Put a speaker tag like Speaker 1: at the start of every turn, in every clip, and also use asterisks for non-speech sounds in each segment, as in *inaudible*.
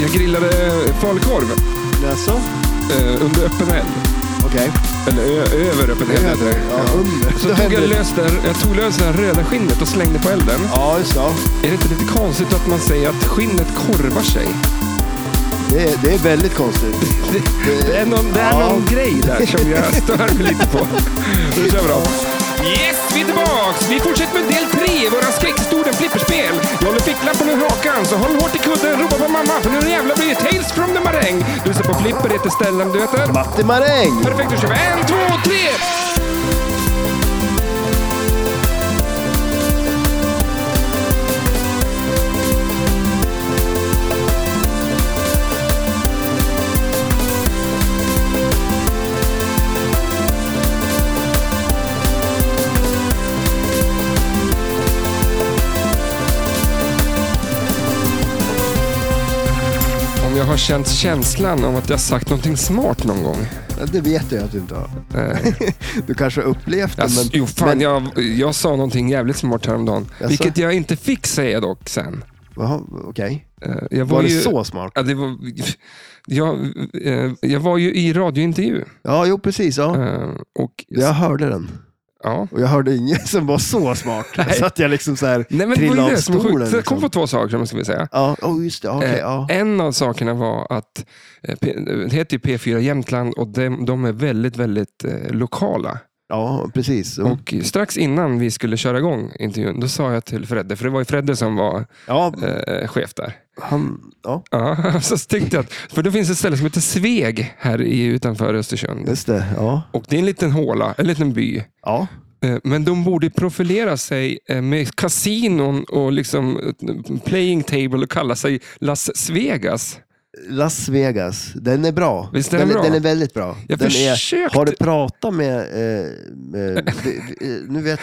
Speaker 1: Jag grillade falukorv
Speaker 2: Jaså?
Speaker 1: eh, under öppen eld.
Speaker 2: Okej.
Speaker 1: Eller ö- över öppen eld heter det.
Speaker 2: Ja, under.
Speaker 1: Så tog jag, lös det, här- jag tog lös det här röda skinnet och slängde på elden.
Speaker 2: Ja, just det.
Speaker 1: Är det inte lite konstigt att man säger att skinnet korvar sig?
Speaker 2: Det är, det är väldigt konstigt.
Speaker 1: Det, det är någon, det är
Speaker 2: Ja.
Speaker 1: någon grej där som jag stör mig lite på. Nu kör vi då. Yes, vi är tillbaks! Vi fortsätter med del tre i våra skräckhistorien flipperspel. Jag håller ficklappen ur hakan, så håll hårt i kudden, ropa på mamma, för nu jävlar blir det Tales from the Maräng. Du ser på flipper, heter Stellan, du heter?
Speaker 2: Matti Maräng!
Speaker 1: Perfekt, då kör vi. En, två, tre! Om jag har känt känslan om att jag sagt någonting smart någon gång.
Speaker 2: Ja, Det vet jag att du inte har.
Speaker 1: Eh,
Speaker 2: *laughs* Du kanske har upplevt det,
Speaker 1: Ass,
Speaker 2: men...
Speaker 1: Alltså, jo, fan,
Speaker 2: men,
Speaker 1: jag, jag sa någonting jävligt smart häromdagen.
Speaker 2: Jaså?
Speaker 1: Vilket jag inte fick säga dock sen.
Speaker 2: Jaha, okej.
Speaker 1: Eh, Jag var,
Speaker 2: Var
Speaker 1: ju,
Speaker 2: det så smart?
Speaker 1: Ja, det var, jag, eh, jag var ju i radiointervju.
Speaker 2: Ja, jo precis. Ja.
Speaker 1: Eh, Och,
Speaker 2: Jag hörde den.
Speaker 1: ja.
Speaker 2: Och jag hörde ingen *laughs* som var så smart. så att jag liksom så här
Speaker 1: Nej, men det var
Speaker 2: trillade
Speaker 1: ju
Speaker 2: av
Speaker 1: det som var
Speaker 2: stolen.
Speaker 1: sjukt. Så Jag kom
Speaker 2: liksom.
Speaker 1: på två saker som jag skulle säga.
Speaker 2: Ja, oh, just det. Okej,
Speaker 1: Eh,
Speaker 2: ja.
Speaker 1: En av sakerna var att eh, P- det heter ju P4 Jämtland och de, de är väldigt, väldigt eh, lokala.
Speaker 2: ja, precis. Mm.
Speaker 1: Och strax innan vi skulle köra igång intervjun, då sa jag till Fredde, för det var ju Fredde som var
Speaker 2: ja,
Speaker 1: eh, chef där.
Speaker 2: han, ja,
Speaker 1: Ja, *laughs* så tänkte jag att, för det finns ett ställe som heter Sveg här i, utanför Östersund.
Speaker 2: just det. Ja.
Speaker 1: Och det är en liten håla, en liten by.
Speaker 2: Ja.
Speaker 1: Eh, Men de borde profilera sig eh, med kasinon och liksom eh, playing table och kalla sig Las Vegas.
Speaker 2: Las Vegas, den är bra.
Speaker 1: Visst är den bra?
Speaker 2: Den är väldigt bra.
Speaker 1: Jag
Speaker 2: den
Speaker 1: försökte-
Speaker 2: Är, har du pratat med, eh, med vi- vi- eh, nu vet,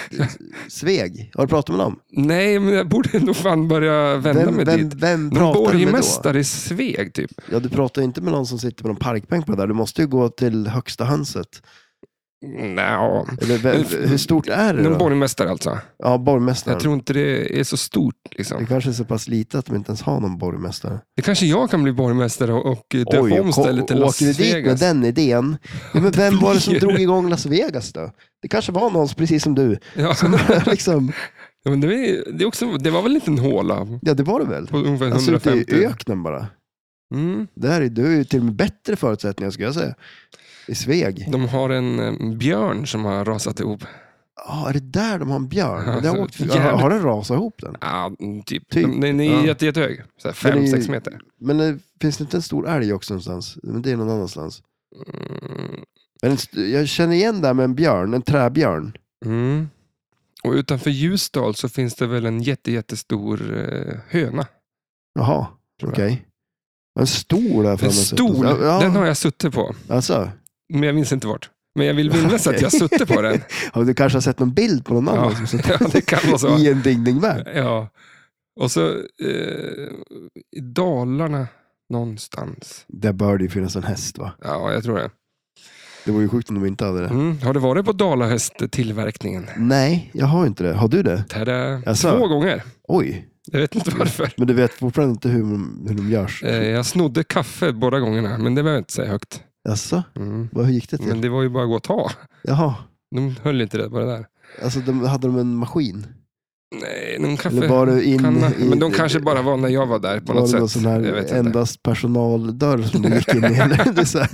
Speaker 2: Sveg, har du pratat med dem?
Speaker 1: Nej, men jag borde *laughs* nog fan börja vända
Speaker 2: Vem,
Speaker 1: mig
Speaker 2: vem,
Speaker 1: dit.
Speaker 2: vem
Speaker 1: Någon
Speaker 2: pratar du med då?
Speaker 1: borgmästare i Sveg, typ.
Speaker 2: Ja, du pratar inte med någon som sitter på någon parkbänk på det där. Du måste ju gå till högsta hönset.
Speaker 1: Nja,
Speaker 2: Eller, vem,
Speaker 1: Men-
Speaker 2: hur stort är det
Speaker 1: någon
Speaker 2: då?
Speaker 1: borgmästare alltså.
Speaker 2: Ja, borgmästaren.
Speaker 1: Jag tror inte det är så stort.
Speaker 2: Det
Speaker 1: Liksom.
Speaker 2: kanske är så pass lite att de inte ens har någon borgmästare.
Speaker 1: Det kanske jag kan bli borgmästare och och döpa om
Speaker 2: ko-
Speaker 1: stället till Las
Speaker 2: åker du dit med
Speaker 1: Vegas.
Speaker 2: den idén?
Speaker 1: *laughs*
Speaker 2: Ja, men vem var det som
Speaker 1: blir det.
Speaker 2: drog igång Las Vegas då? Det kanske var någon, precis
Speaker 1: *laughs*
Speaker 2: som du, *laughs*
Speaker 1: Ja.
Speaker 2: som liksom
Speaker 1: Ja, men det, är, det, är också, det var väl en liten håla
Speaker 2: Ja, det var Alltså, det väl.
Speaker 1: på ungefär
Speaker 2: Han sitter i
Speaker 1: 150.
Speaker 2: öknen bara.
Speaker 1: Mm.
Speaker 2: Det här är, du har ju till och med bättre förutsättningar skulle jag säga. I Sveg.
Speaker 1: De har en eh, björn som har rasat ihop.
Speaker 2: Ja, är det där de har en björn? Ja, det har,
Speaker 1: *laughs*
Speaker 2: åkt,
Speaker 1: Jävligt.
Speaker 2: ja, har den rasat ihop den?
Speaker 1: Ja, mm, typ.
Speaker 2: Typ.
Speaker 1: De- Den är
Speaker 2: Ja.
Speaker 1: jätte, jättehög. Så här
Speaker 2: Den
Speaker 1: fem
Speaker 2: är ju-
Speaker 1: sex meter.
Speaker 2: Men eh, finns det inte en stor älg också någonstans? Men det är någon annanstans.
Speaker 1: Mm.
Speaker 2: Men en st- jag känner igen det här med en björn, en träbjörn.
Speaker 1: Mm. Och utanför Ljusdal så finns det väl en jätte, jättestor eh, höna.
Speaker 2: Jaha,
Speaker 1: Tror jag.
Speaker 2: okej. En stol där framme.
Speaker 1: En stol,
Speaker 2: Ja,
Speaker 1: den har jag suttit på.
Speaker 2: Alltså,
Speaker 1: Men jag minns inte vart. Men jag
Speaker 2: *laughs*
Speaker 1: vill minnas att jag suttit på den.
Speaker 2: har du kanske har sett någon bild på någon annan
Speaker 1: Ja, *laughs*
Speaker 2: som sitter
Speaker 1: ja, det kan vara så.
Speaker 2: i en dingningvärld?
Speaker 1: Ja. Och så eh, i Dalarna någonstans.
Speaker 2: Där bör det ju finnas en häst va?
Speaker 1: Ja, jag tror det.
Speaker 2: Det vore ju sjukt om de inte hade det.
Speaker 1: Mm. Har du varit på Dalahästtillverkningen?
Speaker 2: Nej, jag har inte det. Har du det?
Speaker 1: Tada.
Speaker 2: Jaså?
Speaker 1: Två gånger.
Speaker 2: Oj,
Speaker 1: Jag vet inte
Speaker 2: *laughs*
Speaker 1: varför.
Speaker 2: men du vet fortfarande inte hur, de- hur de görs?
Speaker 1: Eh, Jag snodde kaffe båda gångerna, men det behöver jag inte säga högt.
Speaker 2: Jaså?
Speaker 1: Mm.
Speaker 2: Vad hur gick det till?
Speaker 1: Men det var ju bara att gå och ta.
Speaker 2: Jaha,
Speaker 1: De höll inte rätt på det där.
Speaker 2: alltså de, hade de en maskin?
Speaker 1: Nej, någon
Speaker 2: Eller
Speaker 1: kaffe.
Speaker 2: var du in
Speaker 1: Kanna.
Speaker 2: i,
Speaker 1: Men de kanske bara var när jag var där på
Speaker 2: var
Speaker 1: något
Speaker 2: det någon
Speaker 1: sätt.
Speaker 2: sån här
Speaker 1: Jag vet inte.
Speaker 2: endast personaldörr som du gick
Speaker 1: *laughs*
Speaker 2: in i? Eller? Det är så här.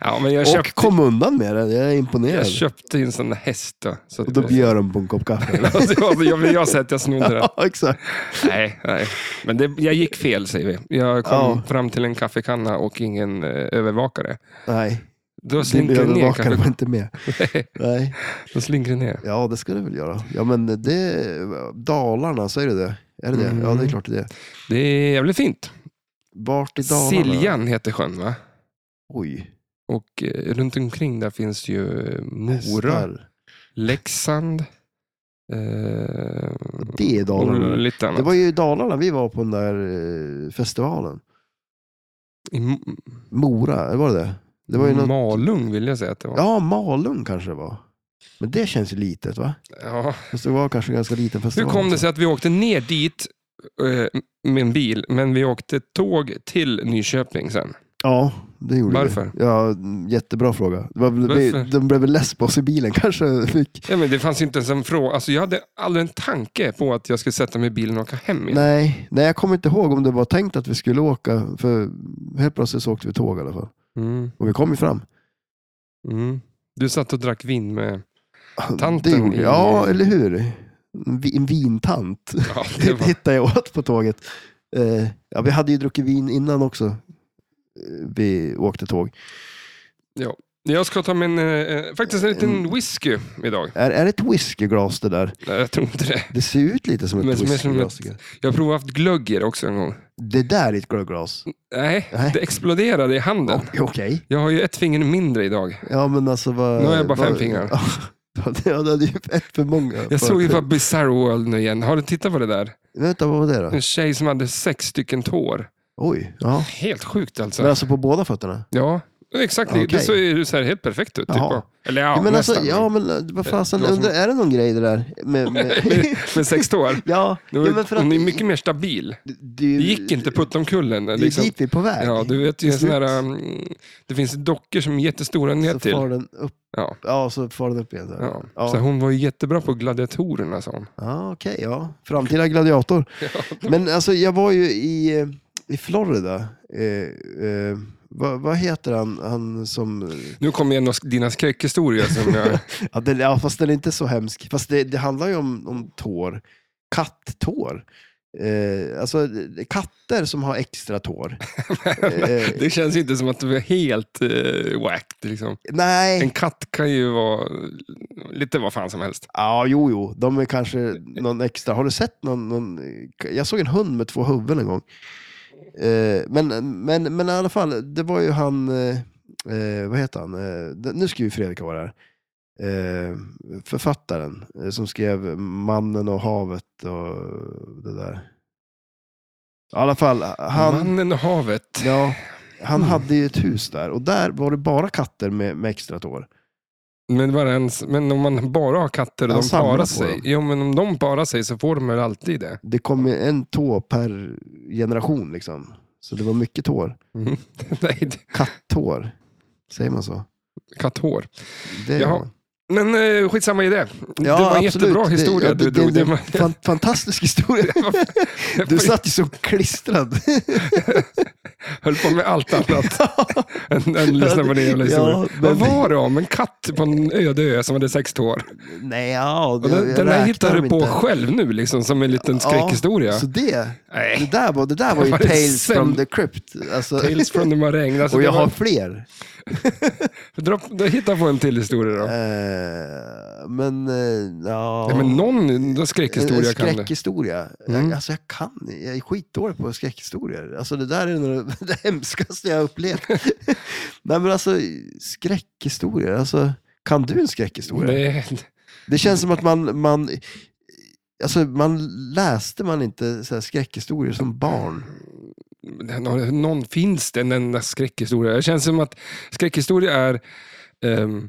Speaker 1: Ja, men jag
Speaker 2: Och
Speaker 1: köpte,
Speaker 2: kom undan med det, jag är
Speaker 1: jag
Speaker 2: imponerad.
Speaker 1: köpte en sån där häst. Då, så
Speaker 2: Och då
Speaker 1: *laughs*
Speaker 2: bjöd de på en kopp kaffe.
Speaker 1: jag, jag, jag säger att jag snodde den.
Speaker 2: *laughs* ja, exakt.
Speaker 1: Nej, nej. Men det, jag gick fel säger vi. Jag kom
Speaker 2: Ja.
Speaker 1: fram till en kaffekanna och ingen eh, övervakare.
Speaker 2: Nej,
Speaker 1: Då
Speaker 2: din
Speaker 1: slinker det ner
Speaker 2: övervakare
Speaker 1: kaffet.
Speaker 2: var inte med. Nej.
Speaker 1: Då slinker det ner.
Speaker 2: Ja, det ska det väl göra. Ja, men det, Dalarna, säger du det? Är det det? Ja, det är
Speaker 1: Mm.
Speaker 2: klart det är det.
Speaker 1: Det är jävligt fint.
Speaker 2: Vart i Dalarna?
Speaker 1: Siljan heter sjön va?
Speaker 2: Oj.
Speaker 1: Och eh, runt omkring där finns ju eh, Mora,
Speaker 2: Hästar.
Speaker 1: Leksand. Eh,
Speaker 2: Det är Dalarna.
Speaker 1: och lite annat.
Speaker 2: Det var ju i Dalarna vi var på den där eh, festivalen.
Speaker 1: I M-
Speaker 2: Mora, var det det? det var ju något...
Speaker 1: Malung vill jag säga att det var.
Speaker 2: Ja, Malung kanske det var. Men det känns ju litet va?
Speaker 1: Ja.
Speaker 2: Fast det var kanske en ganska liten
Speaker 1: Hur
Speaker 2: festival.
Speaker 1: kom det
Speaker 2: också.
Speaker 1: sig att vi åkte ner dit eh, med en bil, men vi åkte tåg till Nyköping sen.
Speaker 2: Ja, det gjorde
Speaker 1: Varför?
Speaker 2: vi. Ja, jättebra fråga. Det var, väl-
Speaker 1: Varför?
Speaker 2: de blev väl less på oss i bilen *laughs* kanske. Fick.
Speaker 1: Ja, men det fanns inte ens en fråga. Alltså, jag hade aldrig en tanke på att jag skulle sätta mig i bilen och åka hem igen.
Speaker 2: Nej, nej, jag kommer inte ihåg om det var tänkt att vi skulle åka. För helt plötsligt så åkte vi tåg i alla fall.
Speaker 1: Mm,
Speaker 2: Och vi kom ju fram.
Speaker 1: mm. Du satt och drack vin med... Tanten
Speaker 2: Det gjorde vi.
Speaker 1: i-
Speaker 2: Ja, eller hur? En vi- En vintant
Speaker 1: Ja, det
Speaker 2: *laughs*
Speaker 1: var...
Speaker 2: hittade jag åt på tåget. Eh, ja, vi hade ju druckit vin innan också. eh, Vi åkte tåg.
Speaker 1: Jag ska ta min, eh, faktiskt en liten
Speaker 2: Mm.
Speaker 1: whisky idag.
Speaker 2: Är, är det ett whiskyglas det där?
Speaker 1: Nej, jag tror inte det.
Speaker 2: Det ser ut lite som ett
Speaker 1: Men som är som
Speaker 2: whiskyglas. tycker jag.
Speaker 1: Jag har provat haft glögg i det också en gång.
Speaker 2: Det där är
Speaker 1: *laughs*
Speaker 2: ett glögglas.
Speaker 1: Nej,
Speaker 2: Nej.
Speaker 1: det exploderade i handen.
Speaker 2: Ja, Okej.
Speaker 1: Jag har ju ett finger mindre idag.
Speaker 2: Ja, men alltså vad...
Speaker 1: Nu har jag bara
Speaker 2: vad-
Speaker 1: fem fingrar.
Speaker 2: *laughs* Ja, det hade ju ett för många.
Speaker 1: Jag
Speaker 2: för-
Speaker 1: såg ju bara Bizarre World nu igen. Har du tittat på det där?
Speaker 2: Vänta, vad var det då?
Speaker 1: En tjej som hade sex stycken tår.
Speaker 2: Oj, ja.
Speaker 1: Helt sjukt alltså.
Speaker 2: Men alltså på båda fötterna?
Speaker 1: Ja, exakt. Det- Det
Speaker 2: Okej.
Speaker 1: såg ju så här helt perfekt ut. Typ.
Speaker 2: Jaha.
Speaker 1: Eller ja,
Speaker 2: Ja, men alltså,
Speaker 1: nästan.
Speaker 2: ja, men eh, vad fasen,
Speaker 1: Det var som-
Speaker 2: undrar, är det någon grej det där?
Speaker 1: *laughs*
Speaker 2: Med, med...
Speaker 1: Med sex tår.
Speaker 2: *laughs* ja,
Speaker 1: Det
Speaker 2: ja,
Speaker 1: var,
Speaker 2: men för att...
Speaker 1: Hon är mycket mer stabil.
Speaker 2: du,
Speaker 1: Det gick inte putta om kullen.
Speaker 2: Det är
Speaker 1: Liksom.
Speaker 2: dit vi är på väg.
Speaker 1: Ja, du vet ju
Speaker 2: Till
Speaker 1: en sån
Speaker 2: slut
Speaker 1: här, mm, det finns dockor som är jättestora ner
Speaker 2: så
Speaker 1: till.
Speaker 2: far den upp.
Speaker 1: Ja.
Speaker 2: Ja, så far den upp igen. Så. Ja.
Speaker 1: Ja. Så hon var ju jättebra på gladiatorerna sa hon.
Speaker 2: Ja, okej, ja. Framtida gladiator. Men alltså, jag var ju i, eh, i Florida. Eh, eh, vad, vad heter han, han som...
Speaker 1: Nu kommer en av sk- dina skräckhistorier som
Speaker 2: *laughs*
Speaker 1: jag...
Speaker 2: Ja, den, ja, fast den är inte så hemsk. Fast det, det handlar ju om, om tår. Kattår. Eh, alltså eh, katter som har extra
Speaker 1: *laughs*
Speaker 2: tår. Eh,
Speaker 1: det känns ju inte som att du är helt eh, whacked. Liksom. En
Speaker 2: nej,
Speaker 1: katt kan ju vara lite vad fan som helst.
Speaker 2: ja, jo, jo, de är kanske
Speaker 1: Eh,
Speaker 2: någon extra. Har du sett någon? någon eh, jag såg en hund med två huvuden en gång. Eh, men, men, men i alla fall, det var ju han, eh, eh, vad heter han? Eh, det- nu ska ju Fredrik vara här. Eh, författaren eh, som skrev Mannen och havet och det där. I alla fall, han...
Speaker 1: Mannen och havet.
Speaker 2: Ja, han
Speaker 1: Mm.
Speaker 2: hade ju ett hus där och där var det bara katter med, med extra tår.
Speaker 1: Men, bara ens, men om man bara har katter och
Speaker 2: Han
Speaker 1: de
Speaker 2: samlar
Speaker 1: parar
Speaker 2: på
Speaker 1: sig.
Speaker 2: dem.
Speaker 1: Jo, men om de parar sig så får de väl alltid det.
Speaker 2: Det kom ju en tå per generation liksom. Så det var mycket tår.
Speaker 1: Mm. *laughs* Nej, det-
Speaker 2: Kattår, säger man så?
Speaker 1: katthår.
Speaker 2: Det
Speaker 1: Jaha.
Speaker 2: man.
Speaker 1: Men eh, skitsamma i det. det
Speaker 2: Ja,
Speaker 1: var en
Speaker 2: absolut.
Speaker 1: jättebra historia
Speaker 2: det,
Speaker 1: du
Speaker 2: ja, det,
Speaker 1: drog.
Speaker 2: Det,
Speaker 1: Det
Speaker 2: det,
Speaker 1: var-
Speaker 2: fan,
Speaker 1: *laughs*
Speaker 2: fantastisk historia. Du satt ju så klistrad. *laughs*
Speaker 1: höll på med allt annat än, än lyssna på din jävla historia.
Speaker 2: Ja,
Speaker 1: Vad
Speaker 2: men-
Speaker 1: var det om en katt på en öde ö som hade sex tår?
Speaker 2: Nej, ja,
Speaker 1: Och
Speaker 2: det,
Speaker 1: den,
Speaker 2: jag
Speaker 1: den där
Speaker 2: räknar
Speaker 1: hittade
Speaker 2: dem
Speaker 1: du på
Speaker 2: inte.
Speaker 1: själv nu, liksom, som en liten skräckhistoria.
Speaker 2: Ja, så det,
Speaker 1: Nej,
Speaker 2: det där var, det där var ju
Speaker 1: var det
Speaker 2: Tales
Speaker 1: sämst.
Speaker 2: from the Crypt. Alltså,
Speaker 1: Tales from the Maräng. Alltså,
Speaker 2: *laughs* och
Speaker 1: det
Speaker 2: jag har
Speaker 1: var,
Speaker 2: fler.
Speaker 1: dra, dra, hitta på en till historia då.
Speaker 2: Eh, men, eh, ja.
Speaker 1: Nej, men någon då
Speaker 2: En, en
Speaker 1: skräckhistoria kan du.
Speaker 2: skräckhistoria.
Speaker 1: Mm.
Speaker 2: Jag, alltså jag kan, jag är skitdålig på skräckhistorier. Alltså det där är nog *laughs* det hemskaste jag har upplevt. *laughs* Nej men alltså skräckhistorier, alltså kan du en skräckhistoria?
Speaker 1: Nej,
Speaker 2: Det känns som att man, man, alltså man läste man inte så här skräckhistorier som barn.
Speaker 1: någon, någon finns det en enda skräckhistoria. Det känns som att skräckhistoria är um,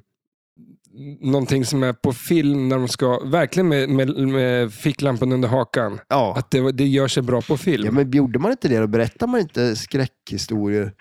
Speaker 1: någonting som är på film när de ska, verkligen med, med, med ficklampan under hakan.
Speaker 2: Ja.
Speaker 1: Att det, det gör sig bra på film.
Speaker 2: ja, men gjorde man inte det då? Berättade man inte skräckhistorier?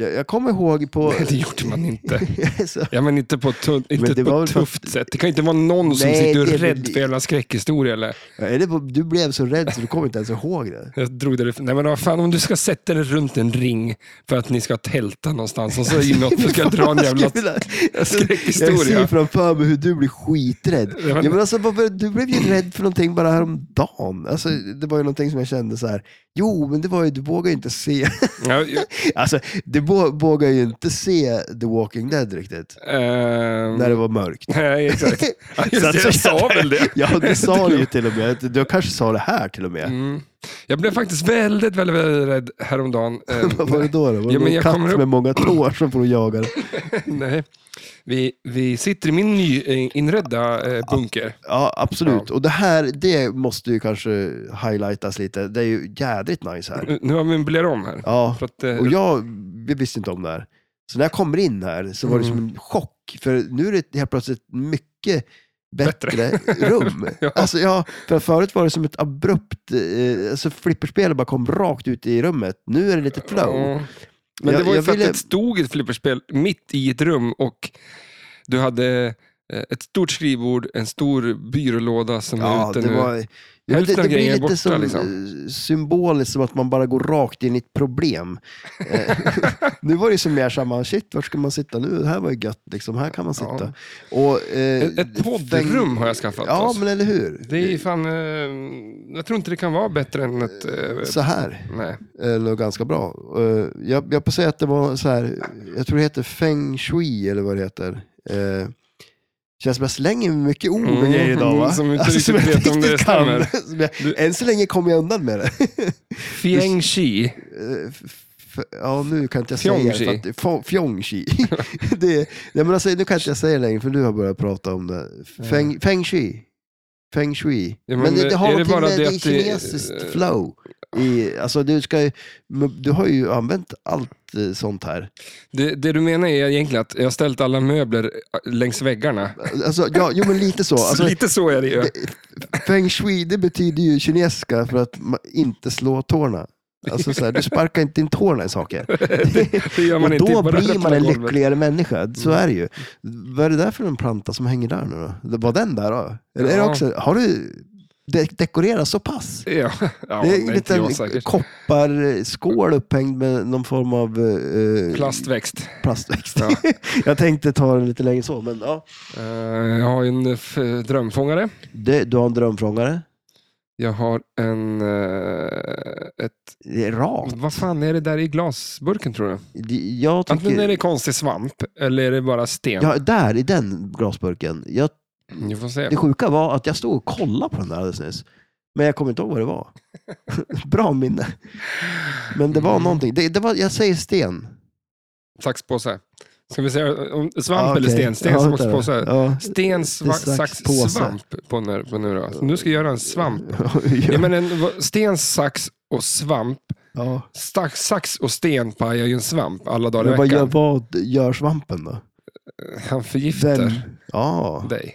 Speaker 2: Jag, jag kommer ihåg på...
Speaker 1: Nej, det gjorde man
Speaker 2: *laughs*
Speaker 1: inte.
Speaker 2: så,
Speaker 1: Ja, men inte på, tu- inte
Speaker 2: det
Speaker 1: på
Speaker 2: var
Speaker 1: ett
Speaker 2: väl för-
Speaker 1: tufft sätt. Det kan inte vara någon som
Speaker 2: Nej,
Speaker 1: sitter och
Speaker 2: det
Speaker 1: är
Speaker 2: är väl-
Speaker 1: rädd för jävla skräckhistoria. Eller?
Speaker 2: är det, på- du blev så rädd så du kommer inte ens ihåg det.
Speaker 1: Jag drog det. Nej, men vad fan, om du ska sätta dig runt en ring för att ni ska tälta någonstans och så inåt *laughs*
Speaker 2: *laughs*
Speaker 1: du ska dra en jävla...
Speaker 2: Jag skulle vilja- alltså,
Speaker 1: skräckhistoria.
Speaker 2: Jag ser framför mig hur du blir skiträdd.
Speaker 1: Ja, men-
Speaker 2: Ja, men alltså, varför- du blev ju rädd för någonting bara häromdagen. Alltså, det var ju någonting som jag kände så här. jo men det var ju, du vågar ju inte se, *laughs*
Speaker 1: Ja, ju-
Speaker 2: alltså du vå- vågar ju inte se The Walking Dead riktigt,
Speaker 1: ehm,
Speaker 2: när det var mörkt.
Speaker 1: Nej, exakt. Ja, just
Speaker 2: Så att-
Speaker 1: det, jag sa väl det.
Speaker 2: Ja,
Speaker 1: *laughs*
Speaker 2: du sa det ju till och med. Du kanske sa det här till och med.
Speaker 1: Mm. Jag blev faktiskt väldigt, väldigt, väldigt rädd häromdagen. Ehm,
Speaker 2: *laughs* *laughs* Vad var det då? då? Var det
Speaker 1: Ja, men
Speaker 2: någon
Speaker 1: jag
Speaker 2: katt
Speaker 1: kommer upp-
Speaker 2: med många tår som får jaga dig?
Speaker 1: *laughs* Nej. Vi, vi sitter i min nyinredda eh, bunker.
Speaker 2: Ja, absolut. Och det här, det måste ju kanske highlightas lite. Det är ju jädrigt nice här.
Speaker 1: Nu- Nu har vi möblerat om här.
Speaker 2: Ja,
Speaker 1: För att, eh,
Speaker 2: och jag vi visste inte om det här. Mm. Så när jag kommer in här så var det som en chock, för nu är det helt plötsligt mycket bättre *laughs* rum. Alltså, ja, för förut var det som ett abrupt, eh, alltså flipperspelet bara kom rakt ut i rummet. Nu är det lite flow.
Speaker 1: Ja. Mm. Men det
Speaker 2: Jag-
Speaker 1: var ju
Speaker 2: jag
Speaker 1: för
Speaker 2: ville-
Speaker 1: att det stod ett flipperspel mitt i ett rum och du hade eh, ett stort skrivbord, en stor byrålåda som är
Speaker 2: Ja,
Speaker 1: ute
Speaker 2: det,
Speaker 1: nu.
Speaker 2: var, ja,
Speaker 1: Hälften
Speaker 2: det,
Speaker 1: av
Speaker 2: det blir
Speaker 1: grejerna är
Speaker 2: lite
Speaker 1: borta,
Speaker 2: som,
Speaker 1: liksom.
Speaker 2: eh, symboliskt, som att man bara går rakt in i ett problem. Eh, *laughs* nu var det ju som mer samma, shit, var ska man sitta nu? Det här var ju gött, liksom. här kan man
Speaker 1: Ja.
Speaker 2: sitta. Och, eh,
Speaker 1: Ett- ett poddrum har jag skaffat
Speaker 2: Ja,
Speaker 1: oss.
Speaker 2: men eller hur?
Speaker 1: Det är ju fan, eh, jag tror inte det kan vara bättre än ett... Eh,
Speaker 2: Så här
Speaker 1: nej.
Speaker 2: är nog ganska bra. Eh, jag, jag på säga att det var så här, jag tror det heter feng shui eller vad det heter. Eh, Känns som jag slänger mycket ord och
Speaker 1: Mm,
Speaker 2: grejer idag va? Alltså,
Speaker 1: som inte
Speaker 2: som
Speaker 1: riktigt
Speaker 2: jag
Speaker 1: vet om det
Speaker 2: kan. Som jag-
Speaker 1: Du-
Speaker 2: Än så länge kommer jag undan med det.
Speaker 1: Feng Shi.
Speaker 2: Eh, f- f- Ja, nu kan inte jag säga det. för
Speaker 1: Fjongshi.
Speaker 2: att- Fo- Fjongshi. *laughs* det, är- nej, men alltså, nu kan inte jag säga det längre, för du har börjat prata om det. Feng, feng shui. Feng shui.
Speaker 1: Ja,
Speaker 2: men,
Speaker 1: men
Speaker 2: det, det har
Speaker 1: är det
Speaker 2: någonting
Speaker 1: bara
Speaker 2: med
Speaker 1: det
Speaker 2: det
Speaker 1: att det-
Speaker 2: kinesiskt flow. I, alltså, du, ska, ju- men du har ju använt allt eh, sånt här.
Speaker 1: Det, det du menar är egentligen att jag har ställt alla möbler eh, längs väggarna.
Speaker 2: Alltså, ja, jo, men lite
Speaker 1: *laughs*
Speaker 2: så. Alltså,
Speaker 1: Lite så är det ju.
Speaker 2: Feng shui, det betyder ju kinesiska för att ma- inte slå tårna. Alltså, så här, du sparkar inte in tårna
Speaker 1: *laughs*
Speaker 2: i saker.
Speaker 1: Det gör man
Speaker 2: och
Speaker 1: inte
Speaker 2: då
Speaker 1: bara
Speaker 2: blir man
Speaker 1: rattlar
Speaker 2: en
Speaker 1: golvet. Mm.
Speaker 2: lyckligare människa, så är det ju. Vad är det där för en planta som hänger där nu då? Var den där då? Eller är det
Speaker 1: Ja.
Speaker 2: också, har du de- dekorerat så pass?
Speaker 1: Ja, ja
Speaker 2: det
Speaker 1: nej,
Speaker 2: är en
Speaker 1: inte jag
Speaker 2: liten
Speaker 1: säkert.
Speaker 2: kopparskål upphängd med någon form av eh,
Speaker 1: Plastväxt.
Speaker 2: plastväxt.
Speaker 1: Ja.
Speaker 2: *laughs* jag tänkte ta den lite längre så, men ja.
Speaker 1: Eh, jag har ju en eh, f- drömfångare.
Speaker 2: Det, du har en drömfrångare.
Speaker 1: Jag har en... eh, ett,
Speaker 2: Det är rakt.
Speaker 1: vad fan är det där i glasburken tror du?
Speaker 2: Det- Jag
Speaker 1: Antingen är
Speaker 2: tycker...
Speaker 1: Mm. det konstig svamp eller är det bara sten. Mm,
Speaker 2: Ja, där i den glasburken. Jag,
Speaker 1: Vi får se.
Speaker 2: det sjuka var att jag stod och kollade på den där alldeles nyss. Men jag kommer inte ihåg vad det var. *laughs* Bra minne. Men det
Speaker 1: Mm.
Speaker 2: var någonting. Det, det var, jag säger sten.
Speaker 1: Saxpåse. Ska vi säga om, svamp
Speaker 2: Ja, okej.
Speaker 1: eller sten? Sten,
Speaker 2: Ja, vänta då.
Speaker 1: saxpåse.
Speaker 2: Ja.
Speaker 1: Sten, sva,
Speaker 2: Det är
Speaker 1: sax,
Speaker 2: saxpåse.
Speaker 1: svamp på nu, på nu då. Så nu ska jag göra en svamp. Ja,
Speaker 2: *laughs* ja.
Speaker 1: men en, vad- sten, sax och svamp.
Speaker 2: Ja.
Speaker 1: Stax, sax och sten pajar ju en svamp alla dagar i
Speaker 2: Men vad, gör,
Speaker 1: veckan.
Speaker 2: vad gör svampen då?
Speaker 1: Han förgiftar
Speaker 2: Den, ja,
Speaker 1: dig.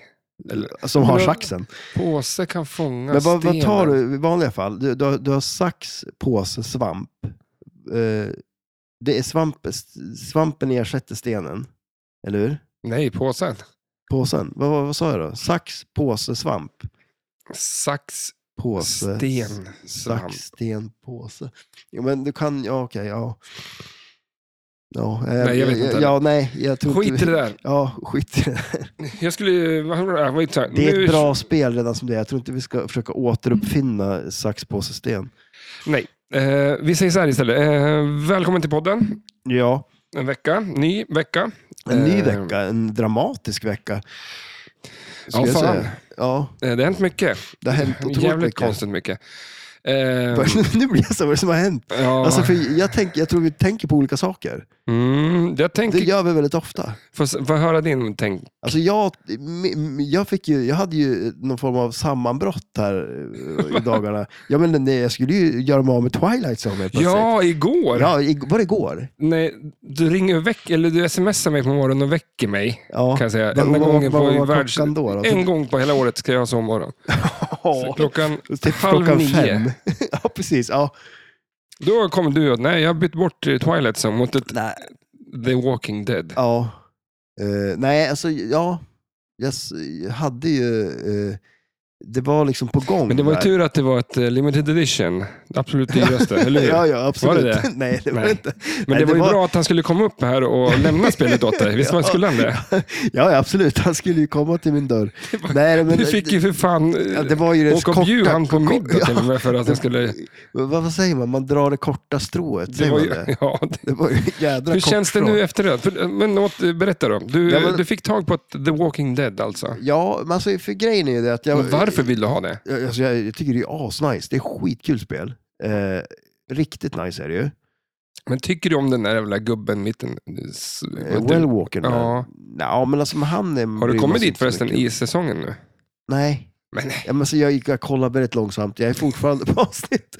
Speaker 2: som har
Speaker 1: Men-
Speaker 2: saxen.
Speaker 1: Påse kan fånga
Speaker 2: Men vad,
Speaker 1: stenen.
Speaker 2: vad tar du i vanliga fall? Du, du, har- du har sax, påse, svamp. Eh, det är svamp, svampen ersätter stenen, eller hur?
Speaker 1: Nej, påsen.
Speaker 2: Påsen. Vad, vad, vad sa jag då? Sax, påse, svamp.
Speaker 1: Sax,
Speaker 2: Påse.
Speaker 1: sten, svamp.
Speaker 2: eh, Sax, sten, påse. Jo, men du kan, ja okej, ja. Ja, eh,
Speaker 1: Nej, jag vet inte.
Speaker 2: Ja, nej, jag tror inte-
Speaker 1: Skit i det där.
Speaker 2: Ja, skit i det där.
Speaker 1: Jag skulle ju... vad var det där? Vad heter
Speaker 2: Det är
Speaker 1: Nu-
Speaker 2: ett bra spel redan som det är. Jag tror inte vi ska försöka återuppfinna sax, påse, sten.
Speaker 1: Nej. Eh, vi säger så här istället. Eh, välkommen till podden.
Speaker 2: Ja,
Speaker 1: En vecka. Ny vecka.
Speaker 2: en ny
Speaker 1: Eh.
Speaker 2: vecka. En dramatisk vecka. skulle
Speaker 1: Ja,
Speaker 2: jag
Speaker 1: fan.
Speaker 2: säga. Ja,
Speaker 1: Eh, det har hänt mycket.
Speaker 2: det har hänt otroligt
Speaker 1: Jävligt
Speaker 2: mycket.
Speaker 1: konstigt mycket. Eh,
Speaker 2: *laughs* nu blir jag så, vad är det som har hänt?
Speaker 1: ja.
Speaker 2: Alltså, för jag, tänker, jag tror vi tänker på olika saker.
Speaker 1: mm, jag
Speaker 2: Det
Speaker 1: tänker...
Speaker 2: gör vi väldigt ofta.
Speaker 1: Får, s- får jag höra din tänk.
Speaker 2: Alltså jag, m- m- jag, fick ju, jag hade ju någon form av sammanbrott här eh, i
Speaker 1: *laughs*
Speaker 2: dagarna. Ja, men nej, jag skulle ju göra mig av med Twilight Zone helt plötsligt.
Speaker 1: Ja, igår.
Speaker 2: ja i- var det igår?
Speaker 1: Nej, du ringer och väck, eller du smsar mig på morgonen och väcker mig.
Speaker 2: Ja.
Speaker 1: Kan jag säga.
Speaker 2: Vad-
Speaker 1: Enda
Speaker 2: vad-
Speaker 1: gången
Speaker 2: vad-
Speaker 1: på
Speaker 2: vad var
Speaker 1: världs...
Speaker 2: klockan då? då?
Speaker 1: En gång på hela året ska jag ha sovmorgon. *laughs* Så
Speaker 2: ja,
Speaker 1: Klockan
Speaker 2: *laughs* typ
Speaker 1: halv
Speaker 2: klockan
Speaker 1: nio.
Speaker 2: fem. *laughs* ja, precis. Ja.
Speaker 1: Då kom du och nej, jag har bytt bort eh, Twilight Zone mot ett
Speaker 2: Nej,
Speaker 1: The Walking Dead.
Speaker 2: ja. Eh, nej, alltså ja. Jag s- jag hade ju... eh, det var liksom på gång.
Speaker 1: Men det var ju
Speaker 2: där.
Speaker 1: tur att det var ett eh, limited edition. Absolut
Speaker 2: *laughs*
Speaker 1: dyraste, eller hur?
Speaker 2: Ja, ja, absolut.
Speaker 1: Var det det?
Speaker 2: *laughs* nej, det var
Speaker 1: Nej.
Speaker 2: inte.
Speaker 1: Men
Speaker 2: nej,
Speaker 1: det var ju
Speaker 2: var-
Speaker 1: bra att han skulle komma upp här och lämna spelet åt dig. Visst var
Speaker 2: *laughs* Ja.
Speaker 1: skulle han det?
Speaker 2: Ja, ja, absolut. Han skulle ju komma till
Speaker 1: *laughs*
Speaker 2: min dörr.
Speaker 1: var-
Speaker 2: Nej, men,
Speaker 1: Du fick ju för fan... eh,
Speaker 2: ja, det var ju det
Speaker 1: Åka och bjud
Speaker 2: korta-
Speaker 1: han på middag
Speaker 2: *laughs*
Speaker 1: till och med för att han
Speaker 2: det-
Speaker 1: skulle...
Speaker 2: Vad, vad säger man? Man drar det korta strået.
Speaker 1: Det
Speaker 2: Säger
Speaker 1: var
Speaker 2: man
Speaker 1: ju,
Speaker 2: det?
Speaker 1: ja, det-
Speaker 2: Det var ju ett jädra
Speaker 1: Hur
Speaker 2: kort
Speaker 1: känns det
Speaker 2: strå.
Speaker 1: nu efteråt? För, eh, men åt, berätta då. Du,
Speaker 2: Ja, men-
Speaker 1: du fick tag på ett The Walking Dead alltså.
Speaker 2: Ja, men alltså, för grejen är ju det att jag...
Speaker 1: Men varför vill du ha det?
Speaker 2: Jag, alltså, jag, jag tycker det är asnice. Det är skitkul spel. Eh, riktigt nice är det ju.
Speaker 1: Men tycker du om den där jävla gubben mitten? S-
Speaker 2: Eh,
Speaker 1: vad du-
Speaker 2: well Walker.
Speaker 1: Ja.
Speaker 2: Ja, men alltså men han är...
Speaker 1: Har du
Speaker 2: bryr man
Speaker 1: kommit
Speaker 2: sig
Speaker 1: dit
Speaker 2: inte så
Speaker 1: förresten
Speaker 2: mycket.
Speaker 1: i säsongen nu?
Speaker 2: Nej.
Speaker 1: Men nej.
Speaker 2: Ja, men så jag gick och kollade väldigt långsamt. Jag är fortfarande på avsnitt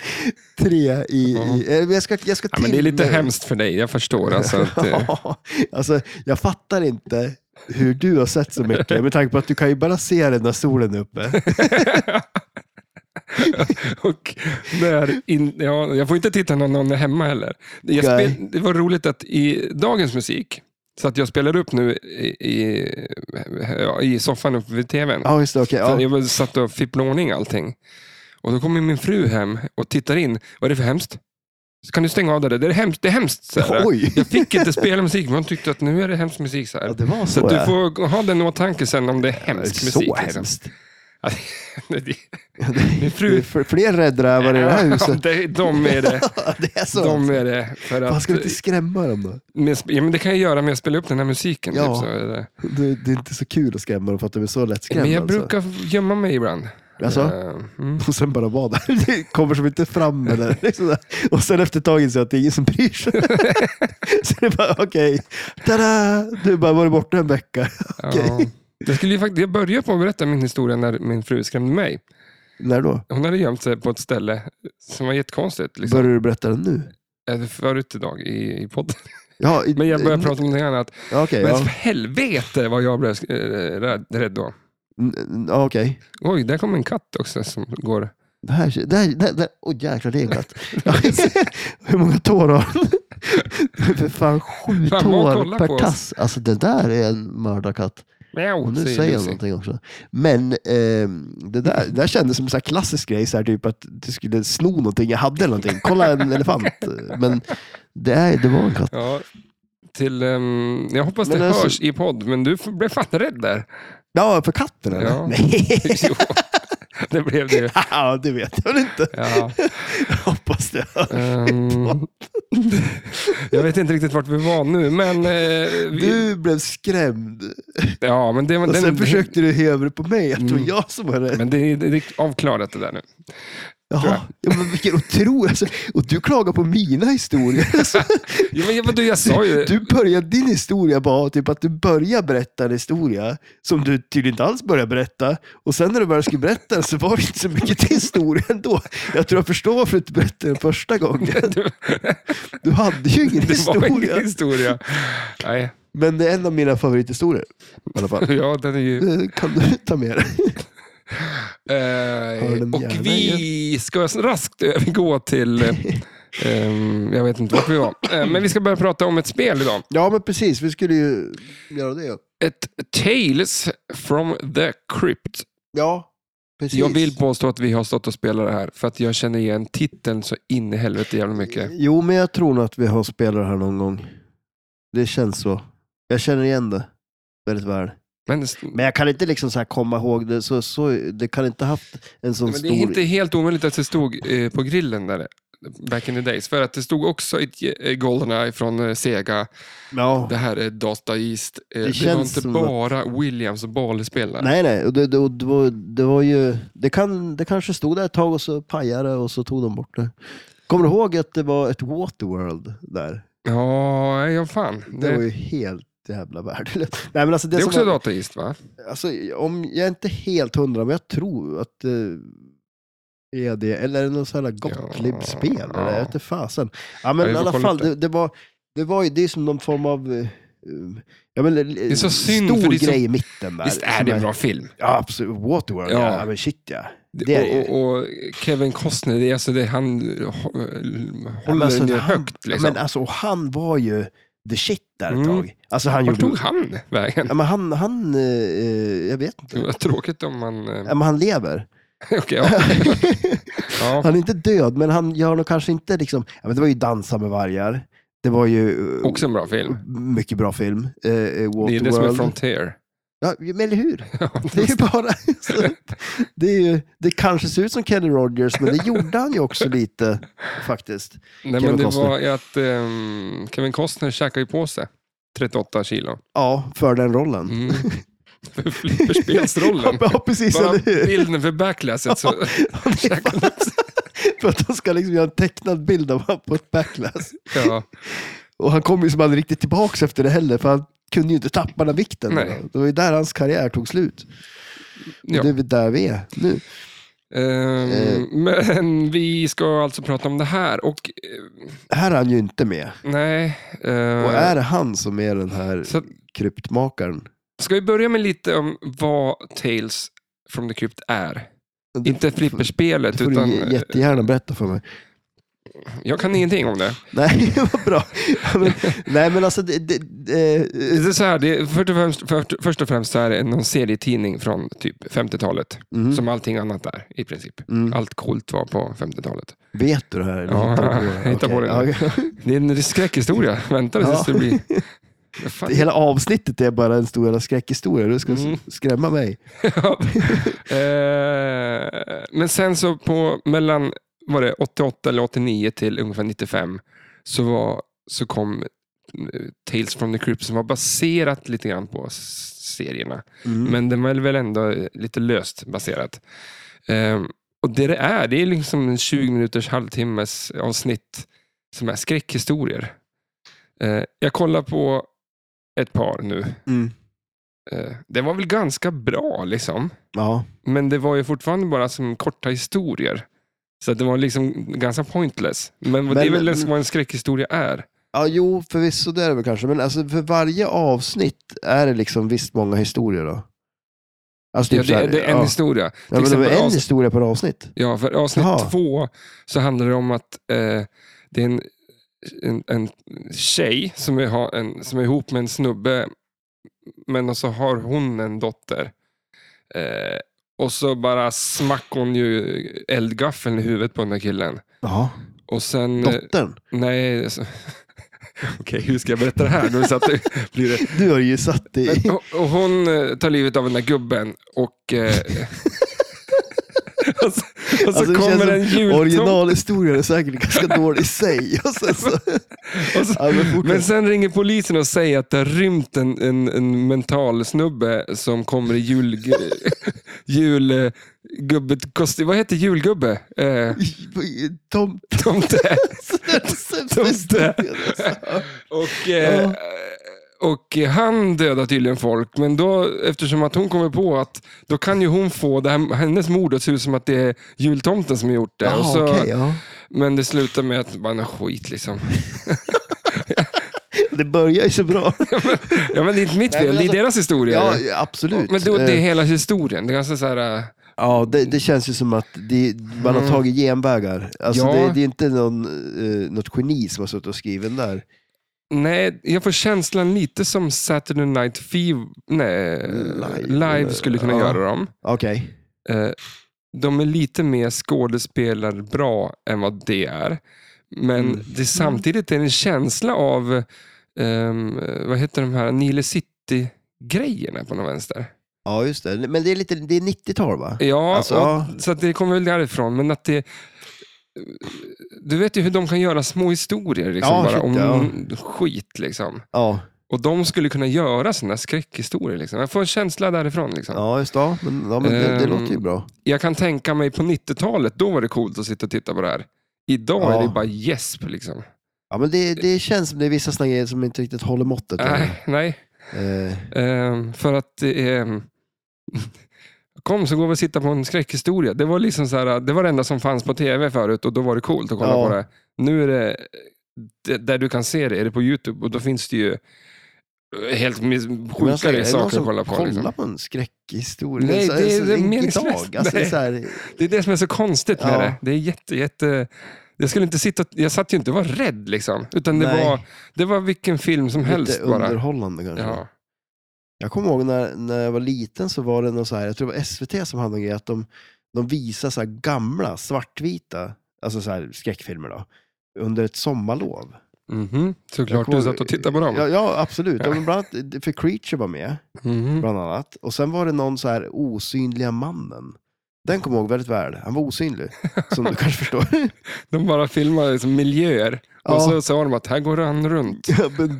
Speaker 2: tre. I, i, eh, men jag ska, jag ska
Speaker 1: Ja,
Speaker 2: till
Speaker 1: men det är lite *laughs*
Speaker 2: nu. *laughs*
Speaker 1: hemskt för dig, jag förstår. Alltså, att, eh,
Speaker 2: Ja, alltså, jag fattar inte hur du har sett så mycket. Med tanke på att du kan ju bara se den när solen är uppe.
Speaker 1: Och när in, ja, jag får inte titta när någon är hemma heller. Jag
Speaker 2: Nej.
Speaker 1: spel, det var roligt att i dagens musik, så att jag spelar upp nu i, i, ja, i soffan uppe vid tvn.
Speaker 2: Ja, just det. okej.
Speaker 1: *laughs* Så
Speaker 2: ja.
Speaker 1: Jag var- satt och fipplade i ordning allting. Och då kommer min fru hem och tittar in. Vad är det för hemskt? Kan du stänga av det där? Det är hemskt. Det är hemskt så här.
Speaker 2: Oj!
Speaker 1: Jag fick inte spela musik, men hon tyckte att nu är det hemsk musik. Så, här.
Speaker 2: Ja, det var så,
Speaker 1: så att du
Speaker 2: ja.
Speaker 1: får ha den i åtanke sen om det är
Speaker 2: Det är
Speaker 1: hemsk musik.
Speaker 2: så
Speaker 1: liksom.
Speaker 2: hemskt.
Speaker 1: *laughs* Min
Speaker 2: Det är
Speaker 1: fru...
Speaker 2: fl- fler räddrävar i det här
Speaker 1: Ja,
Speaker 2: huset.
Speaker 1: det- de är
Speaker 2: *laughs*
Speaker 1: det.
Speaker 2: det är så.
Speaker 1: De är det. För
Speaker 2: Fan,
Speaker 1: att,
Speaker 2: ska du inte skrämma dem då?
Speaker 1: men, sp- ja, men det kan jag göra med att spela upp den här musiken.
Speaker 2: Ja.
Speaker 1: Typ, så är det.
Speaker 2: Det, det är inte så kul att skrämma dem för att de är så lättskrämda.
Speaker 1: Men jag
Speaker 2: alltså.
Speaker 1: brukar gömma mig ibland.
Speaker 2: Jaså?
Speaker 1: Eh, Mm.
Speaker 2: *laughs* Och sen bara vara där. Det kommer som inte fram. Eller, liksom där. och sen efter ett tag inser jag att det är ingen som bryr sig. *laughs* så det är bara okej. Tada! Du bara varit borta en vecka. Okej. *laughs*
Speaker 1: Ja. Jag, skulle ju faktiskt, jag började på att berätta min historia när min fru skrämde mig.
Speaker 2: När då?
Speaker 1: Hon hade gömt sig på ett ställe som var jättekonstigt. Liksom.
Speaker 2: Börjar du berätta den nu?
Speaker 1: Eh, Förut idag i, i podden. *laughs*
Speaker 2: Ja, i,
Speaker 1: Men jag började prata om någonting annat.
Speaker 2: Ja, okej.
Speaker 1: Men
Speaker 2: ja.
Speaker 1: för helvete vad jag blev eh, rädd, rädd då.
Speaker 2: Mm, mm, ja, okej.
Speaker 1: Oj, där kom en katt också som går.
Speaker 2: Det här, det här, det här, det här. Åh jäklar, det är glatt. *laughs* Hur många tår har han? *laughs* För fan, sju
Speaker 1: Fan, vad
Speaker 2: tår
Speaker 1: kollar på
Speaker 2: per
Speaker 1: oss.
Speaker 2: tass. Alltså det där är en mördarkatt.
Speaker 1: Mjau,
Speaker 2: Och nu säger jag
Speaker 1: Lucy.
Speaker 2: någonting också. Men ehm, det, där, det där kändes som en sån här klassisk grej, så här, typ att du skulle sno någonting jag hade. eller Någonting. Kolla *laughs* en elefant. Men det, är, det var en katt.
Speaker 1: Ja, till, ehm, jag hoppas
Speaker 2: Men
Speaker 1: det
Speaker 2: alltså-
Speaker 1: hörs i podd, men du f- blev fan rädd där. *laughs*
Speaker 2: Ja, för katten eller?
Speaker 1: Ja.
Speaker 2: Nej,
Speaker 1: Jo, det blev det ju.
Speaker 2: *laughs* ja, det vet jag väl inte.
Speaker 1: Ja,
Speaker 2: Jag *laughs* hoppas det.
Speaker 1: ehm, jag vet inte riktigt vart vi var nu, men... eh, vi,
Speaker 2: Du blev skrämd.
Speaker 1: ja, men det, var-
Speaker 2: Och
Speaker 1: den,
Speaker 2: sen försökte du höja över på mig, att det var
Speaker 1: Mm.
Speaker 2: jag som var rädd.
Speaker 1: Men det är, det är avklarat det där nu. tror
Speaker 2: Jaha, ja, men vilken otrolig... Alltså, och du klagar på mina historier. *laughs* Alltså,
Speaker 1: *laughs* Jo, men vad du, jag sa *laughs* ju...
Speaker 2: du börjar, din historia var typ att du börjar berätta en historia som du tydligen inte alls börjar berätta. Och sen när du började skulle berätta den så var det inte så mycket till historia ändå. Jag tror jag förstår varför du inte berättade den första gången.
Speaker 1: *laughs* du
Speaker 2: Du hade ju ingen
Speaker 1: det var
Speaker 2: historia.
Speaker 1: ingen historia. Nej, *laughs*
Speaker 2: Men det är en av mina favorithistorier. I alla fall.
Speaker 1: ja, den är ju...
Speaker 2: Eh, Kan du ta med dig?
Speaker 1: Eh,
Speaker 2: den
Speaker 1: och
Speaker 2: gärna
Speaker 1: vi ska raskt övergå till...
Speaker 2: *laughs*
Speaker 1: eh, ehm, jag vet inte vart vi var. Eh, men vi ska börja prata om ett spel idag.
Speaker 2: Ja, men precis. Vi skulle ju göra det.
Speaker 1: Ett Tales from the Crypt.
Speaker 2: Ja, precis.
Speaker 1: Jag vill påstå att vi har stått och spelat det här för att jag känner igen titeln så in i helvete jävla mycket.
Speaker 2: Jo, men jag tror nog att vi har spelat det här någon gång. Det känns så. Jag känner igen det väldigt väl.
Speaker 1: Men,
Speaker 2: Men jag kan inte liksom så här komma ihåg det. Så, så, det kan inte haft en sån
Speaker 1: men det
Speaker 2: stor...
Speaker 1: är inte helt omöjligt att det stod eh, på grillen där back in the days. För att det stod också ett eh, Goldeneye från eh, Sega.
Speaker 2: Ja.
Speaker 1: Det här är Data East. Eh,
Speaker 2: Det
Speaker 1: det, var
Speaker 2: känns
Speaker 1: inte
Speaker 2: som
Speaker 1: bara Williams och Bali-spelare.
Speaker 2: Nej, nej. Och det, det, och det, var, det var ju... Det, kan, det kanske stod där ett tag och så pajade det och så tog de bort det. Kommer du ihåg att det var ett Waterworld där?
Speaker 1: Ja, ja fan. Det,
Speaker 2: Det, var ju helt jävla värdelöst. Nej, men alltså det,
Speaker 1: det är
Speaker 2: som
Speaker 1: också
Speaker 2: var-
Speaker 1: Data East va?
Speaker 2: Alltså, om, jag är inte helt hundra, men jag tror att det är det. Eller är det något sådant Gottlieb-spel?
Speaker 1: Ja.
Speaker 2: Eller? Jag vet inte fasen. Ja,
Speaker 1: Ja,
Speaker 2: men
Speaker 1: vi
Speaker 2: i
Speaker 1: får
Speaker 2: alla
Speaker 1: kolla
Speaker 2: fall,
Speaker 1: upp det.
Speaker 2: det, det, var, det var ju det är som någon form av... eh, Ja, men, det
Speaker 1: är så synd, för
Speaker 2: stor
Speaker 1: det är så-
Speaker 2: grej i mitten där.
Speaker 1: Visst är
Speaker 2: som
Speaker 1: det en bra film?
Speaker 2: Ja, absolut. Waterworld, ja.
Speaker 1: Ja.
Speaker 2: ja men shit ja. Det är det ju.
Speaker 1: och, och, och Kevin Costner, det är alltså det, han hå-
Speaker 2: Ja,
Speaker 1: håller
Speaker 2: men alltså,
Speaker 1: den ju
Speaker 2: han-
Speaker 1: högt.
Speaker 2: ja,
Speaker 1: Liksom.
Speaker 2: Men alltså, och han var ju the shit där
Speaker 1: Mm.
Speaker 2: ett tag. Alltså, han
Speaker 1: Vart
Speaker 2: gjorde...
Speaker 1: tog han vägen?
Speaker 2: Ja, men han, han eh, eh, jag vet inte.
Speaker 1: Det var tråkigt om man... eh, *laughs*
Speaker 2: Ja, men han lever. *laughs*
Speaker 1: Okej, ja. ja.
Speaker 2: Han är inte död, men han gör nog kanske inte liksom... Ja, men det var ju Dansa med vargar. Det var ju eh,
Speaker 1: Också en bra film.
Speaker 2: mycket bra film. Eh, eh,
Speaker 1: Det är det som är
Speaker 2: Waterworld.
Speaker 1: Frontier. *laughs*
Speaker 2: ja, men eller hur? Det är ju bara... så- det, är ju, det kanske ser ut som Kenny Rogers, men det gjorde han ju också lite faktiskt.
Speaker 1: Nej, men
Speaker 2: Kevin
Speaker 1: det
Speaker 2: Costner.
Speaker 1: var ju att ehm, Kevin Costner käkade ju på sig 38 kilo.
Speaker 2: Ja, för den rollen.
Speaker 1: Mm.
Speaker 2: *laughs*
Speaker 1: För flipperspelsrollen.
Speaker 2: Ja, precis.
Speaker 1: Bara
Speaker 2: Eller
Speaker 1: *laughs*
Speaker 2: hur?
Speaker 1: bilden för backlasset
Speaker 2: *laughs*
Speaker 1: så
Speaker 2: Han är
Speaker 1: käkade han upp sig.
Speaker 2: För att de ska liksom göra en tecknad bild av honom på ett backlash.
Speaker 1: Ja.
Speaker 2: Och han kom ju som aldrig riktigt tillbaka efter det heller, för han kunde ju inte tappa den här vikten.
Speaker 1: Nej.
Speaker 2: Det var ju där hans karriär tog slut.
Speaker 1: Ja.
Speaker 2: Det är väl där vi är nu.
Speaker 1: Ehm,
Speaker 2: Eh.
Speaker 1: Men vi ska alltså prata om det här. Och eh,
Speaker 2: Här är han ju inte med.
Speaker 1: nej. eh,
Speaker 2: Och är det han som är den här
Speaker 1: så,
Speaker 2: kryptmakaren?
Speaker 1: Ska vi börja med lite om vad Tales from the Crypt är?
Speaker 2: Det-
Speaker 1: Inte
Speaker 2: Det
Speaker 1: flipperspelet,
Speaker 2: får
Speaker 1: utan eh,
Speaker 2: du jättegärna berätta för mig.
Speaker 1: jag kan ingenting om
Speaker 2: Eh,
Speaker 1: det.
Speaker 2: Nej, *laughs* vad bra. Ja, men, nej, men alltså... Det, det, eh,
Speaker 1: Det är så här, det är först, och främst, för, först och främst så här är det någon serietidning från typ 50-talet,
Speaker 2: mm,
Speaker 1: som allting annat är i princip.
Speaker 2: mm.
Speaker 1: Allt coolt var på 50-talet.
Speaker 2: Vet du det här? eller
Speaker 1: Ja,
Speaker 2: hittar
Speaker 1: *laughs*
Speaker 2: du
Speaker 1: jag hittar på
Speaker 2: Okej,
Speaker 1: det.
Speaker 2: ja, okej.
Speaker 1: Det är en skräckhistoria. Vänta tills
Speaker 2: Ja.
Speaker 1: det blir...
Speaker 2: *laughs*
Speaker 1: Vad fan?
Speaker 2: Hela avsnittet är bara en stor jävla skräckhistoria. Du ska
Speaker 1: Mm.
Speaker 2: skrämma mig.
Speaker 1: Ja. Eh, Men sen så på mellan var det 88 eller 89 till ungefär 95 så, var, så kom eh, Tales from the Crypt som var baserat lite grann på s- serierna.
Speaker 2: Mm.
Speaker 1: Men den var väl ändå eh, lite löst baserat. Eh, Och det det är, det är liksom en 20 minuters halvtimmes avsnitt som är skräckhistorier. Eh, Jag kollar på ett par nu.
Speaker 2: Mm.
Speaker 1: Eh, Det var väl ganska bra liksom.
Speaker 2: Ja.
Speaker 1: Men det var ju fortfarande bara som korta historier. Så att det var liksom ganska pointless. Men, det är väl
Speaker 2: men- Typ
Speaker 1: det som vad en skräckhistoria är.
Speaker 2: ja, jo, förvisso det är det väl kanske. Men alltså, för varje avsnitt är det liksom visst många historier då? Alltså,
Speaker 1: Ja,
Speaker 2: typ så
Speaker 1: det,
Speaker 2: här,
Speaker 1: det är en
Speaker 2: ja.
Speaker 1: historia.
Speaker 2: Ja, men det var
Speaker 1: exempel
Speaker 2: en
Speaker 1: avs-
Speaker 2: historia per avsnitt.
Speaker 1: Ja, för avsnitt
Speaker 2: Jaha.
Speaker 1: två så handlar det om att eh, det är en, en, en tjej som är, ha- en, som är ihop med en snubbe. Men så har hon en dotter. Eh, och så bara smackar hon ju eldgaffeln i huvudet på den där killen.
Speaker 2: Ja.
Speaker 1: Och sen... eh,
Speaker 2: Dottern.
Speaker 1: Nej, alltså. *laughs* okej hur ska jag berätta det här? Nu så att det blir det.
Speaker 2: Du har ju satt dig i... *laughs*
Speaker 1: Men, och, och hon eh, tar livet av den där gubben och, eh, *laughs* och så, och så
Speaker 2: Alltså, det känns
Speaker 1: kommer
Speaker 2: som
Speaker 1: en jultomte.
Speaker 2: Originalhistorien är säkert ganska dålig i sig. *laughs* Och sen så...
Speaker 1: och så-
Speaker 2: ja, men fortsätt.
Speaker 1: Men sen ringer polisen och säger att det har rymt en, en, en mental snubbe som kommer i jul... *laughs* jul gubbet, kosti, vad heter julgubbe? Eh, *laughs*
Speaker 2: Tom...
Speaker 1: tomte.
Speaker 2: Sämsta historien, alltså.
Speaker 1: Och, eh,
Speaker 2: Ja.
Speaker 1: och eh, han dödar tydligen folk, men då, eftersom att hon kommer på att då kan ju hon få det här, hennes mord att se ut som att det är jultomten som har gjort det. och
Speaker 2: Ja,
Speaker 1: så,
Speaker 2: okej, ja.
Speaker 1: Men det slutar med att man är skit liksom.
Speaker 2: Det börjar ju så bra.
Speaker 1: Ja, men det är inte mitt
Speaker 2: *laughs* Nej,
Speaker 1: fel,
Speaker 2: men
Speaker 1: det
Speaker 2: alltså-
Speaker 1: är deras historia.
Speaker 2: Ja, absolut.
Speaker 1: men då, det är
Speaker 2: Eh,
Speaker 1: hela historien. Det är ganska så här, eh,
Speaker 2: Ja, det, det känns ju som att det, man har tagit genvägar. Alltså,
Speaker 1: Mm. Ja.
Speaker 2: det, det är inte någon, eh, något geni som har suttit och skrivit den där.
Speaker 1: nej, jag får känslan lite som Saturday Night Fever, nej,
Speaker 2: Live.
Speaker 1: live. skulle kunna
Speaker 2: Ja.
Speaker 1: göra dem.
Speaker 2: Okej.
Speaker 1: Eh, de är lite mer skådespelarbra än vad det är. Men
Speaker 2: Mm.
Speaker 1: det, samtidigt är det en känsla av, ehm, vad heter de här, Nile City-grejerna på någon vänster.
Speaker 2: Ja, just det. Men det är, lite, det är 90-tal va?
Speaker 1: Ja,
Speaker 2: Alltså,
Speaker 1: och,
Speaker 2: ja.
Speaker 1: så att det kommer väl därifrån. Men att det, du vet ju hur de kan göra små historier liksom,
Speaker 2: Ja,
Speaker 1: bara,
Speaker 2: shit,
Speaker 1: om
Speaker 2: ja.
Speaker 1: skit. Liksom.
Speaker 2: Ja,
Speaker 1: Och de skulle kunna göra sådana skräckhistorier. Liksom. Jag får en känsla därifrån. Liksom.
Speaker 2: ja just det. Ja, Men, ja, men det, det
Speaker 1: Ehm,
Speaker 2: låter ju bra.
Speaker 1: jag kan tänka mig på 90-talet, då var det coolt att sitta och titta på det här. Idag
Speaker 2: Ja.
Speaker 1: är det bara gäsp. Liksom.
Speaker 2: Ja, men det, det känns som det är vissa såna grejer som inte riktigt håller måttet.
Speaker 1: Nej, nej.
Speaker 2: Eh,
Speaker 1: Ehm, för att det är... *laughs* Kom så går vi och sitta på en skräckhistoria. Det var liksom så här, det var det enda som fanns på tv förut och då var det coolt att kolla
Speaker 2: Ja.
Speaker 1: på det. Nu är det, det, där du kan se det, är det på YouTube och då finns det ju eh, helt mis-
Speaker 2: men alltså,
Speaker 1: sjukare
Speaker 2: är det någon
Speaker 1: saker
Speaker 2: som
Speaker 1: att kolla på.
Speaker 2: kollar
Speaker 1: Liksom.
Speaker 2: på en skräckhistoria?
Speaker 1: Nej,
Speaker 2: Så-
Speaker 1: det är-
Speaker 2: så-
Speaker 1: det är
Speaker 2: inte
Speaker 1: meningslöst.
Speaker 2: idag. Alltså, det är
Speaker 1: Nej.
Speaker 2: så här,
Speaker 1: Det är det som är så konstigt med
Speaker 2: Ja.
Speaker 1: det. Det är jätte, jätte... Jag skulle inte sitta, jag satt ju inte och var rädd liksom. Utan det,
Speaker 2: Nej.
Speaker 1: var, det var vilken film som helst
Speaker 2: lite
Speaker 1: bara.
Speaker 2: underhållande kanske.
Speaker 1: Ja.
Speaker 2: Jag kommer ihåg när, när jag var liten så var det någon så här, jag tror det var SVT som hade en grej, att de, de visar så här gamla svartvita, alltså så här skräckfilmer då, under ett sommarlov.
Speaker 1: Mhm.
Speaker 2: Jag
Speaker 1: Såklart
Speaker 2: kommer-
Speaker 1: du satt och tittade på dem.
Speaker 2: Ja, ja absolut. Ja.
Speaker 1: Ja. *laughs*
Speaker 2: men bland annat, för Creature var med,
Speaker 1: Mhm.
Speaker 2: bland annat. Och sen var det någon så här osynliga mannen. Den kommer jag ihåg väldigt väl. Han var osynlig, som
Speaker 1: *laughs*
Speaker 2: du kanske förstår.
Speaker 1: De bara filmar liksom miljöer
Speaker 2: Ja.
Speaker 1: och
Speaker 2: *laughs*
Speaker 1: så sa de att här går han runt.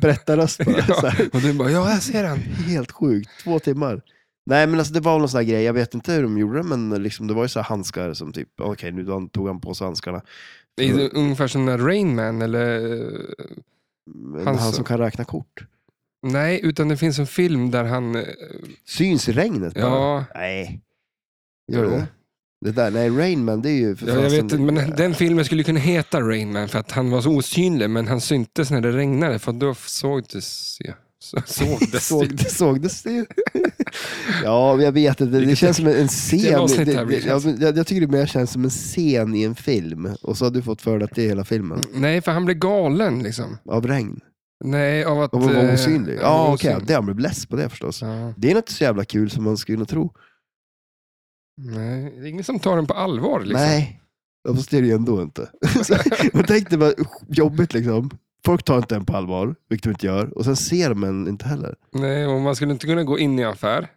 Speaker 2: Berättarröst bara. Så
Speaker 1: *laughs* Ja.
Speaker 2: här.
Speaker 1: Och du bara, ja jag ser han.
Speaker 2: Helt sjukt. Två timmar. Nej men alltså det var någon sån här grej, jag vet inte hur de gjorde det, men liksom, det var ju så här handskar som typ, okej nu då tog han på sig handskarna.
Speaker 1: Det är ungefär som när Rain Man eller...
Speaker 2: Men
Speaker 1: Han
Speaker 2: han
Speaker 1: så-
Speaker 2: som kan räkna kort.
Speaker 1: Nej, utan det finns en film där han... eh,
Speaker 2: Syns i regnet bara.
Speaker 1: Ja,
Speaker 2: Nej. Gör
Speaker 1: Jo.
Speaker 2: det? Det där, nej Rain Man det är ju för
Speaker 1: ja jag vet
Speaker 2: fasen-
Speaker 1: inte, men den filmen skulle kunna heta Rain Man för att han var så osynlig men han syntes när det regnade för då såg det... Ja. *laughs* Så, sågdes
Speaker 2: *laughs* Såg,
Speaker 1: det.
Speaker 2: *laughs* det sågdes det ju. *laughs* ja, men jag vet inte. Det, det känns som en scen.
Speaker 1: Det är ett avsnitt
Speaker 2: Det,
Speaker 1: här,
Speaker 2: det,
Speaker 1: Richard.
Speaker 2: ja, men jag, jag tycker det mer känns som en scen i en film. Och så har du fått för dig att det är hela filmen.
Speaker 1: Nej, för han blev galen liksom.
Speaker 2: Av regn.
Speaker 1: Nej, av att...
Speaker 2: Om man var
Speaker 1: eh,
Speaker 2: osynlig.
Speaker 1: han var
Speaker 2: Ja, okej.
Speaker 1: osynlig.
Speaker 2: Det han blev less på det förstås.
Speaker 1: Ja,
Speaker 2: Det är inte så jävla kul som man skulle kunna tro.
Speaker 1: nej, det är ingen som tar den på allvar liksom.
Speaker 2: Nej. Ja, Fast det är det ju ändå inte. *laughs* Så, Men tänk dig vad jobbigt liksom. Folk tar inte en på allvar, vilket de inte gör. Och sen ser de en inte heller.
Speaker 1: Nej, och man skulle inte kunna gå in i en affär.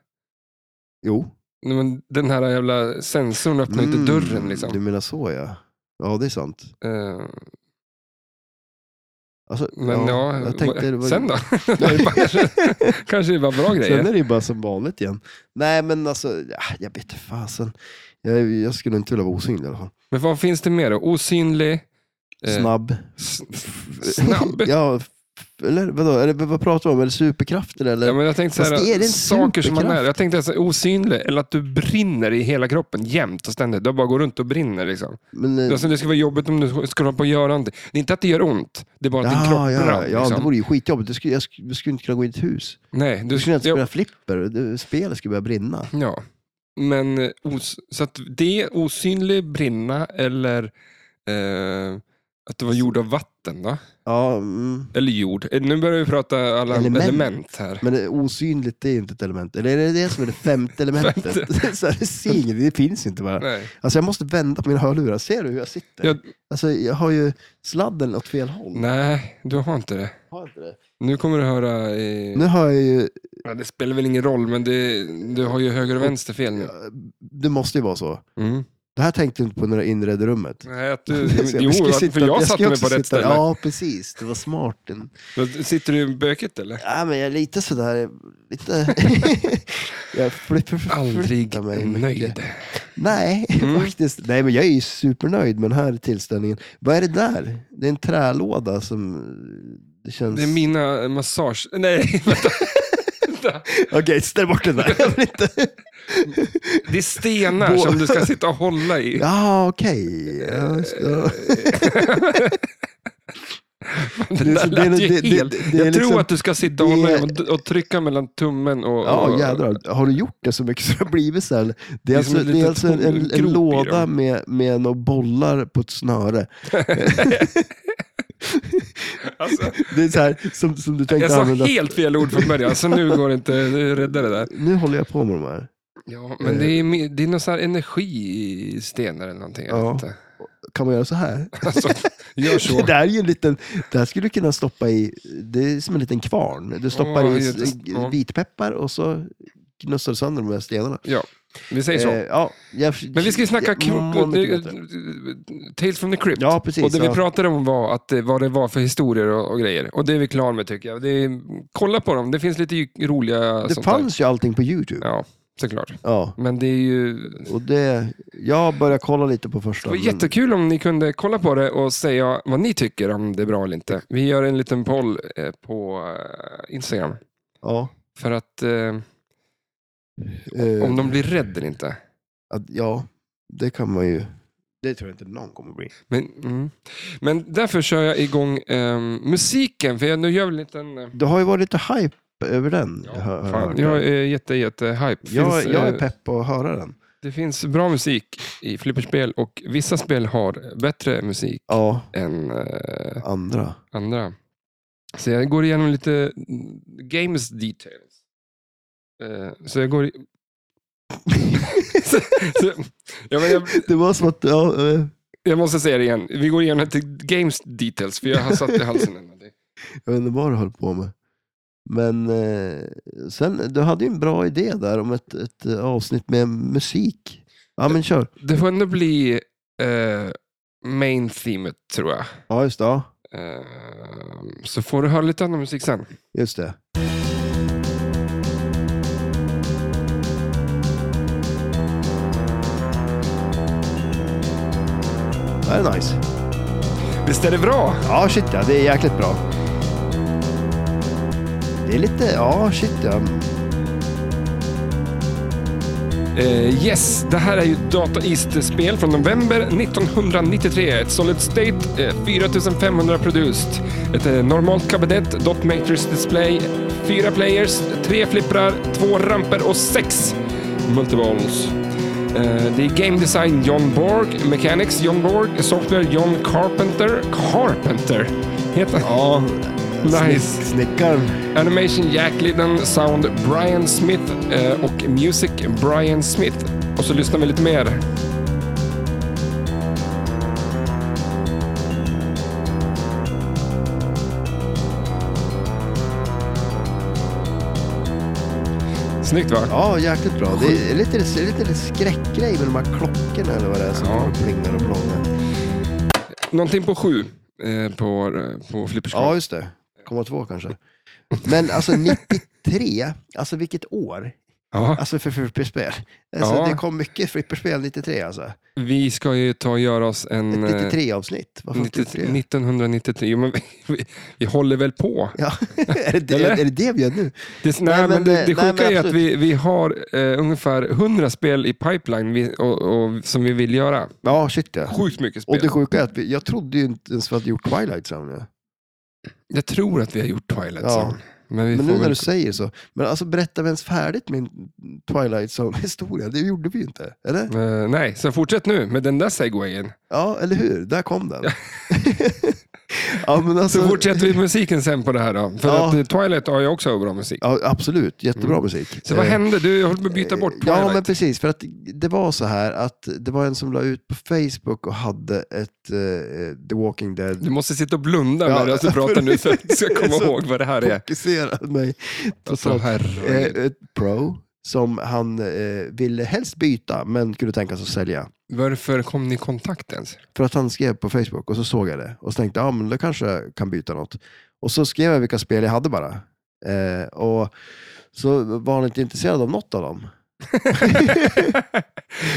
Speaker 2: Jo.
Speaker 1: Nej, Men den här jävla sensorn öppnar ju
Speaker 2: Mm,
Speaker 1: inte dörren liksom.
Speaker 2: Du menar så ja. Ja, det är sant.
Speaker 1: Eh,
Speaker 2: Alltså,
Speaker 1: Men ja,
Speaker 2: jag tänkte, det var-
Speaker 1: sen
Speaker 2: *laughs*
Speaker 1: då? det är bara, kanske, kanske det är bara *laughs* bra
Speaker 2: Sen
Speaker 1: grejer.
Speaker 2: är det ju bara som vanligt igen. Nej, men alltså, ja, jag vet inte fasen. Jag, jag skulle inte vilja vara osynlig i alla fall.
Speaker 1: Men vad finns det mer då? Osynlig? eh,
Speaker 2: Snabb.
Speaker 1: s- snabb?
Speaker 2: *laughs* ja, f- eller vadå? Eller, vad pratar vi om? Eller superkrafter? Eller?
Speaker 1: Ja, men jag tänkte så
Speaker 2: Fast är
Speaker 1: här,
Speaker 2: det en
Speaker 1: saker som man är.
Speaker 2: superkraft?
Speaker 1: Jag tänkte alltså, osynlig, eller att du brinner i hela kroppen jämt och ständigt. Du bara går runt och brinner. Liksom.
Speaker 2: men, eh,
Speaker 1: Alltså, det skulle vara jobbigt om du skulle hålla på och göra någonting. Det är inte att det gör ont, det är bara att din kropp
Speaker 2: ja, ja,
Speaker 1: brann.
Speaker 2: ja, det
Speaker 1: liksom.
Speaker 2: vore ju skitjobbigt. Jag skulle, jag, skulle, jag skulle inte kunna gå in i ett hus.
Speaker 1: Nej, du,
Speaker 2: Du skulle inte
Speaker 1: ja,
Speaker 2: spela flipper. Det, spelet skulle börja brinna.
Speaker 1: ja. Men, eh, os, så att det är osynlig, brinna eller eh, att det var gjord av vatten. Då?
Speaker 2: Ja, mm.
Speaker 1: Eller jord. Eh, Nu börjar vi prata alla element,
Speaker 2: Element.
Speaker 1: här.
Speaker 2: Men det, osynligt det är ju inte ett element. Eller är det det som är det femte elementet? *laughs* så här, det, ser inget, det finns inte bara.
Speaker 1: Nej.
Speaker 2: Alltså jag måste vända på mina hörlurar. Ser du hur jag sitter?
Speaker 1: Jag-
Speaker 2: Alltså jag har ju sladden åt fel håll.
Speaker 1: Nej, du har inte det.
Speaker 2: Har jag inte det?
Speaker 1: Nu kommer du höra... Eh,
Speaker 2: Nu har jag ju...
Speaker 1: Ja, det spelar väl ingen roll, men det, du har ju höger och vänster fel nu.
Speaker 2: Det måste ju vara så.
Speaker 1: Mm.
Speaker 2: Det här tänkte jag inte på när jag inredde rummet.
Speaker 1: Nej, att du,
Speaker 2: *laughs* Så jag- vi
Speaker 1: jo,
Speaker 2: skulle
Speaker 1: att- för jag
Speaker 2: ska
Speaker 1: satte mig
Speaker 2: också
Speaker 1: på rätt
Speaker 2: sitta-
Speaker 1: ställe.
Speaker 2: Ja, precis. Det var smart. En-
Speaker 1: Då Sitter du i böket eller?
Speaker 2: Ja, men jag är lite sådär...
Speaker 1: *laughs*
Speaker 2: Lite... jag flyttar
Speaker 1: Aldrig
Speaker 2: flyttar mig mycket.
Speaker 1: nöjd.
Speaker 2: Nej,
Speaker 1: Mm.
Speaker 2: faktiskt. Nej, men jag är ju supernöjd med den här tillställningen. Vad är det där? Det är en trälåda som... Det känns...
Speaker 1: Det är mina massage... Nej, *laughs* vänta. Vänta.
Speaker 2: Okej, ställ bort
Speaker 1: *laughs*
Speaker 2: den där. Jag vill inte...
Speaker 1: Det är stenar
Speaker 2: Bå-
Speaker 1: som du ska sitta och hålla i.
Speaker 2: *laughs* Ja, okej. Ja, just det.
Speaker 1: Det
Speaker 2: Det är
Speaker 1: där
Speaker 2: så- det är-
Speaker 1: lät ju
Speaker 2: det- det-
Speaker 1: helt-
Speaker 2: det- det är
Speaker 1: Jag tror
Speaker 2: liksom-
Speaker 1: att du ska sitta och hålla
Speaker 2: det
Speaker 1: i
Speaker 2: är-
Speaker 1: och- och trycka mellan tummen och...
Speaker 2: Ja,
Speaker 1: och-
Speaker 2: jädrar. Har du gjort det så mycket så det har blivit så här? Det
Speaker 1: Eh,
Speaker 2: är,
Speaker 1: är
Speaker 2: alltså,
Speaker 1: som ett
Speaker 2: det är
Speaker 1: litet
Speaker 2: alltså en, en,
Speaker 1: grop i
Speaker 2: en låda
Speaker 1: dem.
Speaker 2: med, med några bollar på
Speaker 1: *laughs*
Speaker 2: ett snöre. *laughs*
Speaker 1: Alltså,
Speaker 2: Det är så här som, som du
Speaker 1: jag
Speaker 2: tänkte
Speaker 1: sa
Speaker 2: använda.
Speaker 1: helt fel ord från början, så nu går det inte att rädda det där.
Speaker 2: Nu håller jag på med de här.
Speaker 1: Ja, men det är,
Speaker 2: Eh.
Speaker 1: mi- det är någon sån här energi i stenar eller någonting. jag
Speaker 2: Ja.
Speaker 1: vet inte.
Speaker 2: Kan man göra så här?
Speaker 1: Alltså, gör så.
Speaker 2: *laughs* Det där är ju en liten, det här skulle du kunna stoppa i, det är som en liten kvarn. Du stoppar
Speaker 1: Åh,
Speaker 2: i
Speaker 1: just-
Speaker 2: s-
Speaker 1: ja.
Speaker 2: vitpeppar och så knussar du sönder de här stenarna.
Speaker 1: Ja, vi säger så.
Speaker 2: Eh, ja, jag,
Speaker 1: Men vi ska ju snacka
Speaker 2: jag-
Speaker 1: kro-
Speaker 2: må mycket bättre.
Speaker 1: Tales from the Crypt.
Speaker 2: Ja, precis.
Speaker 1: och det vi
Speaker 2: ja.
Speaker 1: pratade om var att, eh, vad det var för historier och, och grejer. Och det är vi klara med tycker jag. Det är, kolla på dem, det finns lite ju- roliga
Speaker 2: det
Speaker 1: sånt
Speaker 2: fanns ju allting på YouTube.
Speaker 1: där. Ja, såklart.
Speaker 2: Ja.
Speaker 1: Men det är ju...
Speaker 2: Och det, jag började kolla lite på första.
Speaker 1: Det var
Speaker 2: men-
Speaker 1: jättekul om ni kunde kolla på det och säga vad ni tycker, om det är bra eller inte. Vi gör en liten poll eh, på eh, Instagram.
Speaker 2: Ja.
Speaker 1: För att... Eh,
Speaker 2: eh,
Speaker 1: Om de blir rädd eller inte.
Speaker 2: att, ja, det kan man ju. Det tror jag inte någon kommer bli.
Speaker 1: Men, mm. Men därför kör jag igång ehm, musiken, för jag, nu gör vi en liten... eh,
Speaker 2: Det har ju varit lite hype över den.
Speaker 1: Ja,
Speaker 2: jag har- har
Speaker 1: fan,
Speaker 2: hört.
Speaker 1: jag är jätte, jätte hype.
Speaker 2: jag,
Speaker 1: Finns,
Speaker 2: jag
Speaker 1: eh,
Speaker 2: är pepp på att höra den.
Speaker 1: det finns bra musik i flipperspel och vissa spel har bättre musik
Speaker 2: Ja,
Speaker 1: än eh,
Speaker 2: andra.
Speaker 1: andra. Så jag går igenom lite mm, games details. Eh, så jag går... I... *laughs* så, så, ja, men jag,
Speaker 2: *laughs* Det var som att, ja, eh,
Speaker 1: jag måste säga det igen. Vi går igenom lite games details, för jag har satt i halsen. en av det.
Speaker 2: jag vet inte vad du höll på med. Men eh, sen, du hade ju en bra idé där om ett, ett eh, avsnitt med musik. Ja, men kör.
Speaker 1: Det får ändå bli eh, main themet tror jag.
Speaker 2: Ja, just det. Ja,
Speaker 1: Eh, så får du höra lite annan musik sen.
Speaker 2: just det. Det här är nice.
Speaker 1: Visst är det bra?
Speaker 2: Ja, shit ja. Det är jäkligt bra. Det är lite, ja, shit ja.
Speaker 1: Eh, yes, det här är ju Data East-spel från november 1993. Ett Solid State, eh, 4500 produced. Ett eh, normalt kabinett, Dot Matrix Display, fyra players, tre flipprar, två ramper och sex multiballs. Eh, Det är Game Design John Borg, Mechanics John Borg, Software John Carpenter. Carpenter heter
Speaker 2: Ja,
Speaker 1: Nice.
Speaker 2: snick- Snickaren.
Speaker 1: Animation Jack Lydon, Sound Brian Smith eh, och Music Brian Smith. Och så lyssnar vi lite mer. Snyggt va?
Speaker 2: Ja, jäkligt bra. Det är lite, det är lite, lite skräckgrej med de här klockorna eller vad det är som
Speaker 1: Ja.
Speaker 2: plingar och plångar.
Speaker 1: Någonting på sju eh, på, eh, på Flippers
Speaker 2: Ja, just det. Komma två kanske. Men alltså 93, alltså vilket år?
Speaker 1: Ja,
Speaker 2: Alltså för flipperspel. Alltså,
Speaker 1: Ja.
Speaker 2: Det kom mycket flipperspel 93 alltså.
Speaker 1: vi ska ju ta och göra oss en...
Speaker 2: Ett
Speaker 1: eh,
Speaker 2: 93 avsnitt. Varför
Speaker 1: 90,
Speaker 2: 93?
Speaker 1: 1993. Jo, men *laughs* vi, vi, vi håller väl på.
Speaker 2: Ja, *laughs* är, det, det-
Speaker 1: Eller?
Speaker 2: är det det vi gör nu?
Speaker 1: Det, nej,
Speaker 2: men
Speaker 1: men det,
Speaker 2: det-
Speaker 1: det
Speaker 2: nej,
Speaker 1: sjuka
Speaker 2: men
Speaker 1: är att
Speaker 2: absolut.
Speaker 1: vi, vi har eh, ungefär 100 spel i pipeline vi, och, och, som vi vill göra.
Speaker 2: Ja, shit ja.
Speaker 1: Sjukt mycket spel.
Speaker 2: Och det sjuka är att vi, jag trodde ju inte ens vi hade gjort Twilight Zone. Ja.
Speaker 1: Jag tror att vi har gjort Twilight
Speaker 2: Ja.
Speaker 1: Zone. Men, vi får
Speaker 2: Men nu när
Speaker 1: väl...
Speaker 2: du säger så. Men alltså berättar vi ens färdigt min Twilight Zone-historia? Det gjorde vi ju inte, eller?
Speaker 1: Eh, nej, så fortsätt nu med den där segwayen.
Speaker 2: Ja, eller hur? Där
Speaker 1: *laughs*
Speaker 2: kom den. ja, men alltså,
Speaker 1: Så fortsätter vi med musiken sen på det här då. För
Speaker 2: Ja.
Speaker 1: att eh, Twilight har ju också bra musik.
Speaker 2: ja, absolut, jättebra musik.
Speaker 1: Mm. Så vad
Speaker 2: Eh,
Speaker 1: hände? Du håller på att byta bort Twilight.
Speaker 2: Ja, men precis. För att det var så här att det var en som la ut på Facebook och hade ett eh, The Walking Dead
Speaker 1: Du måste sitta och blunda
Speaker 2: Ja.
Speaker 1: medan du pratar nu så att du
Speaker 2: *laughs*
Speaker 1: ska komma
Speaker 2: Så-
Speaker 1: ihåg vad det här är.
Speaker 2: fokuserat mig.
Speaker 1: Alltså,
Speaker 2: Totalt. Eh,
Speaker 1: herregud.
Speaker 2: ett pro som han eh, ville helst byta, men kunde tänka sig att sälja.
Speaker 1: Varför kom ni i kontakt ens?
Speaker 2: För att han skrev på Facebook och så såg jag det och så tänkte jag ah, men då kanske jag kan byta något. Och så skrev jag vilka spel jag hade bara. Eh, och så var han inte intresserad av något av dem.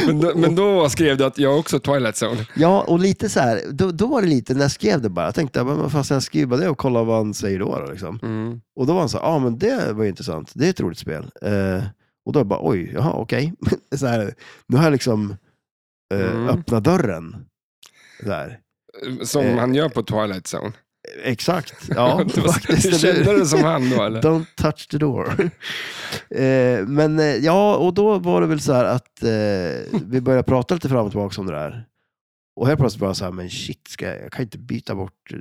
Speaker 1: Men då, men då skrev du att jag också har Twilight Zone.
Speaker 2: Ja, och lite så här, då, då var det lite, när jag skrev det bara, jag tänkte, men vad fan ska jag skriva det och kolla vad han säger då? då liksom.
Speaker 1: Mm.
Speaker 2: Och då var han så här, ja ah, men det var ju intressant, det är ett roligt spel. Eh, och då bara, oj, jaha okej. *laughs* så här, nu har jag liksom eh,
Speaker 1: Mm.
Speaker 2: öppnat dörren. Så här.
Speaker 1: Som
Speaker 2: Eh.
Speaker 1: han gör på Twilight Zone.
Speaker 2: Exakt,
Speaker 1: *laughs*
Speaker 2: ja
Speaker 1: Du var-
Speaker 2: faktiskt. eller hur?
Speaker 1: Kände du som han då eller?
Speaker 2: Don't touch the door. *laughs* eh, men eh, ja, och då var det väl så här att eh, vi började prata lite fram och tillbaka om det där. Och helt plötsligt bara så här, men shit, ska jag, jag kan inte byta bort...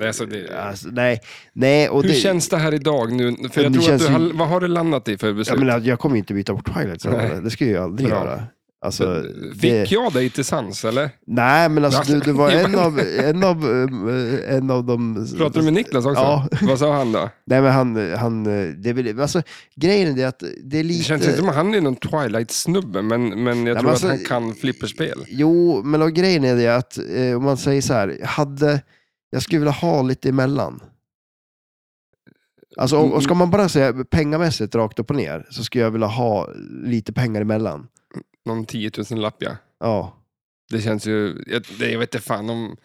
Speaker 2: eh,
Speaker 1: Alltså, det-
Speaker 2: alltså, nej, nej. Och
Speaker 1: Hur
Speaker 2: det,
Speaker 1: känns det här idag nu? För jag
Speaker 2: Det
Speaker 1: tror att
Speaker 2: känns
Speaker 1: du,
Speaker 2: ju-
Speaker 1: har- vad har du landat i för
Speaker 2: jag,
Speaker 1: beslut?
Speaker 2: menar, jag kommer ju inte byta bort Twilight
Speaker 1: Nej.
Speaker 2: Zone. Det ska jag ju aldrig
Speaker 1: Bra.
Speaker 2: göra. Alltså,
Speaker 1: Fick
Speaker 2: det,
Speaker 1: jag dig till sans eller?
Speaker 2: nej, men alltså, du, du
Speaker 1: *laughs*
Speaker 2: var
Speaker 1: Ja, men-
Speaker 2: en av, en av, eh, en av de...
Speaker 1: Pratade du med Niklas också?
Speaker 2: Ja.
Speaker 1: *laughs* Vad sa
Speaker 2: *laughs*
Speaker 1: han då?
Speaker 2: Nej, men han... han eh, det är väl, alltså, grejen är att det är
Speaker 1: Det
Speaker 2: lite...
Speaker 1: känns inte som att han är någon Twilight-snubbe, men, men jag tror
Speaker 2: men
Speaker 1: att han
Speaker 2: alltså-
Speaker 1: kan flipperspel.
Speaker 2: Jo, men då grejen är det att eh, om man säger så här, hade, jag skulle vilja ha lite emellan. Alltså,
Speaker 1: Mm,
Speaker 2: om, och ska man bara säga pengamässigt rakt upp och ner så skulle jag vilja ha lite pengar emellan.
Speaker 1: Någon 10 000 lapp ja.
Speaker 2: Ja,
Speaker 1: Det känns ju, jag, det, jag vet inte fan om,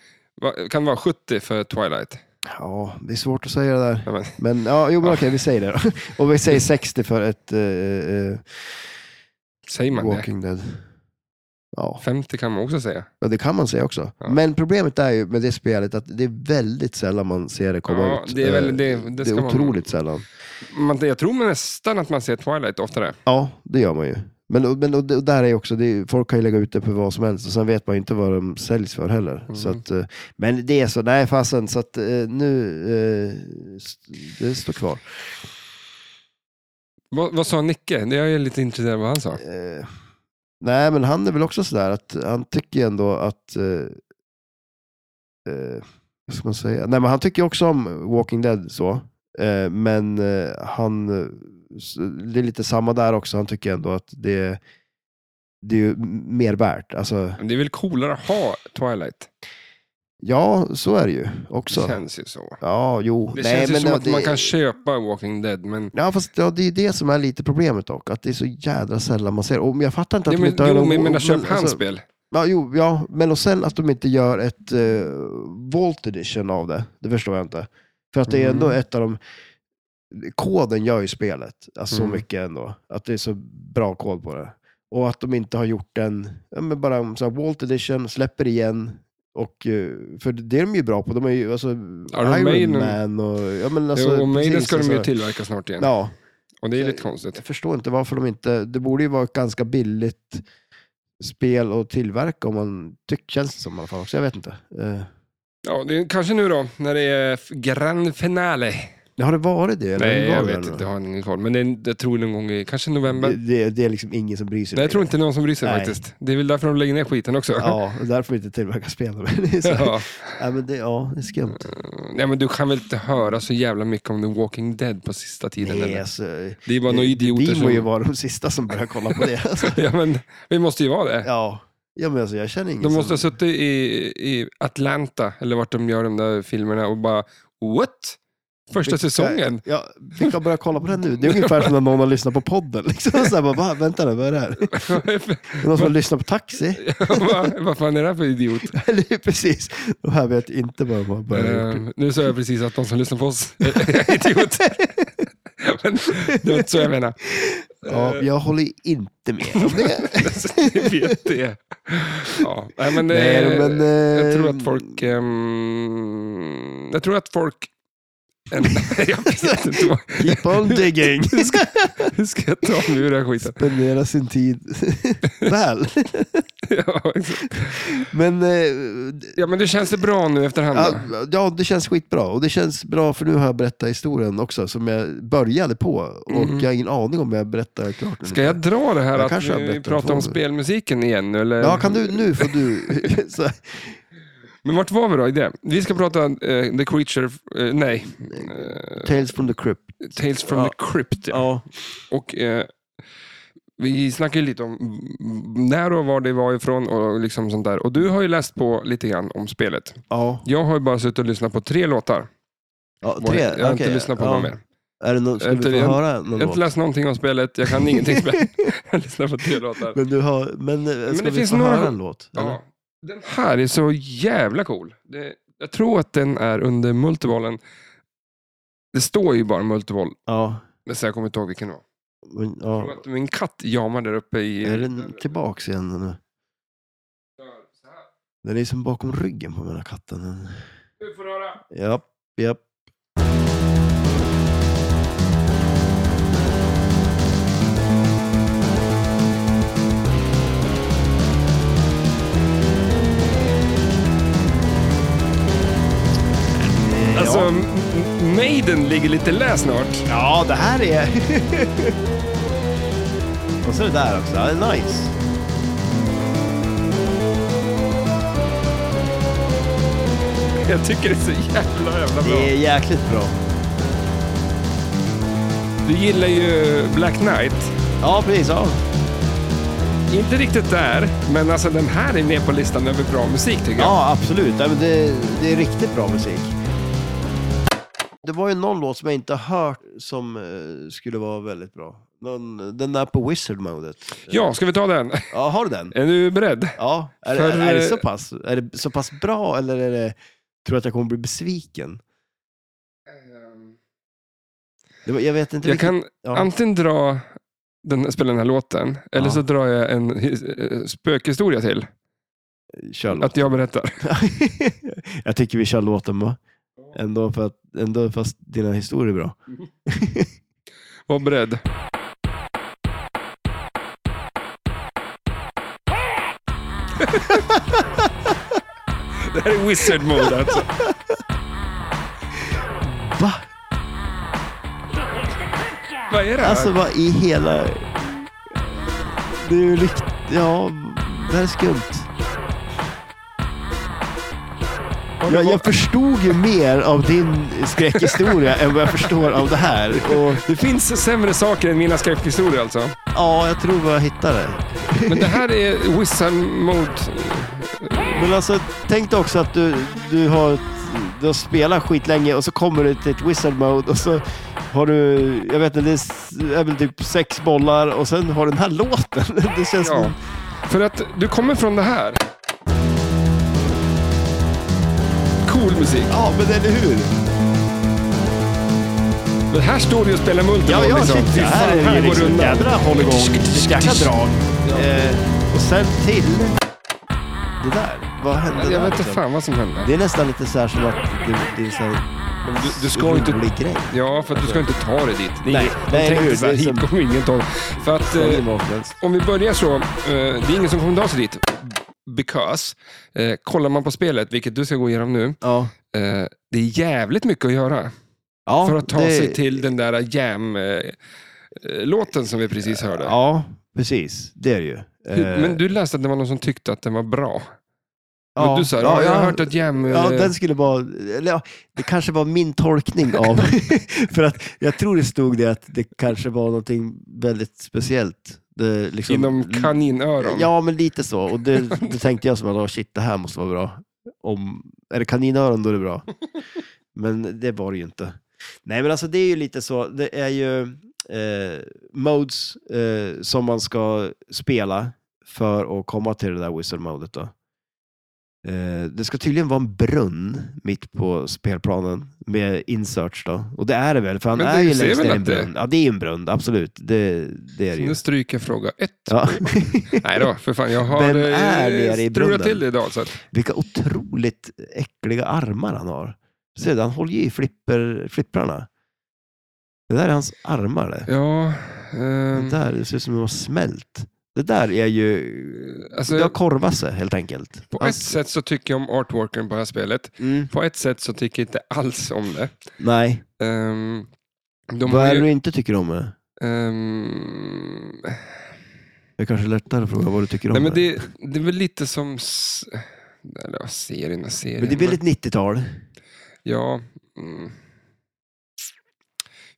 Speaker 1: va- kan det vara 70 för Twilight?
Speaker 2: ja det är svårt att säga det där.
Speaker 1: Ja, men,
Speaker 2: Men ja, jo, men
Speaker 1: Ja.
Speaker 2: okej, vi säger det
Speaker 1: *laughs*
Speaker 2: då. Och vi säger 60 för ett eh, eh,
Speaker 1: säger man det?
Speaker 2: Walking Dead. Ja.
Speaker 1: 50 kan man också säga.
Speaker 2: ja, det kan man säga också.
Speaker 1: Ja.
Speaker 2: Men problemet är ju med det spelet att det är väldigt sällan man ser det komma
Speaker 1: Ja,
Speaker 2: ut.
Speaker 1: det är väl-
Speaker 2: Eh,
Speaker 1: det- det
Speaker 2: det
Speaker 1: ska
Speaker 2: är
Speaker 1: man-
Speaker 2: otroligt sällan.
Speaker 1: Man, jag tror nästan att man ser Twilight oftare.
Speaker 2: Ja, det gör man ju. Men, och- men och, och där är ju också, det, är- folk kan ju lägga ut det på vad som helst och sen vet man ju inte vad de säljs för heller.
Speaker 1: Mm.
Speaker 2: Så att, eh, men det är så, nej fasen, så att eh, nu, eh, st- det står kvar.
Speaker 1: Vad, vad sa Nicke? Jag är lite intresserad av vad han sa.
Speaker 2: Eh, nej, men han är väl också sådär att han tycker ju ändå att, eh, eh, vad ska man säga, nej men han tycker ju också om Walking Dead så, eh, men eh, han, eh, s- det är lite samma där också, han tycker ändå att det, det är ju m- mer värt. Alltså,
Speaker 1: Men Det är väl coolare att ha Twilight?
Speaker 2: Ja, så är det ju
Speaker 1: Det
Speaker 2: också.
Speaker 1: känns ju så.
Speaker 2: Ja, jo.
Speaker 1: Det
Speaker 2: Nej,
Speaker 1: känns ju
Speaker 2: men
Speaker 1: som
Speaker 2: det-
Speaker 1: att man kan köpa Walking Dead, men...
Speaker 2: Ja, fast ja, det är ju det som är lite problemet dock. Att det är så jädra sällan man ser. Och jag fattar inte att
Speaker 1: Jo,
Speaker 2: de
Speaker 1: men,
Speaker 2: inte
Speaker 1: jo,
Speaker 2: någon-
Speaker 1: men jag menar, köp hans
Speaker 2: alltså,
Speaker 1: spel.
Speaker 2: ja, jo, ja, men och sen att de inte gör ett uh, Vault Edition av det. Det förstår jag inte. För att det är ändå
Speaker 1: Mm.
Speaker 2: ett av de... Koden gör ju spelet. Alltså
Speaker 1: Mm.
Speaker 2: så mycket ändå. Att det är så bra kod på det. Och att de inte har gjort en, ja, men bara en sån här Walt Edition, släpper igen. Och, eh, för det är de ju bra på. De är ju alltså, Iron
Speaker 1: Maiden.
Speaker 2: Man och... Ja, men alltså,
Speaker 1: Jo, Maiden
Speaker 2: precis,
Speaker 1: ska de ju
Speaker 2: alltså.
Speaker 1: tillverka snart igen.
Speaker 2: Ja,
Speaker 1: Och det är lite konstigt.
Speaker 2: jag förstår inte varför de inte... Det borde ju vara ett ganska billigt spel att tillverka om man tycker, känns det som i alla fall. Så jag vet inte. Eh,
Speaker 1: Ja, det är kanske nu då, när det är f- grand finale.
Speaker 2: har det varit det? Eller
Speaker 1: Nej,
Speaker 2: var
Speaker 1: jag
Speaker 2: det
Speaker 1: vet
Speaker 2: då?
Speaker 1: inte. Jag har ingen koll. Men det är, jag tror någon gång i kanske november.
Speaker 2: Det, det, det är liksom ingen som bryr sig.
Speaker 1: Nej, jag tror inte någon som bryr sig
Speaker 2: Nej.
Speaker 1: faktiskt. Det är väl därför de lägger ner skiten också. *laughs*
Speaker 2: Ja, och därför inte tillverka spel. *laughs* Men det är så här-
Speaker 1: Ja.
Speaker 2: Nej, men det, ja, det är skumt.
Speaker 1: Nej, men du kan väl inte höra så jävla mycket om The Walking Dead på sista tiden?
Speaker 2: Nej,
Speaker 1: eller?
Speaker 2: alltså,
Speaker 1: Det är bara några idioter
Speaker 2: vi må
Speaker 1: som...
Speaker 2: ju vara de sista som börjar kolla på det. Alltså,
Speaker 1: *laughs* ja, men vi måste ju vara det.
Speaker 2: ja. ja, men alltså jag känner ingen
Speaker 1: De måste ha
Speaker 2: som...
Speaker 1: suttit i, i Atlanta, eller vart de gör de där filmerna, och bara what? Första
Speaker 2: *laughs*
Speaker 1: säsongen?
Speaker 2: Ja, vilka har börjat kolla på den nu? Det är ungefär som när någon har lyssnat på podden. Liksom. Så här, bara, va, vänta nu, vad är det här? Det är Någon som har lyssnat på Taxi?
Speaker 1: vad, vad fan är det här för idiot?
Speaker 2: Eller hur? precis. De här vet inte vad de har börjat
Speaker 1: Eh, nu sa jag precis att de som lyssnar på oss *laughs* är idiot. men, det var inte så jag menar. *laughs*
Speaker 2: Ja,
Speaker 1: eh,
Speaker 2: jag håller ju inte med om det.
Speaker 1: Ni vet det. Ja, *laughs* nej, men, eh,
Speaker 2: Nej, men, eh,
Speaker 1: Jag tror att folk... ehm, jag tror att folk... *laughs* En, jag vet inte vad...
Speaker 2: Keep
Speaker 1: *laughs*
Speaker 2: on digging.
Speaker 1: Hur ska jag ta mig ur den här skiten?
Speaker 2: Spendera sin tid *laughs* väl.
Speaker 1: *laughs* Ja, exakt.
Speaker 2: Men eh,
Speaker 1: ja, men det känns det bra nu efterhand? då?
Speaker 2: Ja, ja, det känns skitbra. Och det känns bra för nu har jag berättat historien också som jag började på. Och jag har ingen aning om jag berättar klart. nu.
Speaker 1: Mm-hmm. Ska jag dra det här
Speaker 2: Jag
Speaker 1: att
Speaker 2: kanske har
Speaker 1: vi
Speaker 2: bättre
Speaker 1: pratar om
Speaker 2: frågor.
Speaker 1: spelmusiken igen? nu, Eller?
Speaker 2: Ja, kan du, nu får du. *laughs* så,
Speaker 1: Men vart var vi då i det? Vi ska prata eh, The Creature, eh, nej, eh,
Speaker 2: Tales from the Crypt.
Speaker 1: Tales from
Speaker 2: Ja.
Speaker 1: the Crypt.
Speaker 2: Ja.
Speaker 1: Och eh, vi snackade ju lite om mm, när och var det var ifrån och liksom sånt där. Och du har ju läst på lite grann om spelet.
Speaker 2: ja.
Speaker 1: Jag har ju bara suttit och lyssnat på tre låtar.
Speaker 2: ja
Speaker 1: Och
Speaker 2: tre.
Speaker 1: jag har
Speaker 2: okej.
Speaker 1: inte lyssnat på
Speaker 2: ja.
Speaker 1: någon mer.
Speaker 2: Är det någon, ska
Speaker 1: Inte-
Speaker 2: vi
Speaker 1: jag-
Speaker 2: få höra någon
Speaker 1: Jag har
Speaker 2: låt?
Speaker 1: inte läst någonting om spelet, jag kan ingenting om
Speaker 2: *laughs*
Speaker 1: spelet. Jag lyssnar på tre låtar.
Speaker 2: Men, du har, men, eh, ska
Speaker 1: det
Speaker 2: vi
Speaker 1: finns
Speaker 2: få
Speaker 1: några-
Speaker 2: höra en låt? eller?
Speaker 1: Ja, den här är så jävla cool. Det, jag tror att den är under multibollen. Det står ju bara multiboll,
Speaker 2: Ja.
Speaker 1: men så jag kommer inte ihåg vilken det var.
Speaker 2: Men,
Speaker 1: Jag tror
Speaker 2: ja.
Speaker 1: att min katt jamar där uppe i...
Speaker 2: Är den tillbaks igen nu?
Speaker 1: Så här.
Speaker 2: Den är som bakom ryggen på mina katten. Den-
Speaker 1: Du får höra.
Speaker 2: Japp, japp.
Speaker 1: Alltså, m- m- Maiden ligger lite lä snart. *laughs*
Speaker 2: Ja, det här är... *laughs* Och så det där också. Ja, det är nice.
Speaker 1: Jag tycker det är så jävla, jävla bra.
Speaker 2: Det är jäkligt bra.
Speaker 1: Du gillar ju Black Knight.
Speaker 2: Ja, precis. Ja.
Speaker 1: Inte riktigt där, men alltså den här är med på listan över bra musik tycker jag.
Speaker 2: Ja, absolut. Ja, men det, det är riktigt bra musik. Det var ju någon låt som jag inte har hört som eh, skulle vara väldigt bra. Någon, den där på Wizard-modet.
Speaker 1: Ja, ska vi ta den? *laughs*
Speaker 2: Ja, har du den?
Speaker 1: Är du beredd?
Speaker 2: Ja. Är,
Speaker 1: För,
Speaker 2: är, är det
Speaker 1: eh,
Speaker 2: så pass? Är det så pass bra eller är det, tror du att jag kommer bli besviken? Det var, jag vet inte
Speaker 1: Jag
Speaker 2: riktigt.
Speaker 1: kan
Speaker 2: Ja.
Speaker 1: antingen dra den, spela den här låten, eller
Speaker 2: Ja.
Speaker 1: så drar jag en eh, spökhistoria till.
Speaker 2: Kör låt.
Speaker 1: Att jag berättar.
Speaker 2: *laughs* jag tycker vi kör låten va? Ändå, för att, ändå fast dina historier är bra.
Speaker 1: Var beredd. *laughs* det här är wizard mode alltså.
Speaker 2: Va?
Speaker 1: Vad är det här?
Speaker 2: Alltså vad i hela... Det är ju rikt... Ja, det här är skumt.
Speaker 1: Har du
Speaker 2: Jag,
Speaker 1: va-
Speaker 2: jag förstod ju mer av din skräckhistoria än vad jag förstår av det här. Och,
Speaker 1: Det finns sämre saker än mina skräckhistorier alltså.
Speaker 2: ja, jag tror vad jag hittade.
Speaker 1: Men det här är wizard mode.
Speaker 2: Men alltså, tänk dig också att du, du, har, du har spelat skitlänge och så kommer du till ett wizard mode och så har du, jag vet inte, det är s- är väl typ sex bollar och sen har du den här låten. *laughs* Det känns
Speaker 1: Ja.
Speaker 2: som...
Speaker 1: För att du kommer från det här. Cool musik.
Speaker 2: Ja, men eller hur?
Speaker 1: Men här står du och spelar multiboll.
Speaker 2: Ja, ja,
Speaker 1: liksom.
Speaker 2: shit.
Speaker 1: Fy
Speaker 2: Det
Speaker 1: fan,
Speaker 2: här är ju
Speaker 1: går
Speaker 2: liksom
Speaker 1: undan.
Speaker 2: jädra hålligång. Vilket jäkla drag. Eh, och sen till det där. Vad hände
Speaker 1: Jag
Speaker 2: där?
Speaker 1: vet inte
Speaker 2: liksom?
Speaker 1: fan vad som hände.
Speaker 2: Det är nästan lite så här som att det, det är så här,
Speaker 1: Du, du ska inte...
Speaker 2: rolig grej.
Speaker 1: Ja, för att du ska inte ta dig dit. Det är-
Speaker 2: Nej,
Speaker 1: de
Speaker 2: nej,
Speaker 1: tänkte
Speaker 2: hur?
Speaker 1: så här,
Speaker 2: Det är
Speaker 1: hit
Speaker 2: som-
Speaker 1: kommer ingen ta. För att...
Speaker 2: Det
Speaker 1: Eh,
Speaker 2: är vad som helst.
Speaker 1: om vi börjar så, eh, det är ingen som kommer ta sig dit. Because, eh, kollar man på spelet, vilket du ska gå igenom nu,
Speaker 2: Ja.
Speaker 1: eh, det är jävligt mycket att göra
Speaker 2: Ja,
Speaker 1: för att ta
Speaker 2: det-
Speaker 1: sig till den där jam-låten som vi precis hörde.
Speaker 2: Ja, precis. Det är det ju.
Speaker 1: Hur-
Speaker 2: Eh,
Speaker 1: Men du läste att det var någon som tyckte att den var bra.
Speaker 2: ja,
Speaker 1: Men du sa, ja, jag har hört att jam...
Speaker 2: Ja,
Speaker 1: eh,
Speaker 2: den skulle vara... Eller, ja, det kanske var min
Speaker 1: *laughs*
Speaker 2: tolkning av... för att jag tror det stod det att det kanske var någonting väldigt speciellt. Det, liksom,
Speaker 1: Inom kaninöron.
Speaker 2: Eh, Ja, men lite så. Och det, då tänkte jag som att, oh, shit, det här måste vara bra. Om, är det kaninöron då är det
Speaker 1: *laughs*
Speaker 2: bra. Men det var det ju inte. Nej, men alltså det är ju lite så. Det är ju eh, modes eh, som man ska spela för att komma till det där whistle-modet. Då. Eh, det ska tydligen vara en brunn mitt på spelplanen med inserts då. Och det är det väl, för han
Speaker 1: Men
Speaker 2: är
Speaker 1: du
Speaker 2: ju
Speaker 1: ser
Speaker 2: längst
Speaker 1: väl
Speaker 2: ner i en
Speaker 1: att det-
Speaker 2: brunn. Ja, det är ju en brunn, absolut. Det, det är det ju.
Speaker 1: Nu stryker jag fråga ett.
Speaker 2: Ja.
Speaker 1: Nej då, för fan. Jag har
Speaker 2: Vem
Speaker 1: eh,
Speaker 2: är nere i
Speaker 1: strulat
Speaker 2: brunnen?
Speaker 1: till det idag. Så att,
Speaker 2: Vilka otroligt äckliga armar han har. Se, han håller ju i flipper, flipprarna. Det där är hans armar det.
Speaker 1: ja,
Speaker 2: Det
Speaker 1: ehm,
Speaker 2: där det ser ut som de har smält. Det där är ju...
Speaker 1: Alltså-
Speaker 2: det har korvat sig helt enkelt.
Speaker 1: på ett
Speaker 2: Hans-
Speaker 1: sätt så tycker jag om artworken på det här spelet.
Speaker 2: Mm,
Speaker 1: På ett sätt så tycker jag inte alls om det.
Speaker 2: nej,
Speaker 1: Ehm, de
Speaker 2: vad
Speaker 1: har
Speaker 2: är det
Speaker 1: ju,
Speaker 2: du inte tycker om det?
Speaker 1: ehm,
Speaker 2: Det är kanske är lättare att fråga vad du tycker om
Speaker 1: nej, men det, det är väl lite som... s- Eller ja, serien och serien.
Speaker 2: men det är väldigt 90-tal.
Speaker 1: Ja. Mm.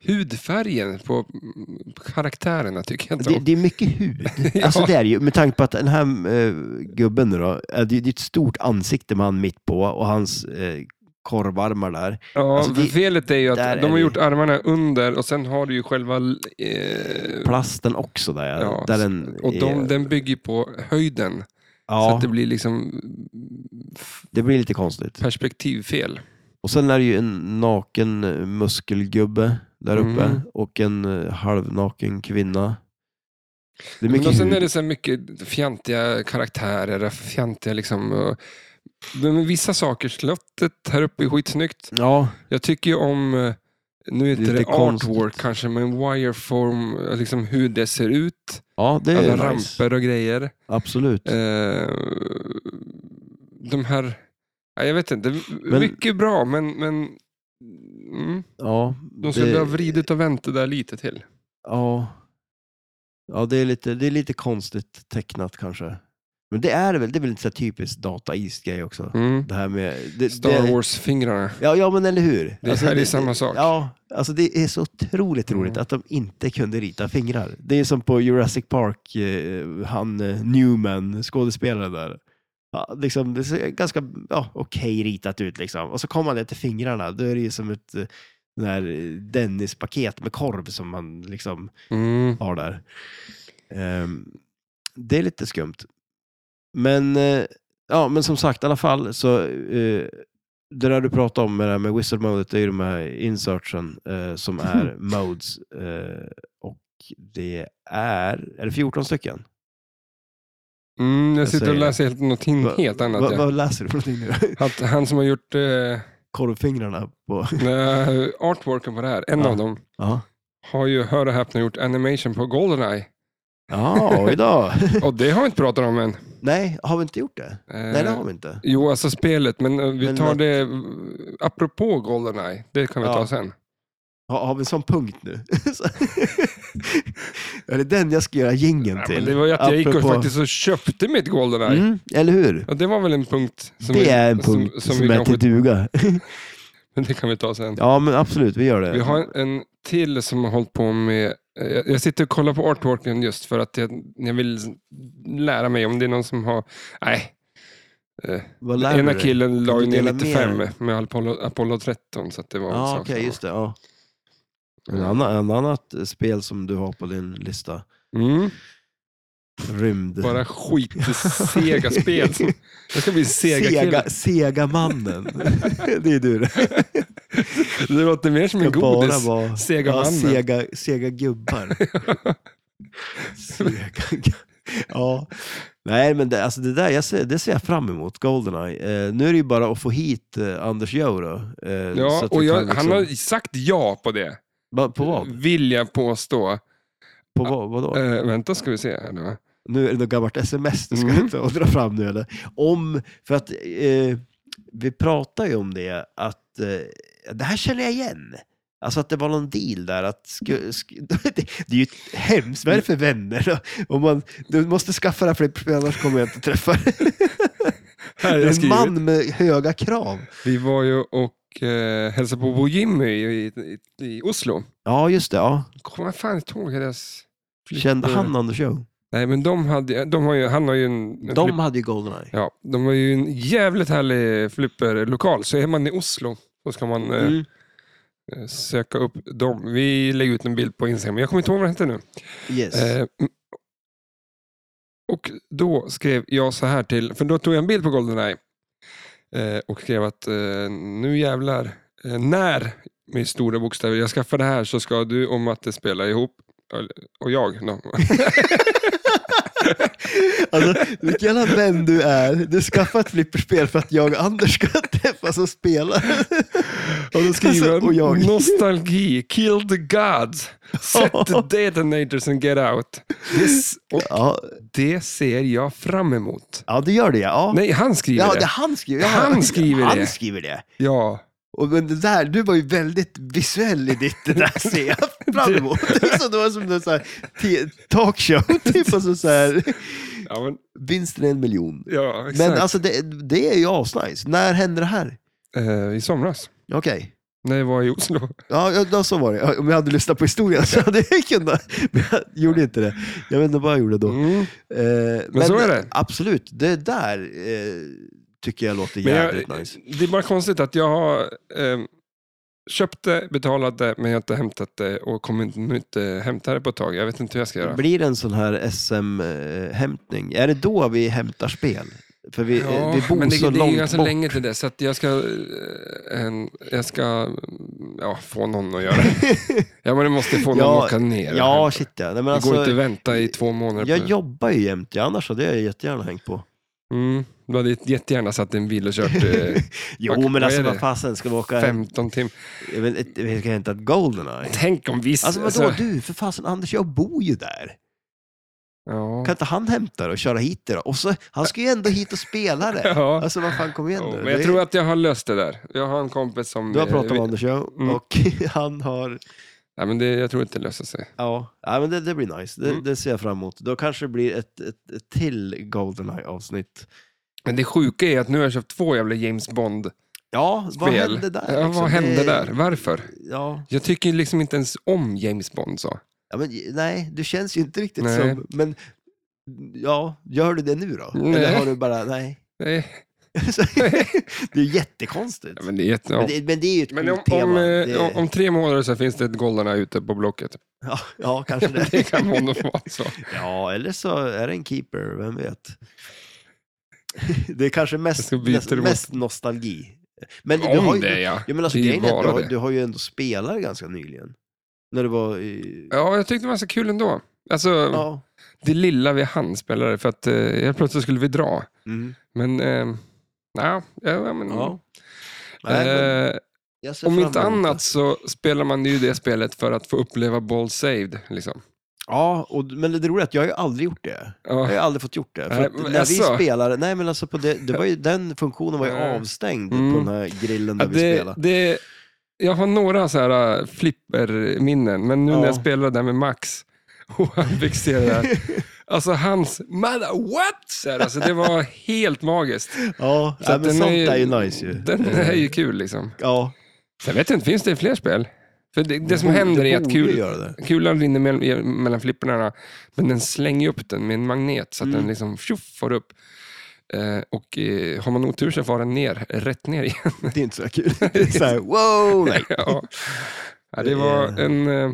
Speaker 1: Hudfärgen på mm, karaktärerna tycker jag inte
Speaker 2: Det,
Speaker 1: om.
Speaker 2: det är mycket
Speaker 1: *laughs*
Speaker 2: hud. Alltså det är det ju, med tanke på att den här eh, gubben nu då, eh, det, det är ett stort ansikte med han mitt på och hans eh, korvarmar där.
Speaker 1: Ja,
Speaker 2: Alltså,
Speaker 1: för
Speaker 2: det-
Speaker 1: felet är ju att
Speaker 2: där
Speaker 1: de
Speaker 2: är
Speaker 1: har
Speaker 2: det ju.
Speaker 1: gjort armarna under och sen har du ju själva... Eh,
Speaker 2: Plasten också där,
Speaker 1: ja,
Speaker 2: där den
Speaker 1: och de,
Speaker 2: är,
Speaker 1: den bygger på höjden. Så
Speaker 2: ja,
Speaker 1: att det blir liksom f-
Speaker 2: det blir lite konstigt.
Speaker 1: perspektivfel.
Speaker 2: Och sen är det ju en naken eh, muskelgubbe där
Speaker 1: Mm.
Speaker 2: uppe och en eh, halvnaken kvinna. Det är
Speaker 1: Men
Speaker 2: mycket
Speaker 1: och sen
Speaker 2: hud.
Speaker 1: är det så här mycket fjantiga karaktärer, fjantiga liksom... eh, Men vissa saker, slottet här uppe är skitsnyggt.
Speaker 2: Ja,
Speaker 1: Jag tycker ju om, eh, nu är
Speaker 2: Det
Speaker 1: inte
Speaker 2: är
Speaker 1: det
Speaker 2: lite konstigt.
Speaker 1: artwork kanske, men wireform, eh, liksom hur det ser ut.
Speaker 2: ja, det är
Speaker 1: alla
Speaker 2: nice.
Speaker 1: Alltså, ramper och grejer.
Speaker 2: Absolut.
Speaker 1: Eh, de här, ja, jag vet inte,
Speaker 2: Men-
Speaker 1: mycket bra, men, men mm,
Speaker 2: Ja,
Speaker 1: de skulle
Speaker 2: det-
Speaker 1: ha vridit och vänt det där lite till.
Speaker 2: Ja, ja det, är lite, det är lite konstigt tecknat kanske. Men det är det väl, det är väl inte så här typiskt data east grej också.
Speaker 1: Mm.
Speaker 2: Det här med... Det,
Speaker 1: Star
Speaker 2: det,
Speaker 1: Wars-fingrarna.
Speaker 2: Ja, ja, men eller hur? Alltså,
Speaker 1: Det här är samma sak.
Speaker 2: Ja, alltså det är så otroligt roligt att de inte kunde rita fingrar. Det är som på Jurassic Park, eh, han eh, Newman, skådespelaren där. Ja, liksom, det ser ganska ja, okej ritat ut liksom. Och så kommer man ner till fingrarna, då är det ju som ett eh, den här eh, Dennis-paket med korv som man liksom
Speaker 1: Mm.
Speaker 2: har där. Ehm, det är lite skumt. Men, eh, ja, men som sagt, i alla fall så eh, det där du pratade om med det här med whistle modet det är ju de här insertsen eh, som är
Speaker 1: Mhm.
Speaker 2: modes. Eh, och det är, är det 14 stycken?
Speaker 1: Mm, jag
Speaker 2: Jag
Speaker 1: sitter och
Speaker 2: säger det.
Speaker 1: läser helt, något
Speaker 2: Alltså, Va-
Speaker 1: Mm, helt annat.
Speaker 2: Va,
Speaker 1: ja.
Speaker 2: vad läser du för någonting nu? *laughs*
Speaker 1: Att han som har gjort eh,
Speaker 2: Korvfingrarna på...
Speaker 1: eh, artworken på det här, en
Speaker 2: Ja.
Speaker 1: av dem,
Speaker 2: Ja,
Speaker 1: har ju, hör och häpna, gjort animation på Goldeneye.
Speaker 2: ja oj då.
Speaker 1: *laughs* Och det har vi inte pratat om än. Eh,
Speaker 2: Nej, har vi inte gjort det? Nej, det har vi inte.
Speaker 1: Jo, alltså spelet, men eh, vi
Speaker 2: Men
Speaker 1: tar
Speaker 2: något-
Speaker 1: det eh, apropå Goldeneye. Det kan vi
Speaker 2: Ja.
Speaker 1: ta sen.
Speaker 2: Har, har vi en sån punkt nu? *laughs* Så- är det den jag ska göra jingeln
Speaker 1: Ja,
Speaker 2: till?
Speaker 1: men det var ju att jag gick och
Speaker 2: Apropå-
Speaker 1: faktiskt och köpte mitt Goldeneye.
Speaker 2: Mm, eller hur?
Speaker 1: Ja, det var väl en punkt. Som
Speaker 2: det
Speaker 1: vi,
Speaker 2: är en punkt som,
Speaker 1: vi
Speaker 2: är
Speaker 1: kanske,
Speaker 2: till duga. *laughs*
Speaker 1: Men *laughs* det kan vi ta sen.
Speaker 2: ja, men absolut, vi gör det.
Speaker 1: Vi har en, en till som har hållit på med... eh, Jag jag sitter och kollar på artworken just för att jag, jag vill lära mig om det är någon som har... Nej,
Speaker 2: Vad lär du
Speaker 1: ena
Speaker 2: dig?
Speaker 1: killen la
Speaker 2: Kan
Speaker 1: ju
Speaker 2: du
Speaker 1: ner
Speaker 2: dela
Speaker 1: 95
Speaker 2: mer?
Speaker 1: med Apollo, Apollo 13. Så att det var en
Speaker 2: Ja,
Speaker 1: sak
Speaker 2: okej,
Speaker 1: som-
Speaker 2: just det. Ja. En, annan, en annat spel som du har på din lista.
Speaker 1: Mm,
Speaker 2: Rymd.
Speaker 1: bara skitsega
Speaker 2: *laughs*
Speaker 1: spel. som- Jag ska bli sega,
Speaker 2: Sega,
Speaker 1: kille.
Speaker 2: Sega-mannen. *laughs* det är du det.
Speaker 1: Det låter mer som en
Speaker 2: Ska bara
Speaker 1: godis.
Speaker 2: vara-
Speaker 1: Sega *laughs*
Speaker 2: Ja,
Speaker 1: mannen.
Speaker 2: sega, sega gubbar. sega, ja. Nej, men det, alltså det där jag ser, det ser jag fram emot, Goldeneye. Eh, nu är det ju bara att få hit eh, Anders Joe då. Eh, så
Speaker 1: Ja,
Speaker 2: att vi
Speaker 1: och jag,
Speaker 2: kan liksom-
Speaker 1: han har sagt ja på det.
Speaker 2: Va- På vad?
Speaker 1: Vill jag påstå.
Speaker 2: På vad, vadå?
Speaker 1: Eh, vänta ska vi se här nu.
Speaker 2: Nu är det något gammalt sms du ska
Speaker 1: Mm.
Speaker 2: ta och dra fram nu eller? Om, för att eh, vi pratar ju om det att eh, det här känner jag igen. Alltså att det var någon deal där att sku, sku, *laughs* det, det är ju hemskt, vad är det för vänner då? Om man, du måste skaffa det här för dig, för annars kommer jag inte träffa
Speaker 1: *laughs*
Speaker 2: dig.
Speaker 1: Här
Speaker 2: Det
Speaker 1: är
Speaker 2: är en
Speaker 1: skrivet.
Speaker 2: man med höga krav.
Speaker 1: Vi var ju och eh, hälsade på Bo Jimmy i, i, i Oslo.
Speaker 2: Ja, just det. Ja.
Speaker 1: Kommer jag fan inte ihåg deras... flytt-
Speaker 2: Kände han Anders Joe?
Speaker 1: Nej, men de hade, de har ju, han har ju en... en
Speaker 2: De hade ju Goldeneye.
Speaker 1: Ja, de har ju en jävligt härlig flipperlokal. Så är man i Oslo så ska man eh,
Speaker 2: Mm.
Speaker 1: söka upp dem. Vi lägger ut en bild på Instagram. Jag kommer inte ihåg vad det hette nu.
Speaker 2: Yes.
Speaker 1: Eh, mm. och då skrev jag så här till, för då tog jag en bild på Goldeneye eh, och skrev att eh, nu jävlar, eh, när med stora bokstäver jag skaffar det här så ska du och Matte spela ihop. Och *laughs* jag. Då.
Speaker 2: Alltså, vilken jävla vän du är. Du skaffar ett flipperspel för att jag och Anders ska träffas och spela.
Speaker 1: *laughs* Och då skriver
Speaker 2: Alltså,
Speaker 1: han,
Speaker 2: och jag.
Speaker 1: nostalgi, kill the gods, set the *laughs* detonators and get out. Det, s- och
Speaker 2: Ja,
Speaker 1: det ser jag fram emot.
Speaker 2: ja du gör det ja.
Speaker 1: Nej, han skriver
Speaker 2: ja,
Speaker 1: det.
Speaker 2: det han skriver ja,
Speaker 1: Han skriver
Speaker 2: han
Speaker 1: det.
Speaker 2: skriver det.
Speaker 1: Ja.
Speaker 2: Och men det där, du var ju väldigt visuell i ditt det där ser jag fram emot. Så det var som en sån här te- talkshow, *laughs* typ. Alltså så här,
Speaker 1: Ja, men,
Speaker 2: vinsten är en miljon.
Speaker 1: ja, exakt.
Speaker 2: Men alltså det, det är ju asnice. När hände det här?
Speaker 1: eh, I somras,
Speaker 2: Okej.
Speaker 1: när jag var i Oslo.
Speaker 2: Ja, ja, då så var det. Ja, Om jag hade lyssnat på historien så hade jag kunnat. Men jag gjorde inte det. Jag vet inte vad jag gjorde då.
Speaker 1: Mm.
Speaker 2: Eh, men,
Speaker 1: så är det.
Speaker 2: Absolut, det där eh, tycker jag låter
Speaker 1: Men
Speaker 2: jävligt
Speaker 1: jag,
Speaker 2: nice.
Speaker 1: det är bara konstigt att jag har ehm, köpt det, betalat det, men jag har inte hämtat det och kommer inte- nu inte hämta det på ett tag. Jag vet inte hur jag ska göra.
Speaker 2: Blir det en sån här SM-hämtning? Är det då vi hämtar spel? För vi, eh, vi bor
Speaker 1: men det,
Speaker 2: så
Speaker 1: det är ju
Speaker 2: långt
Speaker 1: ganska
Speaker 2: bort.
Speaker 1: länge till det, så att jag ska, eh, en, jag ska mm, ja, få någon att göra det.
Speaker 2: *laughs*
Speaker 1: ja, men jag måste få någon
Speaker 2: Ja,
Speaker 1: att åka ner.
Speaker 2: Ja, shit ja. Nej, men
Speaker 1: det går
Speaker 2: alltså,
Speaker 1: inte att vänta i två månader. på
Speaker 2: jag
Speaker 1: det.
Speaker 2: jobbar ju jämt, ja, annars hade jag jättegärna hängt på.
Speaker 1: mm, du hade jättegärna satt i en bil och
Speaker 2: *laughs*
Speaker 1: kört eh,
Speaker 2: Jo,
Speaker 1: Vad-
Speaker 2: men
Speaker 1: vad är
Speaker 2: alltså
Speaker 1: det?
Speaker 2: vad fasen, ska vi åka...
Speaker 1: 15 timmar.
Speaker 2: Jag vet inte, jag vet inte att Goldeneye...
Speaker 1: Tänk om vi...
Speaker 2: Alltså vadå du, för fasen Anders, jag bor ju där.
Speaker 1: ja.
Speaker 2: Kan inte han hämta det och köra hit det då? Och så, han ska ju ändå hit och spela det.
Speaker 1: *laughs* Ja.
Speaker 2: Alltså vad fan, kom igen
Speaker 1: Ja,
Speaker 2: nu.
Speaker 1: men jag
Speaker 2: Det-
Speaker 1: tror att jag har löst det där. Jag har en kompis som...
Speaker 2: Du har
Speaker 1: eh,
Speaker 2: pratat om
Speaker 1: vi-
Speaker 2: Anders ja,
Speaker 1: Mm.
Speaker 2: och *laughs* han har...
Speaker 1: Nej, men det, jag tror inte det löser sig.
Speaker 2: Ja, ja men det, det blir nice. Det,
Speaker 1: Mm.
Speaker 2: det ser jag fram emot. Då kanske det blir ett, ett, ett till Goldeneye-avsnitt.
Speaker 1: Men det sjuka är att nu har jag köpt två jävla James Bond-spel.
Speaker 2: Ja, vad hände där?
Speaker 1: Ja,
Speaker 2: liksom?
Speaker 1: vad hände
Speaker 2: Det-
Speaker 1: där? Varför?
Speaker 2: Ja,
Speaker 1: Jag tycker ju liksom inte ens om James Bond så.
Speaker 2: ja, men nej, du känns ju inte riktigt
Speaker 1: Nej.
Speaker 2: som... Men ja, gör du det nu då?
Speaker 1: Nej.
Speaker 2: Eller har du bara, nej? *laughs*
Speaker 1: Nej.
Speaker 2: Så- det är jättekonstigt.
Speaker 1: Ja, men det är jätte...
Speaker 2: Men,
Speaker 1: ja.
Speaker 2: det, men det är ju ett
Speaker 1: Men
Speaker 2: coolt
Speaker 1: om,
Speaker 2: tema.
Speaker 1: om, eh,
Speaker 2: det,
Speaker 1: om, om tre månader så finns det ett Goldeneye ute på Blocket.
Speaker 2: *laughs* ja, *laughs* ja, kanske det.
Speaker 1: *laughs* Det kan vara normalt så.
Speaker 2: Ja, eller så är det en keeper, vem vet. *laughs* Det är kanske mest,
Speaker 1: ska byta
Speaker 2: mest,
Speaker 1: emot.
Speaker 2: mest nostalgi. Men du har
Speaker 1: Om
Speaker 2: ju,
Speaker 1: det ja.
Speaker 2: Ja, men alltså,
Speaker 1: Det är ju
Speaker 2: grejen är att du,
Speaker 1: bara
Speaker 2: har-
Speaker 1: det.
Speaker 2: du har ju ändå spelat ganska nyligen. När du var i...
Speaker 1: Ja, jag tyckte det var så kul ändå. Alltså,
Speaker 2: Ja.
Speaker 1: det lilla vi hann spelade för att eh, helt plötsligt skulle vi dra.
Speaker 2: Mm.
Speaker 1: Men, eh, ja, ja, men,
Speaker 2: ja. Nej, men
Speaker 1: Eh,
Speaker 2: jag ser
Speaker 1: om
Speaker 2: fram
Speaker 1: inte
Speaker 2: emot det.
Speaker 1: annat så spelar man ju det spelet för att få uppleva ball saved. Liksom.
Speaker 2: Ja, och, men det roliga är att jag har ju aldrig gjort det. Jag
Speaker 1: Ja.
Speaker 2: har ju aldrig fått gjort det. För
Speaker 1: Ah. Nej,
Speaker 2: att
Speaker 1: men
Speaker 2: när
Speaker 1: alltså.
Speaker 2: vi spelade, nej men alltså på det, det
Speaker 1: *laughs*
Speaker 2: var ju, den funktionen var ju
Speaker 1: Nej.
Speaker 2: avstängd
Speaker 1: Mm.
Speaker 2: på den här grillen
Speaker 1: Ja,
Speaker 2: där vi
Speaker 1: det,
Speaker 2: spelade.
Speaker 1: det, jag har några så här äh, flipperminnen, men nu när
Speaker 2: Ja.
Speaker 1: jag spelade där med Max *laughs* och han fick se det
Speaker 2: *laughs*
Speaker 1: där. Alltså hans, mother, what? Så här, alltså, det var helt magiskt.
Speaker 2: Ja,
Speaker 1: Så
Speaker 2: nej,
Speaker 1: att
Speaker 2: men
Speaker 1: den
Speaker 2: sånt
Speaker 1: är-
Speaker 2: är ju nice ju. Eh,
Speaker 1: Den är ju kul liksom.
Speaker 2: Ja.
Speaker 1: Sen vet jag inte, finns det fler spel? För det, det som
Speaker 2: Borde-
Speaker 1: händer är att
Speaker 2: borde
Speaker 1: kul,
Speaker 2: Göra det.
Speaker 1: kulan rinner mell- mellan flipporna, men den slänger upp den med en magnet så att
Speaker 2: Mm.
Speaker 1: den liksom tjoff far upp. Eh, och eh, har man otur så far den ner, rätt ner igen.
Speaker 2: det är inte
Speaker 1: *laughs*
Speaker 2: så kul. Det är så här, wow! Nej.
Speaker 1: ja. Ja, det var en... Eh,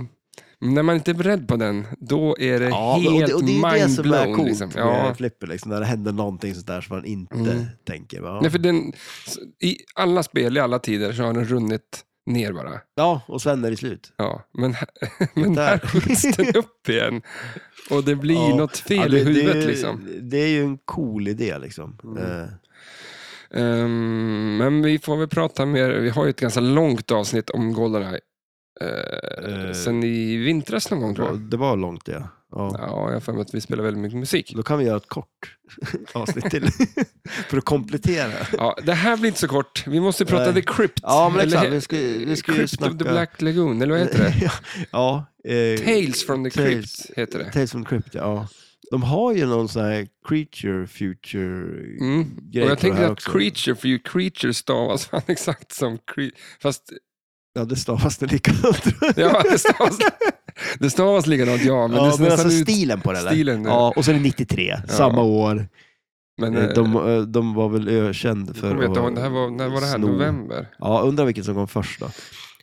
Speaker 1: när man inte är beredd på den, då är det
Speaker 2: Ja, men- och,
Speaker 1: helt
Speaker 2: det, och det är ju det som är
Speaker 1: mindblown.
Speaker 2: coolt
Speaker 1: Liksom.
Speaker 2: med
Speaker 1: Ja.
Speaker 2: flipper, liksom, när det händer någonting sånt där som man inte
Speaker 1: Mm.
Speaker 2: tänker. Va?
Speaker 1: Nej, för den, I alla spel i alla tider så har den runnit ner bara.
Speaker 2: Ja, och sen är det slut.
Speaker 1: Ja, men, här- *laughs* men
Speaker 2: Där.
Speaker 1: här skjuts den upp igen. Och det blir
Speaker 2: *laughs* Ja.
Speaker 1: något fel
Speaker 2: Ja, det,
Speaker 1: i huvudet
Speaker 2: det, är-
Speaker 1: liksom. Mm.
Speaker 2: Det är ju en cool idé liksom. Eh,
Speaker 1: Ehm, men vi får väl prata mer. Vi har ju ett ganska långt avsnitt om Goldeneye. Uh,
Speaker 2: Eh.
Speaker 1: sen i vintras någon gång
Speaker 2: det,
Speaker 1: tror
Speaker 2: var,
Speaker 1: jag.
Speaker 2: det var långt det. Ja. Ja.
Speaker 1: Ja, jag har för mig att vi spelar väldigt mycket musik.
Speaker 2: Då kan vi göra ett kort *laughs* avsnitt till *laughs* för att komplettera.
Speaker 1: Ja, det här blir inte så kort. Vi måste prata
Speaker 2: Nej.
Speaker 1: The Crypt.
Speaker 2: Ja, men exakt.
Speaker 1: Eller-
Speaker 2: Vi ska, vi ska ju
Speaker 1: Crypt
Speaker 2: snacka...
Speaker 1: of the Black Lagoon, eller vad heter det?
Speaker 2: *laughs* ja, eh,
Speaker 1: Tales from the
Speaker 2: Tales.
Speaker 1: Crypt heter det.
Speaker 2: Tales from the Crypt, ja. De har ju någon sån här creature future...
Speaker 1: Mm. Och
Speaker 2: Grej på
Speaker 1: jag
Speaker 2: det
Speaker 1: tänker
Speaker 2: här
Speaker 1: att
Speaker 2: också.
Speaker 1: creature, för ju creature stavas *laughs* fan exakt som cre- Fast
Speaker 2: Ja, det stavas det likadant.
Speaker 1: *laughs* ja, det stavas,
Speaker 2: *laughs*
Speaker 1: det stavas likadant, ja. Men
Speaker 2: ja,
Speaker 1: det
Speaker 2: men
Speaker 1: är
Speaker 2: alltså
Speaker 1: nästan ut...
Speaker 2: stilen på det eller?
Speaker 1: stilen, ja.
Speaker 2: Ja, och sen är det 93, samma år.
Speaker 1: Men,
Speaker 2: Eh,
Speaker 1: eh,
Speaker 2: De, eh, de var väl ökänd
Speaker 1: Jag
Speaker 2: för
Speaker 1: kommer inte ihåg, det här var, när var det här?
Speaker 2: sno.
Speaker 1: November?
Speaker 2: Ja, undrar vilken som kom först då.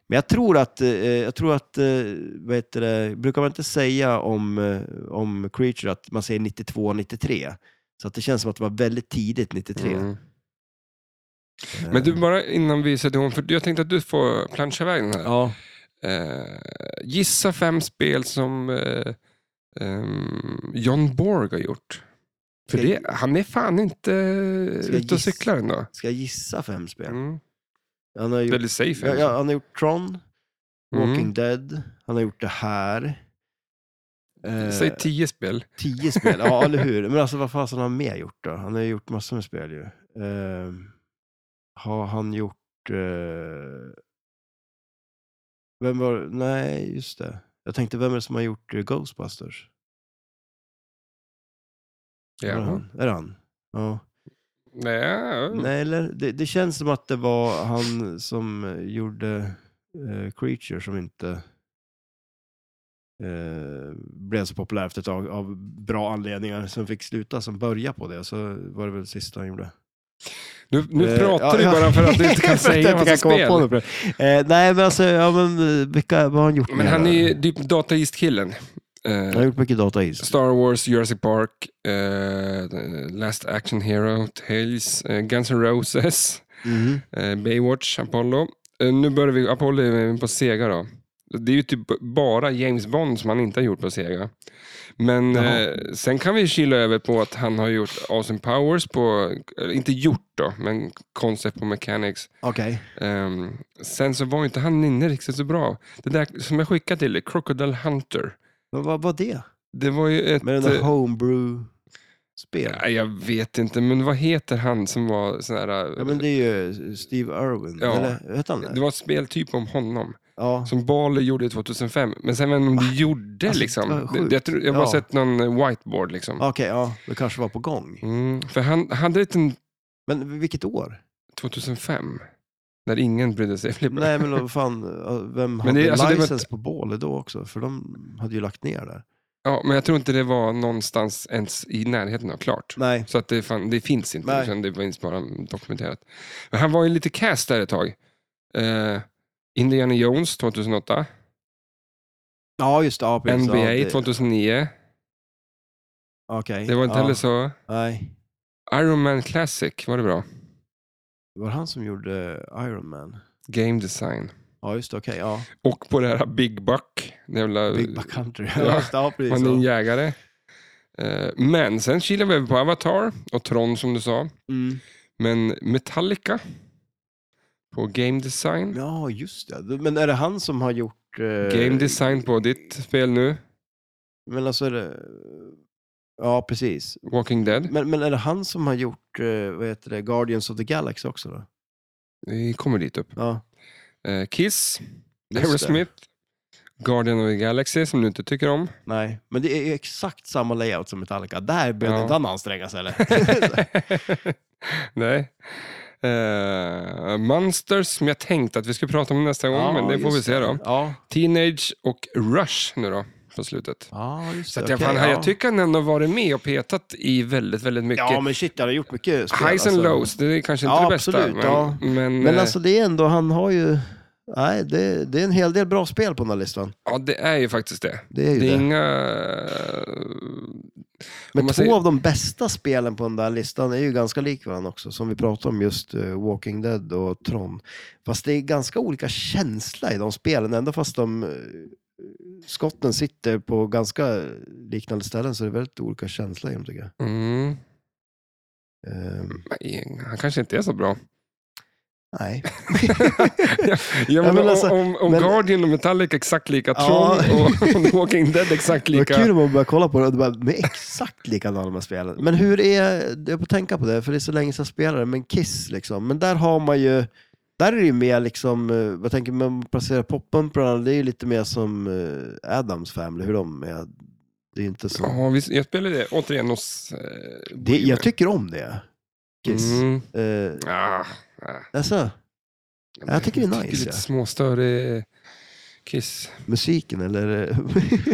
Speaker 2: Men jag tror att, eh, jag tror att eh, vad heter det, brukar man inte säga om, eh, om Creature att man säger 92, 93? Så att det känns som att det var väldigt tidigt 93.
Speaker 1: Mm.
Speaker 2: Eh,
Speaker 1: Men du, bara innan vi sätter igång, för jag tänkte att du får plancha iväg den här.
Speaker 2: Ja,
Speaker 1: Eh, gissa fem spel som eh, ehm, John Borg har gjort. För
Speaker 2: Ska
Speaker 1: det,
Speaker 2: jag-
Speaker 1: han är fan inte
Speaker 2: Ska jag
Speaker 1: ute och
Speaker 2: gissa?
Speaker 1: cyklar ändå.
Speaker 2: ska jag gissa fem spel?
Speaker 1: Mm.
Speaker 2: Han har gjort,
Speaker 1: Väldigt safe. alltså.
Speaker 2: ja,
Speaker 1: ändå.
Speaker 2: ja, han har gjort Tron, Walking
Speaker 1: Mm.
Speaker 2: Dead, han har gjort det här. Eh,
Speaker 1: Säg tio spel.
Speaker 2: Tio spel,
Speaker 1: *laughs*
Speaker 2: ja eller hur. Men alltså vad fasen har han mer gjort då? Han har ju gjort massor med spel ju. Ehm, har han gjort... eh, vem var Nej, just det. Jag tänkte, vem är det som har gjort eh, Ghostbusters? Var det
Speaker 1: Ja.
Speaker 2: han? Är det han? Ja.
Speaker 1: Nej.
Speaker 2: Nej, eller? Det, det känns som att det var han som eh, gjorde eh, Creature som inte eh, blev så populär efter ett tag av bra anledningar. Som fick sluta, som började på det. Så var det väl sista han gjorde.
Speaker 1: Nu, nu
Speaker 2: Eh,
Speaker 1: pratar
Speaker 2: ja,
Speaker 1: du
Speaker 2: ja.
Speaker 1: bara för att du inte
Speaker 2: För
Speaker 1: kan
Speaker 2: att *laughs* jag
Speaker 1: säga
Speaker 2: inte
Speaker 1: massa
Speaker 2: kan komma på
Speaker 1: spel.
Speaker 2: något. Eh, nej, men alltså, ja, men, eh, vilka, vad har han gjort
Speaker 1: Men
Speaker 2: mer
Speaker 1: han
Speaker 2: då?
Speaker 1: är ju typ Data East-killen. Eh,
Speaker 2: Han har gjort mycket Data East.
Speaker 1: Star Wars, Jurassic Park, eh, Last Action Hero, Tales, eh, Guns N' Roses,
Speaker 2: Mhm.
Speaker 1: eh, Baywatch, Apollo. Eh, nu börjar vi, Apollo är vi på Sega då. Det är ju typ bara James Bond som han inte har gjort på Sega. Men
Speaker 2: Jaha.
Speaker 1: eh, sen kan vi kila över på att han har gjort Awesome Powers på, eller inte gjort då, men Concept på Mechanics.
Speaker 2: Okej.
Speaker 1: Ehm, sen så var ju inte han inne riktigt så bra. Det där som jag skickade till dig, Crocodile Hunter.
Speaker 2: Men vad var det?
Speaker 1: Det var ju ett...
Speaker 2: Med den
Speaker 1: eh,
Speaker 2: där homebrew-spel?
Speaker 1: Nej, jag vet inte, men vad heter han som var sån här...
Speaker 2: Ja, men det är ju Steve Irwin.
Speaker 1: Ja.
Speaker 2: Eller hette han det?
Speaker 1: Det var ett speltyp om honom,
Speaker 2: Ja.
Speaker 1: som Bali gjorde 2005. Men sen vet jag inte om du gjorde
Speaker 2: Alltså,
Speaker 1: liksom.
Speaker 2: det var
Speaker 1: Det,
Speaker 2: sjukt.
Speaker 1: det, jag, tror, jag har bara
Speaker 2: Ja.
Speaker 1: sett någon whiteboard liksom.
Speaker 2: Okej, ja. Det kanske var på gång.
Speaker 1: Mm, för han hade ett en
Speaker 2: Men vilket år?
Speaker 1: 2005, när ingen brydde sig. Flipper.
Speaker 2: Nej, men vad fan. Vem
Speaker 1: Men
Speaker 2: hade
Speaker 1: det- alltså, det var-
Speaker 2: license på Bali då också? För de hade ju lagt ner det.
Speaker 1: *laughs* Ja, men jag tror inte det var någonstans ens i närheten av klart.
Speaker 2: Nej.
Speaker 1: Så att det, fan, det finns inte,
Speaker 2: Nej.
Speaker 1: utan det finns bara dokumenterat. Men han var ju lite cast där ett tag. Eh, Indiana Jones 2008,
Speaker 2: Ja, just det. Ja, precis.
Speaker 1: NBA
Speaker 2: ja, det-
Speaker 1: 2009.
Speaker 2: Okej.
Speaker 1: Det var inte
Speaker 2: ja.
Speaker 1: heller så.
Speaker 2: Nej.
Speaker 1: Iron Man Classic, var det bra?
Speaker 2: Var det han som gjorde Iron Man?
Speaker 1: Game design.
Speaker 2: Ja, just det. Okej, ja.
Speaker 1: Och på det här Big Buck. Det jävla,
Speaker 2: Big Buck Country.
Speaker 1: Ja.
Speaker 2: *laughs* Ja, just det, ja precis.
Speaker 1: han är en
Speaker 2: Ja.
Speaker 1: jägare. Eh, Men sen kilade vi över på Avatar och Tron som du sa.
Speaker 2: Mm.
Speaker 1: Men Metallica på Game Design.
Speaker 2: ja, just det. Men är det han som har gjort... eh,
Speaker 1: Game Design på ditt spel nu,
Speaker 2: Men alltså är det... Ja, precis.
Speaker 1: Walking Dead.
Speaker 2: Men, men är det han som har gjort eh, vad heter det, Guardians of the Galaxy också? Då?
Speaker 1: Vi kommer dit upp.
Speaker 2: Ja,
Speaker 1: Eh, Kiss,
Speaker 2: just det.
Speaker 1: Aerosmith, Guardian of the Galaxy som du inte tycker om.
Speaker 2: Nej, men det är ju exakt samma layout som Metallica. Där behövde
Speaker 1: Ja.
Speaker 2: inte han anstränga sig eller?
Speaker 1: *laughs* Nej. Eh, Monsters som jag tänkte att vi skulle prata om nästa gång,
Speaker 2: Ja,
Speaker 1: men det får vi
Speaker 2: just
Speaker 1: se då.
Speaker 2: Ja,
Speaker 1: Teenage och Rush nu då, på slutet.
Speaker 2: ja just
Speaker 1: Så
Speaker 2: det.
Speaker 1: att jag,
Speaker 2: okej,
Speaker 1: fan,
Speaker 2: ja.
Speaker 1: jag tycker han ändå har varit med och petat i väldigt, väldigt mycket.
Speaker 2: Ja, men shit, han har gjort mycket spel.
Speaker 1: Highs and
Speaker 2: alltså.
Speaker 1: lows, det är kanske inte
Speaker 2: Ja,
Speaker 1: det bästa.
Speaker 2: absolut,
Speaker 1: men,
Speaker 2: ja.
Speaker 1: men,
Speaker 2: Men
Speaker 1: eh,
Speaker 2: alltså det är ändå, han har ju... Nej, det, det är en hel del bra
Speaker 1: eh,
Speaker 2: spel på den här listan.
Speaker 1: ja, det är ju faktiskt det.
Speaker 2: Det är ju
Speaker 1: Det är
Speaker 2: det.
Speaker 1: inga Om
Speaker 2: Men
Speaker 1: man
Speaker 2: två
Speaker 1: säger-
Speaker 2: av de bästa spelen på den där listan är ju ganska lik varandra också. Som vi pratade om just eh, Walking Dead och Tron. Fast det är ganska olika känsla i de spelen. Ändå fast de eh, skotten sitter på ganska liknande ställen så är det väldigt olika känsla i dem tycker jag.
Speaker 1: Mm.
Speaker 2: Ehm,
Speaker 1: Nej, Han kanske inte är så bra.
Speaker 2: nej.
Speaker 1: Ja, men
Speaker 2: men alltså,
Speaker 1: om om
Speaker 2: men-
Speaker 1: Guardian och Metallica exakt lika, Tron
Speaker 2: Ja.
Speaker 1: och, och Walking Dead exakt
Speaker 2: Det var
Speaker 1: lika.
Speaker 2: kul om man började kolla på det och det bara, de är exakt likadana de här spelen. Men hur är, jag får tänka på det, för det är så länge sedan jag spelade, men Kiss liksom. Men där har man ju, där är det ju mer liksom, eh, vad tänker man, man placerar poppumprarna, det är ju lite mer som eh, Adams Family, hur de är. Det är ju inte så.
Speaker 1: Ja, visst, jag spelade återigen hos... Eh,
Speaker 2: Det, jag tycker om det. Kiss.
Speaker 1: Mm.
Speaker 2: Eh,
Speaker 1: Ah, ah.
Speaker 2: alltså, jag tycker det är nice,
Speaker 1: Lite
Speaker 2: ja.
Speaker 1: småstörig Kiss.
Speaker 2: musiken eller?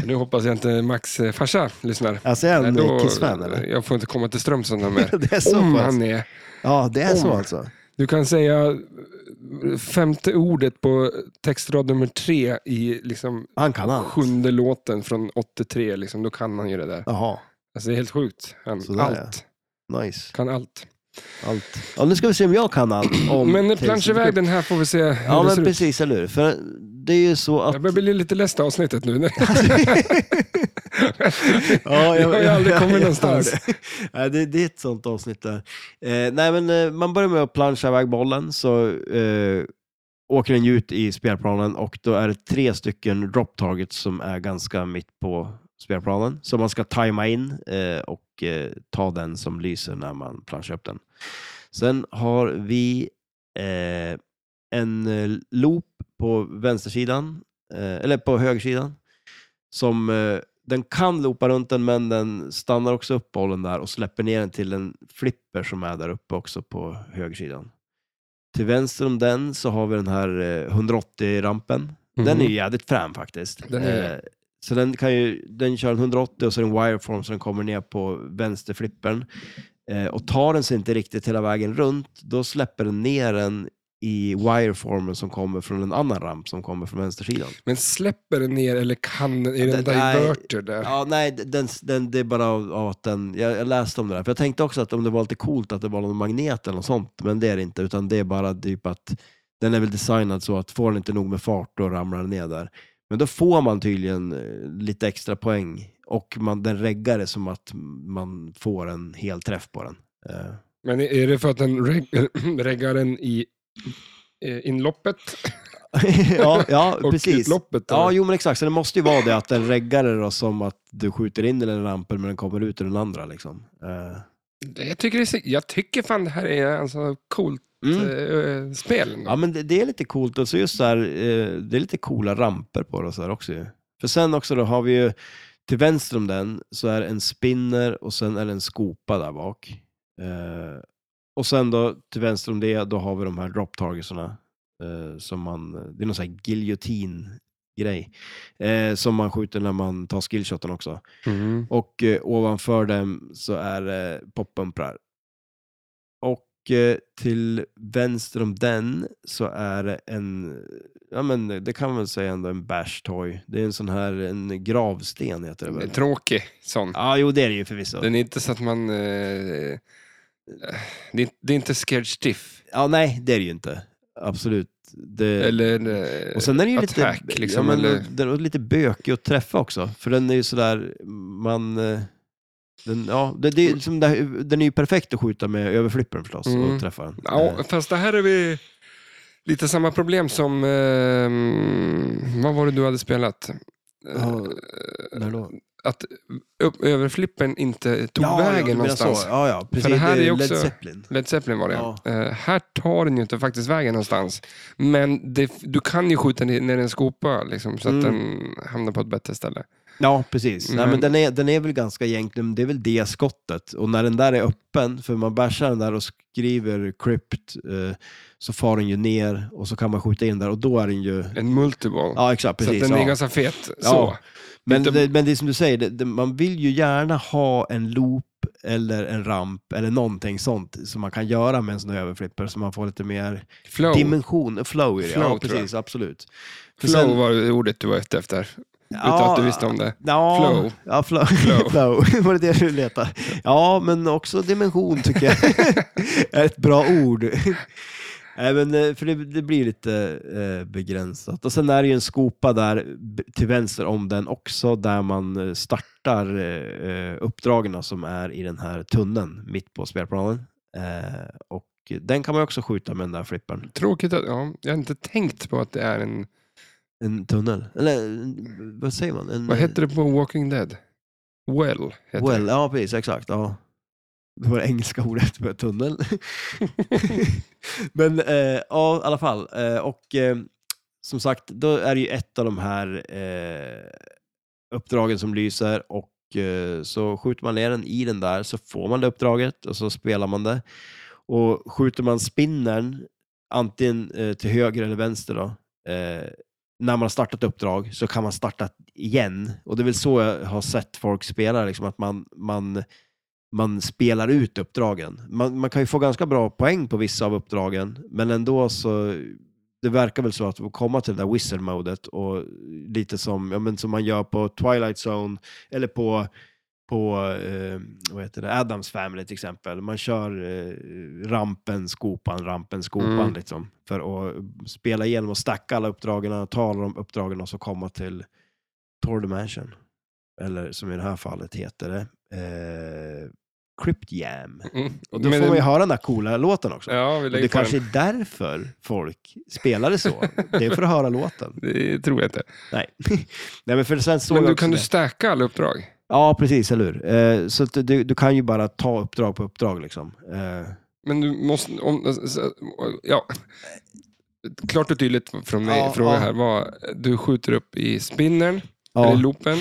Speaker 2: *laughs*
Speaker 1: Nu hoppas jag inte Max eh, farsa lyssnar.
Speaker 2: alltså är
Speaker 1: Nej,
Speaker 2: han
Speaker 1: då-
Speaker 2: eh, Kiss-fan eller?
Speaker 1: Jag får inte komma till Strömsund här mer.
Speaker 2: det är *laughs*
Speaker 1: *laughs*
Speaker 2: så
Speaker 1: Om
Speaker 2: pass.
Speaker 1: han är.
Speaker 2: Ja, det är så
Speaker 1: om.
Speaker 2: alltså.
Speaker 1: Du kan säga eh, femte ordet på textrad nummer tre i liksom
Speaker 2: Han kan allt.
Speaker 1: sjunde låten från 83. Liksom, då kan han ju det där.
Speaker 2: Jaha,
Speaker 1: Alltså, det är helt sjukt. Han,
Speaker 2: Sådär,
Speaker 1: allt.
Speaker 2: nice.
Speaker 1: Kan allt.
Speaker 2: Allt. Ja, nu ska vi se om jag kan allt. Om
Speaker 1: men
Speaker 2: Tales of the
Speaker 1: plansch iväg den här får vi se hur
Speaker 2: Ja,
Speaker 1: det
Speaker 2: men
Speaker 1: ser ut.
Speaker 2: precis, eller hur? För det är ju så att...
Speaker 1: Jag börjar bli lite less det här avsnittet
Speaker 2: *laughs*
Speaker 1: nu. Mm. *laughs*
Speaker 2: ja,
Speaker 1: jag har ju aldrig kommit
Speaker 2: jag
Speaker 1: någonstans.
Speaker 2: hör det. *laughs* Nej, det, det är ett sånt avsnitt där. Eh, nej, men eh, man börjar med att plancha iväg bollen, så eh, åker den ju ut i spelplanen och då är det tre stycken drop targets som är ganska mitt på spelplanen. Så man ska tajma in eh, och eh, ta den som lyser när man planchar upp den. Sen har vi eh, en eh, loop på vänstersidan, eh, eller på högersidan, som eh, den kan loopa runt den, men den stannar också upp bollen där och släpper ner den till en flipper som är där uppe också på högersidan. Till vänster om den så har vi den här eh, 180-rampen. Den är ju jävligt frän faktiskt.
Speaker 1: Mhm. Den är det.
Speaker 2: Eh, så den kan ju, den kör en 180 och så är det en wireform så den kommer ner på vänsterflippen. Eh, och tar den sig inte riktigt hela vägen runt, då släpper den ner den i wireformen som kommer från en annan ramp som kommer från vänstersidan.
Speaker 1: Men släpper den ner eller kan den? Är den
Speaker 2: Det- nej.
Speaker 1: diverter där?
Speaker 2: Ja, nej, den, den, det är bara av av att den, jag, jag läste om det där, för jag tänkte också att om det var lite coolt att det var någon magnet eller något sånt, men det är det inte, utan det är bara typ att den är väl designad så att får den inte nog med fart då ramlar den ner där. Men då får man tydligen eh, lite extra poäng och man, den reggar det som att man får en hel träff på den. Eh, *laughs*
Speaker 1: Men är det för att den reg- *clears throat* reggar den i eh, inloppet
Speaker 2: ja, ja
Speaker 1: *laughs* och
Speaker 2: precis.
Speaker 1: utloppet?
Speaker 2: Ja,
Speaker 1: eller?
Speaker 2: jo men exakt. Så det måste ju vara det att den reggar det då, som att du skjuter in den i den rampen men den kommer ut ur den andra liksom. Eh,
Speaker 1: jag, tycker det är, så- jag tycker fan det här är alltså coolt
Speaker 2: mm.
Speaker 1: eh, spel. ändå.
Speaker 2: Ja, men det, det är lite coolt. Och så just så här, eh, det är lite coola ramper på det och så här också ju. För sen också då har vi ju, till vänster om den så är det en spinner och sen är det en skopa där bak. Eh, och sen då till vänster om det, då har vi de här drop targetsarna. Eh, som man, det är någon sån här giljotin-grej. Eh, som man skjuter när man tar skillshoten också.
Speaker 1: Mm.
Speaker 2: Och eh, ovanför dem så är det poppumprar. Och eh, till vänster om den så är det en, ja men det kan man väl säga ändå en bash toy. Det är en sån här, en gravsten heter det
Speaker 1: En
Speaker 2: väl?
Speaker 1: Tråkig sån.
Speaker 2: Ja, jo det är det ju förvisso.
Speaker 1: Mm. Den är inte så att man... Eh, eh, det, är, det är inte scared stiff.
Speaker 2: Ja, nej det är det ju inte. Absolut. Det...
Speaker 1: Eller... Eh,
Speaker 2: Och sen är den ju lite,
Speaker 1: attack, liksom,
Speaker 2: ja, men,
Speaker 1: eller-
Speaker 2: den är lite bökig att träffa också. För den är ju sådär, man... eh, Den, ja, det, det är, ju som det, här- den är ju perfekt att skjuta med överflippen förstås
Speaker 1: Mm.
Speaker 2: och träffa den. Eh,
Speaker 1: ja, fast det här är vi... Lite samma problem som... Eh, vad var det du hade spelat?
Speaker 2: Ja, när då?
Speaker 1: att upp, överflippen inte tog
Speaker 2: Ja, ja, du
Speaker 1: vägen
Speaker 2: menar
Speaker 1: någonstans.
Speaker 2: Så. Ja, ja, precis.
Speaker 1: det här är ju
Speaker 2: Led
Speaker 1: också-
Speaker 2: Zeppelin.
Speaker 1: Led Zeppelin var det.
Speaker 2: Ja.
Speaker 1: Eh, här tar den ju inte faktiskt vägen någonstans. Men det, du kan ju skjuta ner ner en skopa liksom, så att
Speaker 2: Mm.
Speaker 1: den hamnar på ett bättre ställe.
Speaker 2: Ja, precis. Nej,
Speaker 1: Men-
Speaker 2: men den, är, den är väl ganska egentligen, det är väl det skottet. Och när den där är öppen, för man bashar den där och skriver crypt, eh, så far den ju ner och så kan man skjuta in där och då är den ju...
Speaker 1: En multiball.
Speaker 2: Ja, exakt.
Speaker 1: så
Speaker 2: Precis.
Speaker 1: att den
Speaker 2: ja.
Speaker 1: är ganska fet.
Speaker 2: Ja.
Speaker 1: Så.
Speaker 2: Men
Speaker 1: Inte-
Speaker 2: det, men det är som du säger, det, det, man vill ju gärna ha en loop eller en ramp eller någonting sånt som man kan göra med en sån här överflipper så man får lite mer
Speaker 1: Flow,
Speaker 2: dimension, flow i det.
Speaker 1: Flow,
Speaker 2: ja,
Speaker 1: tror jag.
Speaker 2: precis, absolut. För
Speaker 1: Flow
Speaker 2: sen-
Speaker 1: var ordet du var ute efter. Utan att du visste om det.
Speaker 2: Ja,
Speaker 1: Flow.
Speaker 2: Ja, flow.
Speaker 1: Flow.
Speaker 2: *laughs* flow. Var det det du letade? Ja, men också dimension tycker jag *laughs* är ett bra ord. *laughs* Nej, men, eh, för det, det blir lite eh, begränsat. Och sen är det ju en skopa där b- till vänster om den också, där man eh, startar eh, eh, uppdragen som är i den här tunneln mitt på spelplanen. Eh, och den kan man ju också skjuta med den där flippern.
Speaker 1: Tråkigt att, ja, jag har inte tänkt på att det är en,
Speaker 2: En tunnel. Eller en- vad säger man? En,
Speaker 1: vad heter det på Walking Dead? Well, heter
Speaker 2: Mm. Well, ja precis, exakt. Ja. Det var det engelska ordet för tunnel. Men eh, ja, i alla fall. Eh, och eh, som sagt, då är det ju ett av de här eh, uppdragen som lyser och eh, så skjuter man ner den i den där så får man det uppdraget och så spelar man det. Och skjuter man spinnern antingen eh, till höger eller vänster då, eh, när man har startat uppdrag så kan man starta igen. Och det är väl så jag har sett folk spela, liksom, att man, man, man spelar ut uppdragen. Man, man kan ju få ganska bra poäng på vissa av uppdragen, men ändå så det verkar väl så att komma till det där whistle-modet och lite som, ja, men som man gör på Twilight Zone eller på, på eh, vad heter det? Adams Family till exempel. Man kör eh, rampen, skopan, rampen, skopan
Speaker 1: Mm.
Speaker 2: liksom, för att spela igenom och stacka alla uppdragen, tala om uppdragen och så komma till Tor Dimension. Eller som i det här fallet heter det, eh, Crypt Jam.
Speaker 1: det. Mm.
Speaker 2: Och då
Speaker 1: Men
Speaker 2: får man ju
Speaker 1: det-
Speaker 2: höra den där coola låten också.
Speaker 1: Ja, vi
Speaker 2: Men
Speaker 1: lägger
Speaker 2: det
Speaker 1: på den.
Speaker 2: kanske är därför folk spelade så. Det är för att höra låten.
Speaker 1: Det tror jag inte.
Speaker 2: Nej, *laughs* Nej men för sen såg
Speaker 1: Men
Speaker 2: jag
Speaker 1: du
Speaker 2: också
Speaker 1: kan du
Speaker 2: det.
Speaker 1: stacka alla uppdrag?
Speaker 2: Ja, precis, eller hur? Eh, så att du, du kan ju bara ta uppdrag på uppdrag liksom. Eh,
Speaker 1: Men du måste... Om, så- ja. Klart och tydligt från mig,
Speaker 2: Ja,
Speaker 1: fråga
Speaker 2: ja.
Speaker 1: här var du skjuter upp i spinnern, eller
Speaker 2: ja,
Speaker 1: loopen,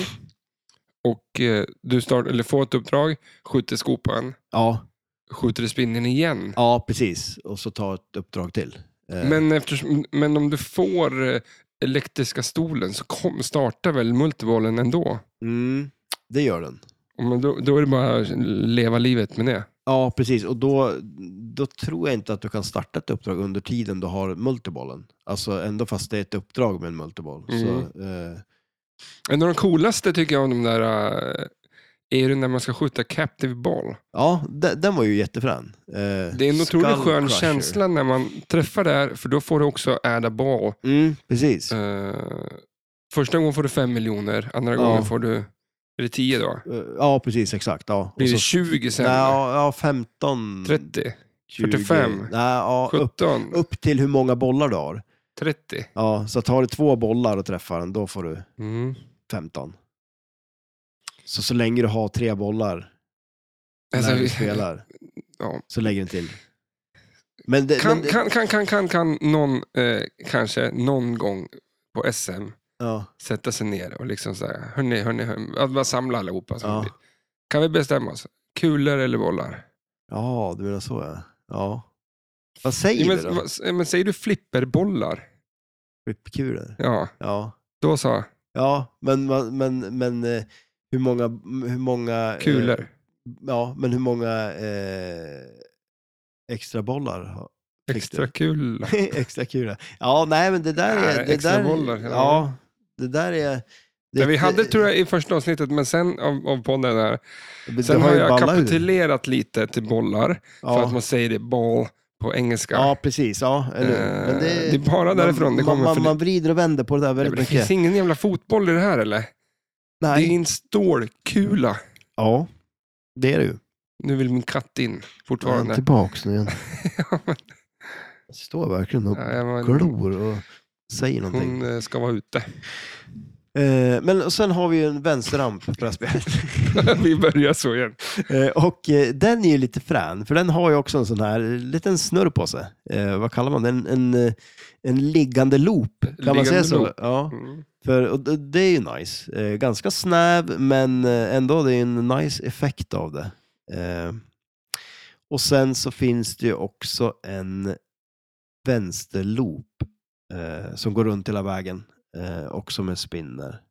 Speaker 1: och eh, du start, eller får ett uppdrag, skjuter skopan,
Speaker 2: ja,
Speaker 1: skjuter i spinnern igen.
Speaker 2: ja, precis. Och så ta ett uppdrag till. Eh,
Speaker 1: Men, eftersom, men om du får eh, elektriska stolen så kom, startar väl multibollen ändå?
Speaker 2: mm, det gör den.
Speaker 1: Och men då, då är det bara att leva livet med det.
Speaker 2: Ja, precis. Och då, då tror jag inte att du kan starta ett uppdrag under tiden du har multibollen. Alltså ändå fast det är ett uppdrag med en multiboll. Så,
Speaker 1: Mm.
Speaker 2: eh,
Speaker 1: En av de coolaste tycker jag om de där eh, är ju när man ska skjuta captive ball.
Speaker 2: ja, de, den var ju jättefrän. Eh,
Speaker 1: Det är en otroligt
Speaker 2: Skull
Speaker 1: skön
Speaker 2: Crusher.
Speaker 1: känsla när man träffar där, för då får du också adda ball.
Speaker 2: Mm, precis.
Speaker 1: Eh, första gången får du 5 miljoner, andra
Speaker 2: Ja.
Speaker 1: gången får du, är det 10 då?
Speaker 2: Eh, Ja, precis. Exakt. Ja.
Speaker 1: Blir
Speaker 2: Och
Speaker 1: det
Speaker 2: så-
Speaker 1: 20 sen?
Speaker 2: Nej, ja, ja, 15,
Speaker 1: 30?
Speaker 2: 20,
Speaker 1: 45.
Speaker 2: Nej, ja, upp,
Speaker 1: 17?
Speaker 2: upp till hur många bollar du har.
Speaker 1: 30?
Speaker 2: Ja, så tar du två bollar och träffar den, då får du
Speaker 1: Mm.
Speaker 2: 15. Så så länge du har tre bollar
Speaker 1: Alltså,
Speaker 2: när du spelar
Speaker 1: *laughs* ja.
Speaker 2: så lägger den till. Men det,
Speaker 1: Kan,
Speaker 2: men det,
Speaker 1: kan, kan, kan, kan, kan någon eh, kanske någon gång på SM
Speaker 2: Ja,
Speaker 1: sätta sig ner och liksom så här, hörni, hörni, hörni att bara samla allihopa. som
Speaker 2: ja.
Speaker 1: blir. Kan vi bestämma oss? Kulor eller bollar?
Speaker 2: ja, du menar så ja. ja. Vad säger
Speaker 1: Ja,
Speaker 2: du
Speaker 1: men,
Speaker 2: då?
Speaker 1: vad- eh, men säger du flipperbollar?
Speaker 2: Flippkulor?
Speaker 1: Ja,
Speaker 2: Ja,
Speaker 1: då sa
Speaker 2: ja men, man- men, men eh, hur många... Hur många eh,
Speaker 1: kulor.
Speaker 2: Ja, men hur många eh, extra bollar? har- *laughs* fick
Speaker 1: extra
Speaker 2: du?
Speaker 1: kul.
Speaker 2: extra kula. Ja, nej men det där
Speaker 1: Nej,
Speaker 2: är... Det
Speaker 1: Äh, extra
Speaker 2: där,
Speaker 1: bollar, ja.
Speaker 2: ja. det där är...
Speaker 1: Det, vi hade
Speaker 2: det-
Speaker 1: tror jag i första avsnittet, men sen av, av podden här.
Speaker 2: det-
Speaker 1: Sen
Speaker 2: det
Speaker 1: har
Speaker 2: ju
Speaker 1: jag
Speaker 2: ballat ur.
Speaker 1: kapitulerat lite till bollar, för
Speaker 2: ja.
Speaker 1: att man säger det ball på engelska.
Speaker 2: ja, precis. Ja, eller
Speaker 1: Eh,
Speaker 2: hur? men det,
Speaker 1: det är bara därifrån
Speaker 2: man,
Speaker 1: det kommer.
Speaker 2: Man,
Speaker 1: för
Speaker 2: man,
Speaker 1: det-
Speaker 2: man vrider och vänder på det där
Speaker 1: Ja,
Speaker 2: väldigt
Speaker 1: men det
Speaker 2: mycket.
Speaker 1: finns ingen jävla fotboll i det här eller?
Speaker 2: Nej.
Speaker 1: Det är en stålkula.
Speaker 2: Ja, det är det ju.
Speaker 1: Nu vill min katt in
Speaker 2: Han
Speaker 1: fortfarande.
Speaker 2: tillbaks nu igen.
Speaker 1: *laughs* Ja, men-
Speaker 2: Jag står verkligen och
Speaker 1: ja, men-
Speaker 2: typ glor och säger någonting.
Speaker 1: Äh, hon eh, ska vara ute. *laughs*
Speaker 2: Eh, men sen har vi ju en vänsterramp på det här
Speaker 1: *laughs*
Speaker 2: spelet.
Speaker 1: Vi börjar så igen.
Speaker 2: Eh, och eh, den är ju lite frän, för den har ju också en sån här liten snurr på sig. Eh, vad kallar man det? En, en, eh, en liggande loop. Kan man
Speaker 1: Liggande
Speaker 2: säga så?
Speaker 1: loop.
Speaker 2: Ja,
Speaker 1: Mm.
Speaker 2: för, och det, det är ju nice. Eh, ganska snäv, men eh, ändå det är en nice effekt av det. Eh, och sen så finns det ju också en vänsterloop eh, som går runt hela vägen. Eh, också med spinner.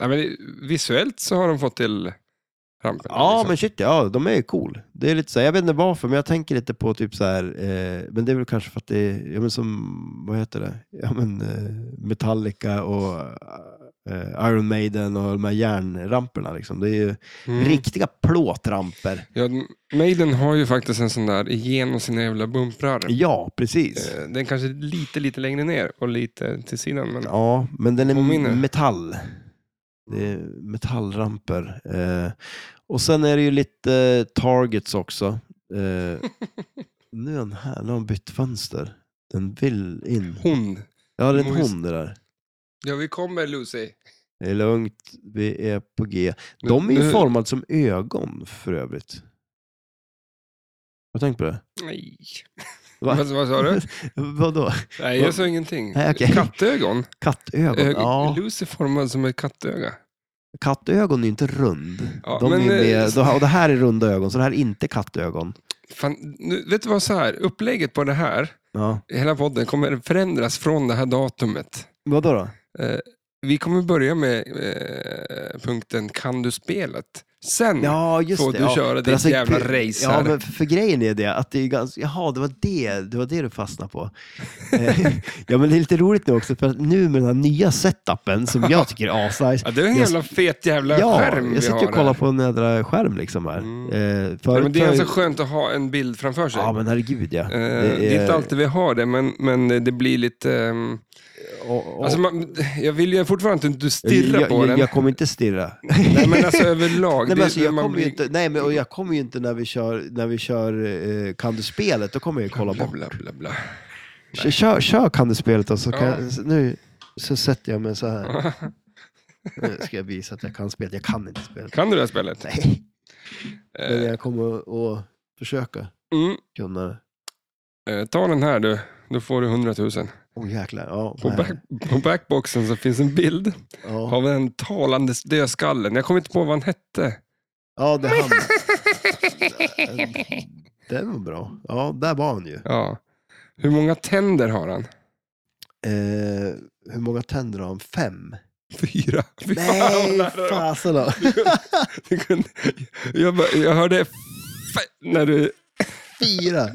Speaker 1: Ja, men det, visuellt så har de fått till rampen.
Speaker 2: Ja,
Speaker 1: liksom.
Speaker 2: men shit, ja, de är ju cool. Det är lite så här, jag vet inte varför, men jag tänker lite på typ så här, eh, men det är väl kanske för att det är, ja men som, vad heter det, ja men eh, Metallica och eh, eh, Iron Maiden och de här järnramperna. Liksom. Det är ju
Speaker 1: Mm.
Speaker 2: riktiga plåtramper.
Speaker 1: Ja, Maiden har ju faktiskt en sån där igenom sina jävla bumprar.
Speaker 2: Ja, precis.
Speaker 1: Eh, Den kanske är lite, lite längre ner och lite till sidan. Men...
Speaker 2: Ja, men den är
Speaker 1: Påminner.
Speaker 2: metall. Det är metallramper. Eh, och sen är det ju lite eh, targets också.
Speaker 1: *laughs*
Speaker 2: Eh, nu är den här, nu har hon bytt fönster. Den vill in.
Speaker 1: Hon.
Speaker 2: Ja, det är en
Speaker 1: Mojs-
Speaker 2: hon det där.
Speaker 1: Ja, vi kommer Lucy.
Speaker 2: Det är lugnt, vi är på G.
Speaker 1: Nu-
Speaker 2: De är ju
Speaker 1: nu-
Speaker 2: formade som ögon för övrigt. Har du tänkt på det?
Speaker 1: Nej.
Speaker 2: Va?
Speaker 1: Vad, vad sa du?
Speaker 2: Vadå?
Speaker 1: Nej, jag sa ingenting.
Speaker 2: Nej, okej.
Speaker 1: Kattögon.
Speaker 2: Kattögon?
Speaker 1: Ög...
Speaker 2: *laughs* Ja,
Speaker 1: Lucy formad som ett kattöga.
Speaker 2: kattögon är ju inte rund.
Speaker 1: Ja,
Speaker 2: De
Speaker 1: men,
Speaker 2: är
Speaker 1: eh,
Speaker 2: med, och det här är runda ögon, så det här är inte kattögon.
Speaker 1: Fan, nu, vet du vad, så här, upplägget på det här,
Speaker 2: Ja.
Speaker 1: hela podden, kommer förändras från det här datumet.
Speaker 2: Vadå då?
Speaker 1: Eh, vi kommer börja med eh, punkten Kan du spelet? Sen
Speaker 2: Ja, just
Speaker 1: Mm. får
Speaker 2: det.
Speaker 1: du
Speaker 2: ja.
Speaker 1: köra
Speaker 2: Men
Speaker 1: ditt jävla
Speaker 2: pre-
Speaker 1: race
Speaker 2: Ja,
Speaker 1: här.
Speaker 2: men för, för grejen är det att det är ganska, jaha, det var det, det var det du fastnade
Speaker 1: *laughs*
Speaker 2: på. Eh, ja, men det är lite roligt nu också, för att nu med den här nya setupen som jag tycker är asnice.
Speaker 1: Ja, det är en
Speaker 2: Jag-
Speaker 1: jävla fet jävla
Speaker 2: Ja,
Speaker 1: skärm vi
Speaker 2: jag sitter
Speaker 1: har
Speaker 2: och kollar
Speaker 1: här.
Speaker 2: på en jädra skärm liksom här.
Speaker 1: Mm.
Speaker 2: Eh,
Speaker 1: Ja,
Speaker 2: för,
Speaker 1: men det är
Speaker 2: för-
Speaker 1: ganska skönt att ha en bild framför sig.
Speaker 2: Ja, men herregud ja.
Speaker 1: Eh, det, är... inte alltid vi har det, men, men det blir lite... ehm,
Speaker 2: och- och-
Speaker 1: Alltså man, jag vill ju fortfarande inte att du stirrar
Speaker 2: jag,
Speaker 1: på
Speaker 2: jag,
Speaker 1: den.
Speaker 2: Jag kommer inte stirra.
Speaker 1: *laughs* Nej, men alltså överlag.
Speaker 2: *laughs* Nej,
Speaker 1: det-
Speaker 2: men alltså, jag
Speaker 1: man
Speaker 2: kommer ju
Speaker 1: blir-
Speaker 2: inte, nej, men och jag kommer ju inte när vi kör, när vi kör eh, Kan du spelet, då kommer jag ju kolla
Speaker 1: Bla,
Speaker 2: bort.
Speaker 1: bla, bla, bla.
Speaker 2: Kör, kör, kör Kan du spelet då, så kan
Speaker 1: Ja.
Speaker 2: jag, nu så sätter jag mig så
Speaker 1: *laughs*
Speaker 2: här. Nu ska jag visa att jag kan spelet. Jag kan inte spelet.
Speaker 1: Kan du det här spelet?
Speaker 2: Nej,
Speaker 1: Eh,
Speaker 2: men jag kommer att- att försöka
Speaker 1: mm,
Speaker 2: kunna det.
Speaker 1: eh, ta den här du. Då får du 100 000.
Speaker 2: Åh jäklar. Ja,
Speaker 1: På,
Speaker 2: nej.
Speaker 1: back, på backboxen så finns en bild
Speaker 2: ja.
Speaker 1: av den talande dödskallen. Jag kommer inte på vad han hette.
Speaker 2: ja det
Speaker 1: *laughs*
Speaker 2: är han. Den var bra. Ja, där var han ju.
Speaker 1: Ja. Hur många tänder har han? *laughs*
Speaker 2: Eh, hur många tänder har han? Fem?
Speaker 1: Fyra. Fy fan,
Speaker 2: Nej,
Speaker 1: lärare.
Speaker 2: fasen då.
Speaker 1: Du kunde- jag, bara- jag hörde f- när du...
Speaker 2: Fyra.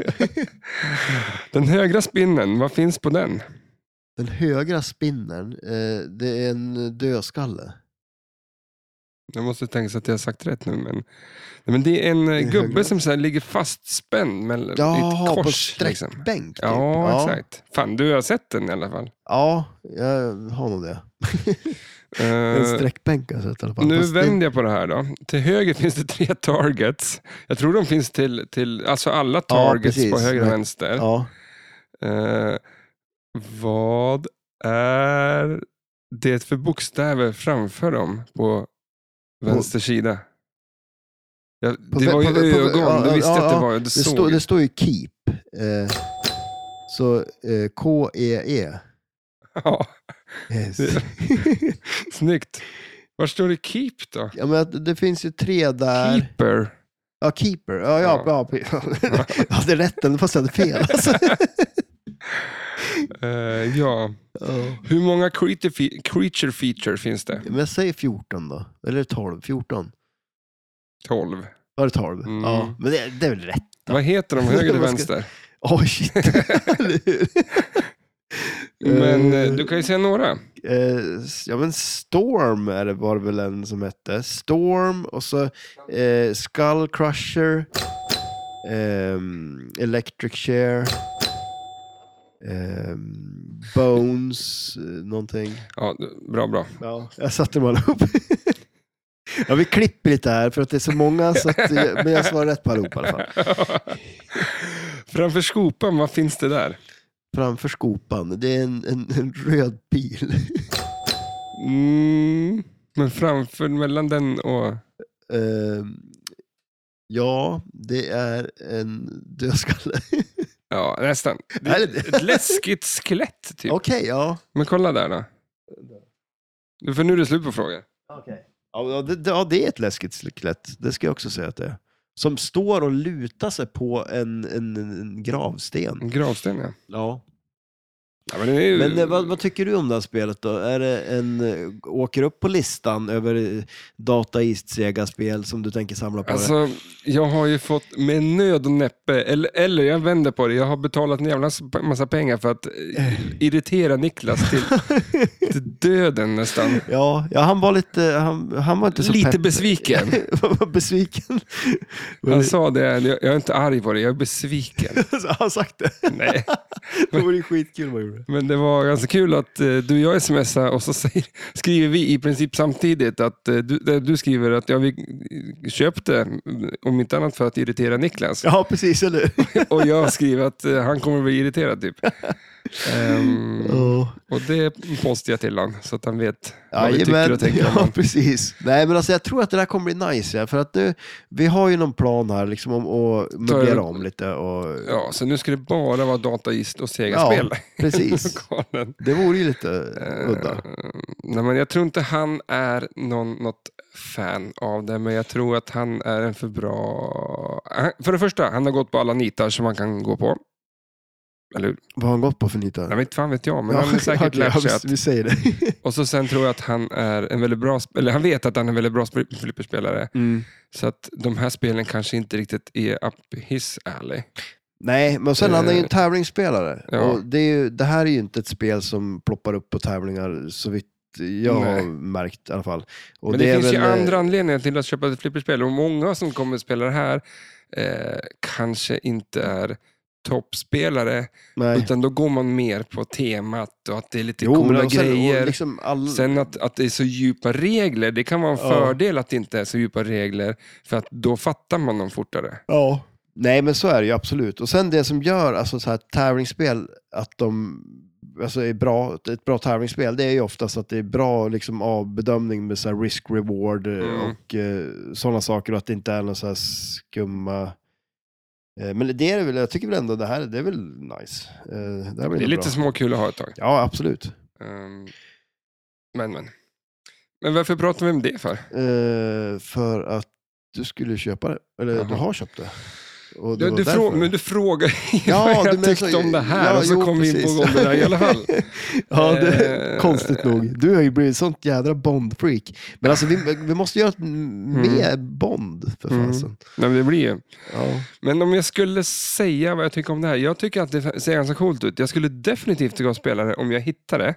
Speaker 1: Den högra spinnen, vad finns på den?
Speaker 2: Den högra spinnen, eh, det är en dödskalle.
Speaker 1: Jag måste tänka så att jag har sagt rätt nu. Men, nej, men det är en eh,
Speaker 2: är
Speaker 1: gubbe
Speaker 2: högra.
Speaker 1: som så här ligger fastspänd mellan i ett
Speaker 2: Jaha,
Speaker 1: kors.
Speaker 2: på
Speaker 1: liksom.
Speaker 2: sträckbänk typ.
Speaker 1: ja, exakt. Fan, du har sett den i alla fall.
Speaker 2: Ja, jag har nog det.
Speaker 1: Eh,
Speaker 2: En sträckbänk har jag sett i alla fall.
Speaker 1: nu
Speaker 2: Fast det-
Speaker 1: vänder jag på det här då. Till höger finns det tre targets. Jag tror de finns till, till alltså alla targets
Speaker 2: precis.
Speaker 1: på höger och
Speaker 2: Men-
Speaker 1: vänster.
Speaker 2: Ja,
Speaker 1: Eh, vad är det för bokstäver framför dem på vänster sida? Ja,
Speaker 2: På
Speaker 1: det
Speaker 2: vä-
Speaker 1: var ju
Speaker 2: på vä- på vä-
Speaker 1: ögon,
Speaker 2: ja,
Speaker 1: du visste
Speaker 2: ja,
Speaker 1: att det
Speaker 2: ja.
Speaker 1: var, du
Speaker 2: det, står,
Speaker 1: såg.
Speaker 2: det står ju keep. Eh, så eh, K-E-E.
Speaker 1: *laughs* Ja,
Speaker 2: Yes.
Speaker 1: Det- snyggt. Var står det keep då?
Speaker 2: *laughs* ja, men att det finns ju tre där.
Speaker 1: Keeper.
Speaker 2: Ja, keeper. Ja, ja, ja. *laughs* ja. Jag hade rätt, ändå, fast jag hade fel. Alltså.
Speaker 1: Eh, *laughs* ja.
Speaker 2: Ja.
Speaker 1: Hur många creature, fe- creature feature finns det?
Speaker 2: Men jag säger 14 då. Eller 12. 14.
Speaker 1: 12.
Speaker 2: Var det 12?
Speaker 1: Mm.
Speaker 2: Ja, men det, det är väl rätt.
Speaker 1: Vad heter de, höger eller
Speaker 2: *laughs* Vad ska-
Speaker 1: vänster? *laughs*
Speaker 2: Oj, shit. Eller hur?
Speaker 1: Men eh,
Speaker 2: Eh,
Speaker 1: du kan ju säga några.
Speaker 2: eh, s- ja, men Storm är det, var det väl en som hette. Storm och så eh, Skull Crusher. ehm, electric Chair. ehm, bones, eh, någonting.
Speaker 1: Ja, bra, bra.
Speaker 2: Ja, jag satte dem alla ihop. *laughs* ja, vi klipper lite här för att det är så många, så att, eh, men jag svarar rätt på allihop i alla fall.
Speaker 1: Framför skopan, vad finns det där?
Speaker 2: Framför skopan, det är en, en, en röd pil.
Speaker 1: Mm, men framför, mellan den och...
Speaker 2: Ehm, ja, det är en
Speaker 1: *laughs*
Speaker 2: dödskalle.
Speaker 1: Ja, nästan. Det
Speaker 2: Är
Speaker 1: är
Speaker 2: det det?
Speaker 1: ett läskigt skelett, typ.
Speaker 2: Okej, ja.
Speaker 1: Men kolla där då. Du, För nu är det slut på frågan.
Speaker 2: Okay. Ja, det, det- ja, det är ett läskigt skelett. Det ska jag också säga att det är. Som står och lutar sig på en, en, en gravsten.
Speaker 1: En gravsten, Mm, ja.
Speaker 2: Ja.
Speaker 1: Ja, men det är ju...
Speaker 2: Men eh, vad, vad tycker du om det här spelet då? Är det en, eh, åker upp på listan över eh, Data East Sega-spel som du tänker samla på dig?
Speaker 1: Alltså, jag har ju fått med nöd och näppe, eller, eller jag vänder på det, jag har betalat en jävla s- massa pengar för att eh, irritera Niklas *laughs* till, till döden nästan.
Speaker 2: Ja, ja, han var lite, eh, han, han var inte så
Speaker 1: Lite
Speaker 2: pepp.
Speaker 1: besviken.
Speaker 2: *laughs*
Speaker 1: Alltså-
Speaker 2: Han
Speaker 1: *laughs*
Speaker 2: var besviken. Men,
Speaker 1: Han sa det, jag jag är inte arg på det, jag är besviken. *laughs*
Speaker 2: alltså, *laughs* han har sagt det.
Speaker 1: Nej.
Speaker 2: Det vore ju skitkul om han gjorde det.
Speaker 1: Men det var ganska kul att eh, du och jag smsar och så säger, skriver vi i princip samtidigt att eh, du, där du skriver att jag köpte, mm, om inte annat för att irritera Niklas.
Speaker 2: Ja, precis, eller hur?
Speaker 1: Och jag skriver att eh, han kommer bli irriterad typ. Ehm,
Speaker 2: Ja.
Speaker 1: och det postar jag till honom så att han vet vad vi tycker
Speaker 2: Jajamän,
Speaker 1: och tänker om
Speaker 2: ja
Speaker 1: honom.
Speaker 2: precis. Nej men alltså jag tror att det där kommer bli nice. Ja, för att nu, vi har ju någon plan här liksom om att möblera om lite. Och,
Speaker 1: Ja, så nu ska det bara vara dataist och Sega-spel i *laughs*
Speaker 2: precis.
Speaker 1: lokalen.
Speaker 2: Det vore ju lite
Speaker 1: Eh,
Speaker 2: udda.
Speaker 1: Nej, men jag tror inte han är någon, något fan av det, men jag tror att han är en för bra... Han- För det första, han har gått på alla nitar som man kan gå på. Eller hur?
Speaker 2: Vad har han gått på för nitar?
Speaker 1: Nej, men inte fan vet jag, men han har säkert
Speaker 2: okej,
Speaker 1: lärt sig
Speaker 2: *laughs* ja,
Speaker 1: att...
Speaker 2: vi, vi säger det. *laughs*
Speaker 1: Och så sen tror jag att han är en väldigt bra... sp- Eller han vet att han är en väldigt bra sp- flipperspelare. Så att de här spelen kanske inte riktigt är up his alley.
Speaker 2: Nej, men sen han är ju en
Speaker 1: Eh,
Speaker 2: tävlingsspelare.
Speaker 1: ja.
Speaker 2: Och det, är ju, det här är ju inte ett spel som ploppar upp på tävlingar så vitt jag har
Speaker 1: Nej.
Speaker 2: märkt i alla fall. Och
Speaker 1: Men det,
Speaker 2: är
Speaker 1: finns ju
Speaker 2: väl, eh,
Speaker 1: andra anledningar till att köpa ett flipperspel och många som kommer att spela det här eh, kanske inte är toppspelare
Speaker 2: Nej.
Speaker 1: utan då går man mer på temat och att det är lite
Speaker 2: Jo, men
Speaker 1: coola
Speaker 2: och sen- och
Speaker 1: grejer.
Speaker 2: Liksom all...
Speaker 1: Sen att, att det är så djupa regler, det kan vara en
Speaker 2: Ja.
Speaker 1: fördel att det inte är så djupa regler för att då fattar man dem fortare.
Speaker 2: Ja. Nej, men så är det ju absolut. Och sen det som gör alltså, så här, tävlingsspel att de alltså, är bra, ett bra tävlingsspel, det är ju oftast att det är bra liksom, avbedömning med så här, risk-reward eh,
Speaker 1: Mm.
Speaker 2: och eh, sådana saker och att det inte är någon så här skumma... Eh, men det är det väl, jag tycker väl ändå det här det är väl nice. Eh, det,
Speaker 1: Det är
Speaker 2: här blir nog
Speaker 1: lite
Speaker 2: bra.
Speaker 1: småkul att ha ett tag.
Speaker 2: Ja, absolut.
Speaker 1: Ehm, men, men. Men varför pratar vi om det för?
Speaker 2: Eh, för att du skulle köpa det, eller
Speaker 1: Jaha.
Speaker 2: du har köpt det. Och det
Speaker 1: Du,
Speaker 2: var
Speaker 1: du,
Speaker 2: därför.
Speaker 1: frå- men du frågar ju
Speaker 2: Ja,
Speaker 1: *laughs* vad
Speaker 2: du
Speaker 1: jag
Speaker 2: menar
Speaker 1: tyckte
Speaker 2: så-
Speaker 1: om det här
Speaker 2: ja,
Speaker 1: och så
Speaker 2: jo,
Speaker 1: kom vi in
Speaker 2: precis.
Speaker 1: på det där i alla fall.
Speaker 2: *laughs* Ja, det är
Speaker 1: Eh,
Speaker 2: konstigt nog. Du har ju blivit sånt jädra Bond-freak. Men alltså, vi, vi måste göra ett m- mer Bond, för
Speaker 1: Mm.
Speaker 2: fasen.
Speaker 1: Nej, men det blir ju.
Speaker 2: Ja.
Speaker 1: Men om jag skulle säga vad jag tycker om det här. Jag tycker att det ser ganska coolt ut. Jag skulle definitivt tycka om spela det om jag hittar det.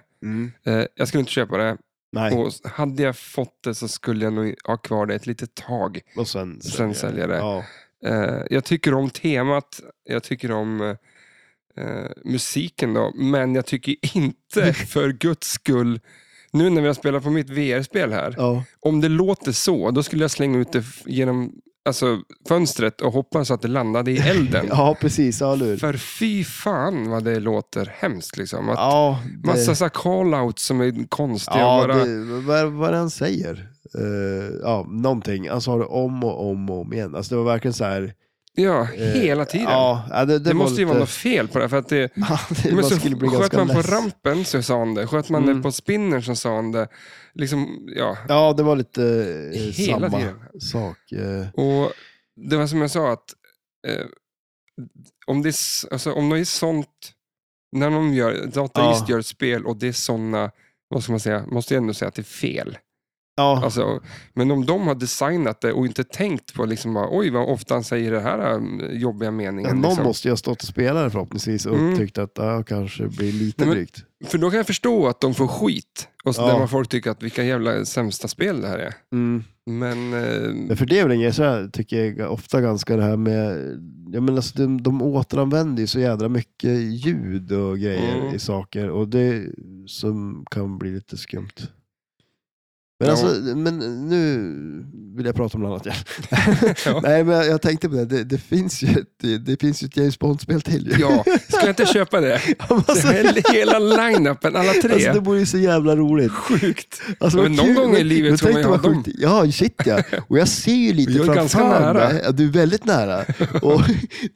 Speaker 1: Eh, Jag skulle inte köpa det.
Speaker 2: Nej,
Speaker 1: Och hade jag fått det så skulle jag nog ha kvar det ett litet tag.
Speaker 2: och sen,
Speaker 1: Sen säljer det.
Speaker 2: Ja.
Speaker 1: Eh, Jag tycker om temat. Jag tycker om eh, eh, musiken då. Men jag tycker *laughs*
Speaker 2: *laughs*
Speaker 1: inte för guds skull. Nu när vi har spelat på mitt VR-spel här.
Speaker 2: Ja.
Speaker 1: Om det låter så, då skulle jag slänga ut det f- genom alltså, fönstret och hoppas att det
Speaker 2: *laughs*
Speaker 1: landade i elden.
Speaker 2: ja, precis. Ja, eller hur?
Speaker 1: För fy fan vad det låter hemskt. Liksom. Att
Speaker 2: Ja, det,
Speaker 1: Massa så här call-outs som är konstiga.
Speaker 2: ja,
Speaker 1: och bara,
Speaker 2: det, vad, vad är det han säger? Eh, ja, någonting. Han sa det om och om och om igen. Alltså, det var verkligen så här...
Speaker 1: ja,
Speaker 2: eh,
Speaker 1: hela tiden.
Speaker 2: Ja, ja, det, det,
Speaker 1: det
Speaker 2: var
Speaker 1: måste ju
Speaker 2: lite-
Speaker 1: vara något fel på det. För att det
Speaker 2: *laughs* Ja, det,
Speaker 1: men
Speaker 2: man
Speaker 1: så
Speaker 2: skulle bli
Speaker 1: sköt
Speaker 2: ganska
Speaker 1: man på
Speaker 2: less.
Speaker 1: rampen så sa han det. Sköt man
Speaker 2: Mm.
Speaker 1: det på spinnern så sa han det. Liksom, ja.
Speaker 2: Ja, det var lite eh,
Speaker 1: Hela
Speaker 2: samma
Speaker 1: tiden.
Speaker 2: sak. eh.
Speaker 1: Och det var som jag sa att eh, om, det är, s- alltså, om det är sånt, när de gör, dataist
Speaker 2: Ja.
Speaker 1: gör ett spel och det är sådana, vad ska man säga, måste jag ändå säga att det är fel.
Speaker 2: Ja,
Speaker 1: Alltså, men om de har designat det och inte tänkt på liksom bara, oj vad ofta han säger den här um, jobbiga
Speaker 2: Ja,
Speaker 1: meningen.
Speaker 2: någon
Speaker 1: liksom.
Speaker 2: måste ju ha stått och spelat det förhoppningsvis och
Speaker 1: Mm.
Speaker 2: tyckt att det här kanske blir lite
Speaker 1: Nej, men-
Speaker 2: drygt.
Speaker 1: För då kan jag förstå att de får skit. Och så
Speaker 2: Ja.
Speaker 1: där man folk tycker att vilka jävla sämsta spel det här är.
Speaker 2: Mm.
Speaker 1: Men eh,
Speaker 2: Men för det är väl en grej, så här tycker jag ofta ganska det här med, jag menar alltså, de, de återanvänder ju så jädra mycket ljud och grejer
Speaker 1: Mm.
Speaker 2: i saker och det som kan bli lite skumt. Men,
Speaker 1: Ja.
Speaker 2: alltså, men nu vill jag prata om något annat igen.
Speaker 1: *laughs* ja.
Speaker 2: Nej, men jag tänkte på det, det, det finns ju ett, det, det finns ju ett James Bond-spel till ju.
Speaker 1: eh, ja, ska jag inte köpa det? Så
Speaker 2: *laughs* alltså,
Speaker 1: hela, hela line-upen, alla tre.
Speaker 2: alltså, det vore ju så jävla roligt.
Speaker 1: Sjukt.
Speaker 2: Alltså,
Speaker 1: Men
Speaker 2: vad
Speaker 1: någon
Speaker 2: kul.
Speaker 1: gång i
Speaker 2: Men-
Speaker 1: livet
Speaker 2: men
Speaker 1: ska
Speaker 2: tänk
Speaker 1: man ju
Speaker 2: dig
Speaker 1: ha
Speaker 2: vad sjukt- Ja, shit ja. Och jag ser ju lite
Speaker 1: Jag är
Speaker 2: framför
Speaker 1: ganska nära.
Speaker 2: mig. Ja, du är väldigt nära.
Speaker 1: *laughs*
Speaker 2: Och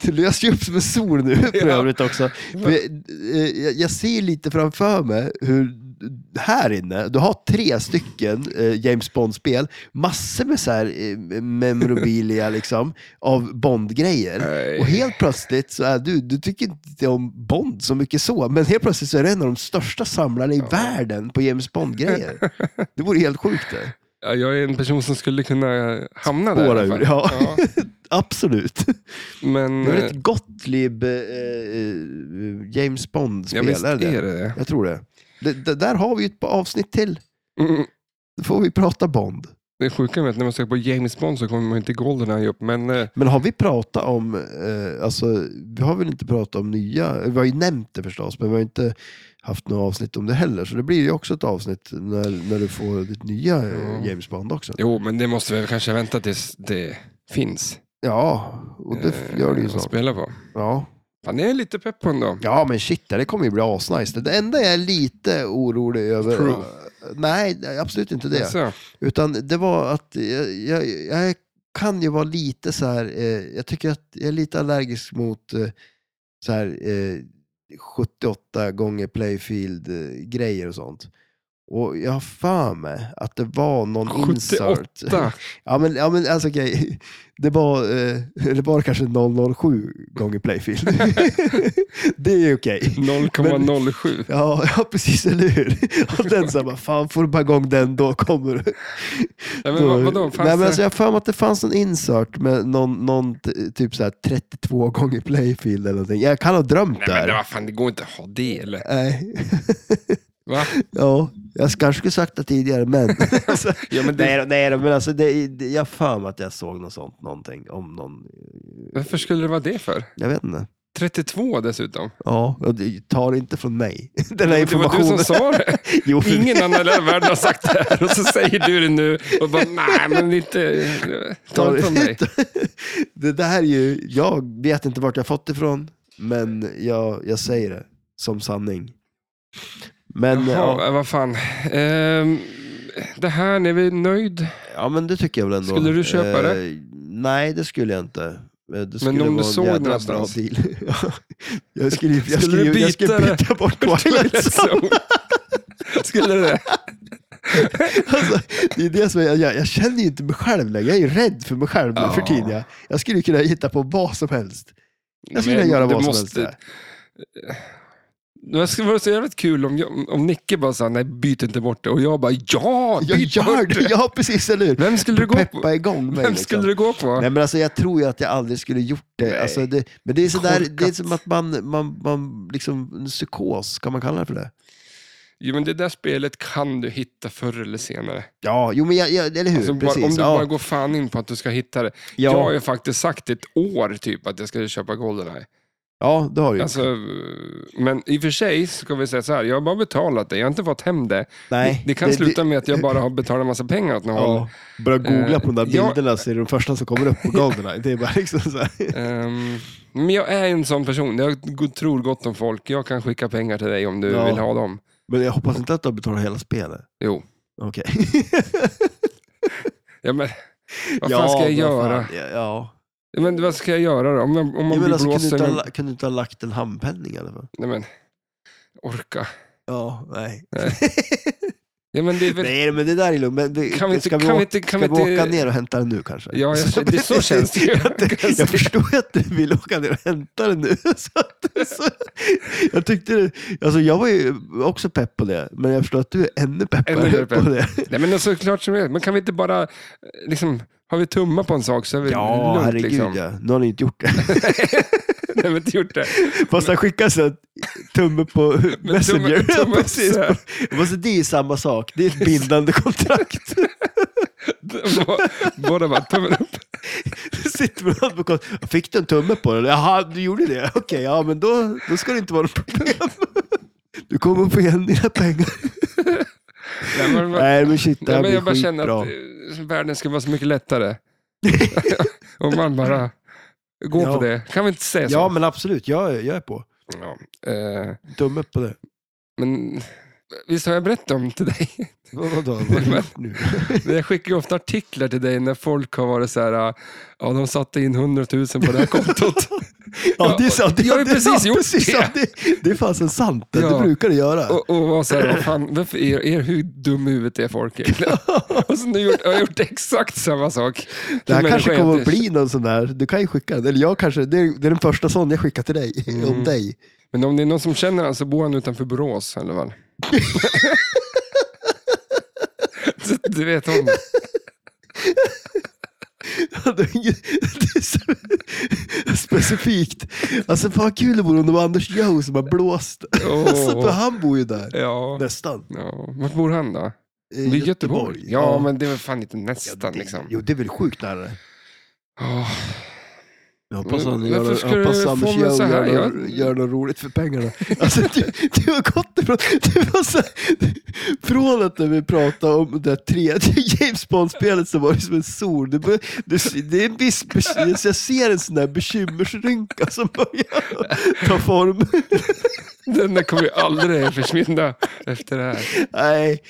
Speaker 2: det löser ju upp som en sol nu för
Speaker 1: Ja.
Speaker 2: övrigt också. För jag, eh, jag- jag ser lite framför mig hur här inne, du har tre stycken eh, James Bond-spel, massor med så här, eh, memorabilia liksom, av Bond-grejer.
Speaker 1: Nej.
Speaker 2: Och helt plötsligt så är du, du tycker inte om Bond så mycket så, men helt plötsligt så är du en av de största samlarna i världen på James Bond-grejer. Det vore helt sjukt det.
Speaker 1: Ja, Jag är en person som skulle kunna eh, hamna
Speaker 2: Spåra
Speaker 1: där. i alla
Speaker 2: ur,
Speaker 1: fall.
Speaker 2: ja. Absolut.
Speaker 1: Men
Speaker 2: Det är väl
Speaker 1: eh,
Speaker 2: ett Gottlieb eh, eh, James
Speaker 1: ja,
Speaker 2: Bond-spel?
Speaker 1: visst
Speaker 2: är det?
Speaker 1: är det det.
Speaker 2: Jag tror det. Det, det. Där har vi ju ett avsnitt till.
Speaker 1: Mm.
Speaker 2: Då får vi prata Bond.
Speaker 1: Det sjuka med att när man söker på James Bond så kommer man inte Goldeneye upp. Men eh,
Speaker 2: Men har vi pratat om, eh, alltså, vi har väl inte pratat om nya, vi har ju nämnt det förstås, men vi har inte haft något avsnitt om det heller. Så det blir ju också ett avsnitt när, när du får ditt nya eh, James Bond också.
Speaker 1: jo, men det måste vi kanske vänta tills det finns.
Speaker 2: Ja, och det
Speaker 1: eh,
Speaker 2: gör det ju
Speaker 1: att
Speaker 2: snart.
Speaker 1: spela på.
Speaker 2: Ja.
Speaker 1: Fan, jag är lite pepp på ändå.
Speaker 2: ja, men shit, det kommer ju bli asnice. Det enda jag är lite orolig över...
Speaker 1: Crew.
Speaker 2: Nej, absolut inte det.
Speaker 1: Alltså,
Speaker 2: Utan det var att jag, jag, jag kan ju vara lite så här, eh, jag tycker att jag är lite allergisk mot eh, så här, eh, 78 gånger playfield-grejer och sånt. Och jag har för mig att det var någon
Speaker 1: 78.
Speaker 2: insert. *laughs*
Speaker 1: ta.
Speaker 2: Ja men, ja, men alltså okej, det var, eh, det var kanske 007 gånger playfield. *laughs* det är ju okej.
Speaker 1: 0,07.
Speaker 2: Ja, ja, precis, eller hur? Och den sa bara, fan får du bara igång den då kommer du.
Speaker 1: Nej, men vad, vadå? Fanns
Speaker 2: Nej, men
Speaker 1: det-
Speaker 2: alltså, jag har för mig att det fanns en insert med någon, någon t- typ så här 32 gånger playfield eller någonting. Jag kan ha drömt
Speaker 1: Nej,
Speaker 2: det
Speaker 1: men
Speaker 2: här.
Speaker 1: vad fan, det går inte att ha det eller?
Speaker 2: Nej, *laughs*
Speaker 1: Va?
Speaker 2: ja, jag kanske skulle sagt det tidigare, *laughs* men... Alltså,
Speaker 1: Ja, men det,
Speaker 2: nej, då, nej då, men alltså, det, det, jag har för mig att jag såg något sånt, någonting om någon...
Speaker 1: varför skulle det vara det för?
Speaker 2: Jag vet inte.
Speaker 1: 32 dessutom.
Speaker 2: Ja, och det- ta det inte från mig. *laughs* Den här
Speaker 1: Det var du
Speaker 2: informationen.
Speaker 1: som sa det.
Speaker 2: *laughs* jo, för-
Speaker 1: Ingen annan i hela världen har sagt det här och så säger du det nu och bara nej men inte, ta det från mig.
Speaker 2: *laughs* det där är ju, jag vet inte vart jag fått ifrån, men jag, jag säger det som sanning. Men, ja,
Speaker 1: Ja, vad fan. Ehm, det här, är vi nöjd?
Speaker 2: ja, men det tycker jag väl ändå.
Speaker 1: Skulle du köpa det?
Speaker 2: Eh, Nej, det skulle jag inte. Eh, Det skulle
Speaker 1: om du
Speaker 2: vara en
Speaker 1: såg det
Speaker 2: jädra
Speaker 1: någonstans?
Speaker 2: bra deal. *laughs* Ja. jag skulle, jag skulle,
Speaker 1: Skulle du
Speaker 2: jag skulle
Speaker 1: byta det? *laughs*
Speaker 2: byta bort Twilight Zone. *laughs*
Speaker 1: Skulle det?
Speaker 2: Alltså, det är det som jag, jag, jag känner ju inte mig själv längre. Jag är ju rädd för mig själv nu
Speaker 1: Ja.
Speaker 2: för tiden. Jag, jag skulle ju kunna hitta på vad som helst. Jag skulle
Speaker 1: Men
Speaker 2: kunna göra
Speaker 1: du
Speaker 2: vad som
Speaker 1: måste-
Speaker 2: helst. där.
Speaker 1: Det skulle vara så jävligt kul om, jag, om Nicke bara sa nej byt inte bort det och jag bara ja,
Speaker 2: Jag
Speaker 1: byt
Speaker 2: gör
Speaker 1: bort
Speaker 2: det,
Speaker 1: det.
Speaker 2: ja precis, eller hur?
Speaker 1: Vem skulle du gå på?
Speaker 2: Peppa igång mig.
Speaker 1: Vem
Speaker 2: liksom.
Speaker 1: skulle du gå på?
Speaker 2: Nej men alltså jag tror ju att jag aldrig skulle gjort det.
Speaker 1: Nej.
Speaker 2: Alltså, det men det är, sådär, det är
Speaker 1: Korkat.
Speaker 2: som att man, man, man liksom, en psykos, kan man kalla det för det?
Speaker 1: Jo, men det där spelet kan du hitta förr eller senare.
Speaker 2: Ja, jo men jag, jag, eller hur?
Speaker 1: Alltså, bara,
Speaker 2: precis.
Speaker 1: om du
Speaker 2: ja.
Speaker 1: bara går fan in på att du ska hitta det. Jag
Speaker 2: ja.
Speaker 1: har
Speaker 2: Ja,
Speaker 1: ju faktiskt sagt ett år typ att jag ska köpa Goldeneye.
Speaker 2: det har du ju.
Speaker 1: Alltså, men i och för sig så ska vi säga så här, jag har bara betalat det, jag har inte fått hem det.
Speaker 2: Nej,
Speaker 1: det kan sluta med att jag bara har betalat en massa pengar åt någon.
Speaker 2: Ja, börja googla
Speaker 1: Eh,
Speaker 2: på de där
Speaker 1: jag-
Speaker 2: bilderna så är det de första som kommer upp på golven. Det är bara liksom så här.
Speaker 1: Ehm, men jag är en sån person, jag g- tror gott om folk. Jag kan skicka pengar till dig om du
Speaker 2: Ja.
Speaker 1: vill ha dem.
Speaker 2: Men jag hoppas inte att du har betalat hela spelet.
Speaker 1: Jo.
Speaker 2: Okej.
Speaker 1: Ja, men, *laughs* vad
Speaker 2: Ja,
Speaker 1: fan ska jag
Speaker 2: men vad
Speaker 1: göra?
Speaker 2: fan, Ja, ja.
Speaker 1: Men, vad ska jag göra då? Om, jag, om man
Speaker 2: ja men
Speaker 1: blir
Speaker 2: alltså, kunde, du
Speaker 1: blåsen...
Speaker 2: inte ha, la- kunde du inte ha lagt en handpenning i alla fall?
Speaker 1: Nej, men, orka.
Speaker 2: Ja, nej. *laughs*
Speaker 1: Ja, men det är väl...
Speaker 2: Nej, men det där är lugnt. Men det,
Speaker 1: Kan vi inte,
Speaker 2: ska vi,
Speaker 1: kan
Speaker 2: åka,
Speaker 1: vi inte, kan vi
Speaker 2: ska vi
Speaker 1: inte...
Speaker 2: åka ner och hämta den nu kanske?
Speaker 1: Ja, jag, det, så känns
Speaker 2: *laughs*
Speaker 1: det ju.
Speaker 2: Att det- Jag förstår att du vill åka ner och hämta den nu. *laughs* Så att, så, jag, tyckte, det- alltså jag var ju också pepp på det, men jag förstår att du är ännu peppare
Speaker 1: Ännu mer pepp.
Speaker 2: på det.
Speaker 1: Nej, men såklart klart som helst. Men kan vi inte bara, eh, liksom, har vi tummat på en sak så är vi
Speaker 2: Ja,
Speaker 1: lugnt.
Speaker 2: herregud
Speaker 1: liksom.
Speaker 2: ja. Nu har ni inte gjort det.
Speaker 1: *laughs* Nej, vi har inte gjort det.
Speaker 2: Fast han skickar så här tumme
Speaker 1: *laughs*
Speaker 2: på Messenger. *laughs*
Speaker 1: tumme- tumme
Speaker 2: ja,
Speaker 1: upp *laughs*
Speaker 2: precis.
Speaker 1: så här.
Speaker 2: Fast det är ju samma sak. Det är ett bindande kontrakt.
Speaker 1: Bå- Båda bara tummen upp.
Speaker 2: Du sitter med en advokat. Fick du en tumme på den? Jaha, du gjorde det? Okej, ja men då, då ska det inte vara något problem. Du kommer få igen dina pengar.
Speaker 1: Nej, men, vad-
Speaker 2: Nej men shit, det
Speaker 1: Nej,
Speaker 2: här
Speaker 1: men
Speaker 2: blir
Speaker 1: jag bara känner
Speaker 2: skitbra.
Speaker 1: att eh, världen ska vara så mycket
Speaker 2: *laughs*
Speaker 1: lättare. Om man bara går
Speaker 2: Ja.
Speaker 1: på det. Kan vi inte säga så?
Speaker 2: Ja men absolut, jag, är- jag är på.
Speaker 1: Ja. Eh,
Speaker 2: Tumme upp på det.
Speaker 1: men visst har jag berättat om till dig? *laughs*
Speaker 2: Vad, vadå, vad har du gjort nu?
Speaker 1: Men Jag skickar ju ofta eh,
Speaker 2: *laughs*
Speaker 1: artiklar till dig när folk har varit så här, *laughs* ja de satte in 100 000 på det här kontot.
Speaker 2: Ja, det är sant. Det,
Speaker 1: Jag har ju
Speaker 2: det är
Speaker 1: precis
Speaker 2: sant,
Speaker 1: gjort
Speaker 2: precis
Speaker 1: det.
Speaker 2: sant. Det, det är fasen sant. Det
Speaker 1: Ja.
Speaker 2: brukar det göra.
Speaker 1: Och, och var så här, vad fan, varför är, är, hur dum i huvudet är folk
Speaker 2: *laughs*
Speaker 1: egentligen? och så nu gjort, jag har gjort exakt samma sak.
Speaker 2: det här kanske
Speaker 1: Människa
Speaker 2: kommer att
Speaker 1: heter-
Speaker 2: bli någon sån där. Du kan ju skicka den. Eller jag kanske. Det är, det är den första sån jag skickar till dig.
Speaker 1: Mm.
Speaker 2: Om dig.
Speaker 1: Men om det är någon som känner han så bor han utanför Borås i alla
Speaker 2: *laughs*
Speaker 1: fall. *laughs* Så att du vet om det.
Speaker 2: *laughs* Det är inget- det är så specifikt. Alltså fan vad kul det vore om det var Anders Joe som har blåst. *laughs*
Speaker 1: Åh.
Speaker 2: Alltså, för han bor ju där.
Speaker 1: Ja.
Speaker 2: Nästan.
Speaker 1: ja. Vart bor han då?
Speaker 2: I
Speaker 1: I Göteborg? Ja, men det var fan inte nästan
Speaker 2: det,
Speaker 1: liksom.
Speaker 2: Jo, det är väl sjukt nära.
Speaker 1: Åh,
Speaker 2: Jag hoppas han
Speaker 1: Mm. Varför
Speaker 2: gör,
Speaker 1: ska
Speaker 2: jag hoppas
Speaker 1: du
Speaker 2: Anders
Speaker 1: få mig så
Speaker 2: Joe
Speaker 1: här?
Speaker 2: gör,
Speaker 1: Jag-
Speaker 2: något- gör något roligt för pengarna. Alltså, du, du har gått ifrån, du var så här, från att när vi pratade om det här tredje James Bond-spelet så var det som en sol. Du, bör- du, det är en viss, bes- jag ser en sån där bekymmersrynka som börjar ta form.
Speaker 1: Den där kommer ju aldrig försvinna efter det här.
Speaker 2: Nej,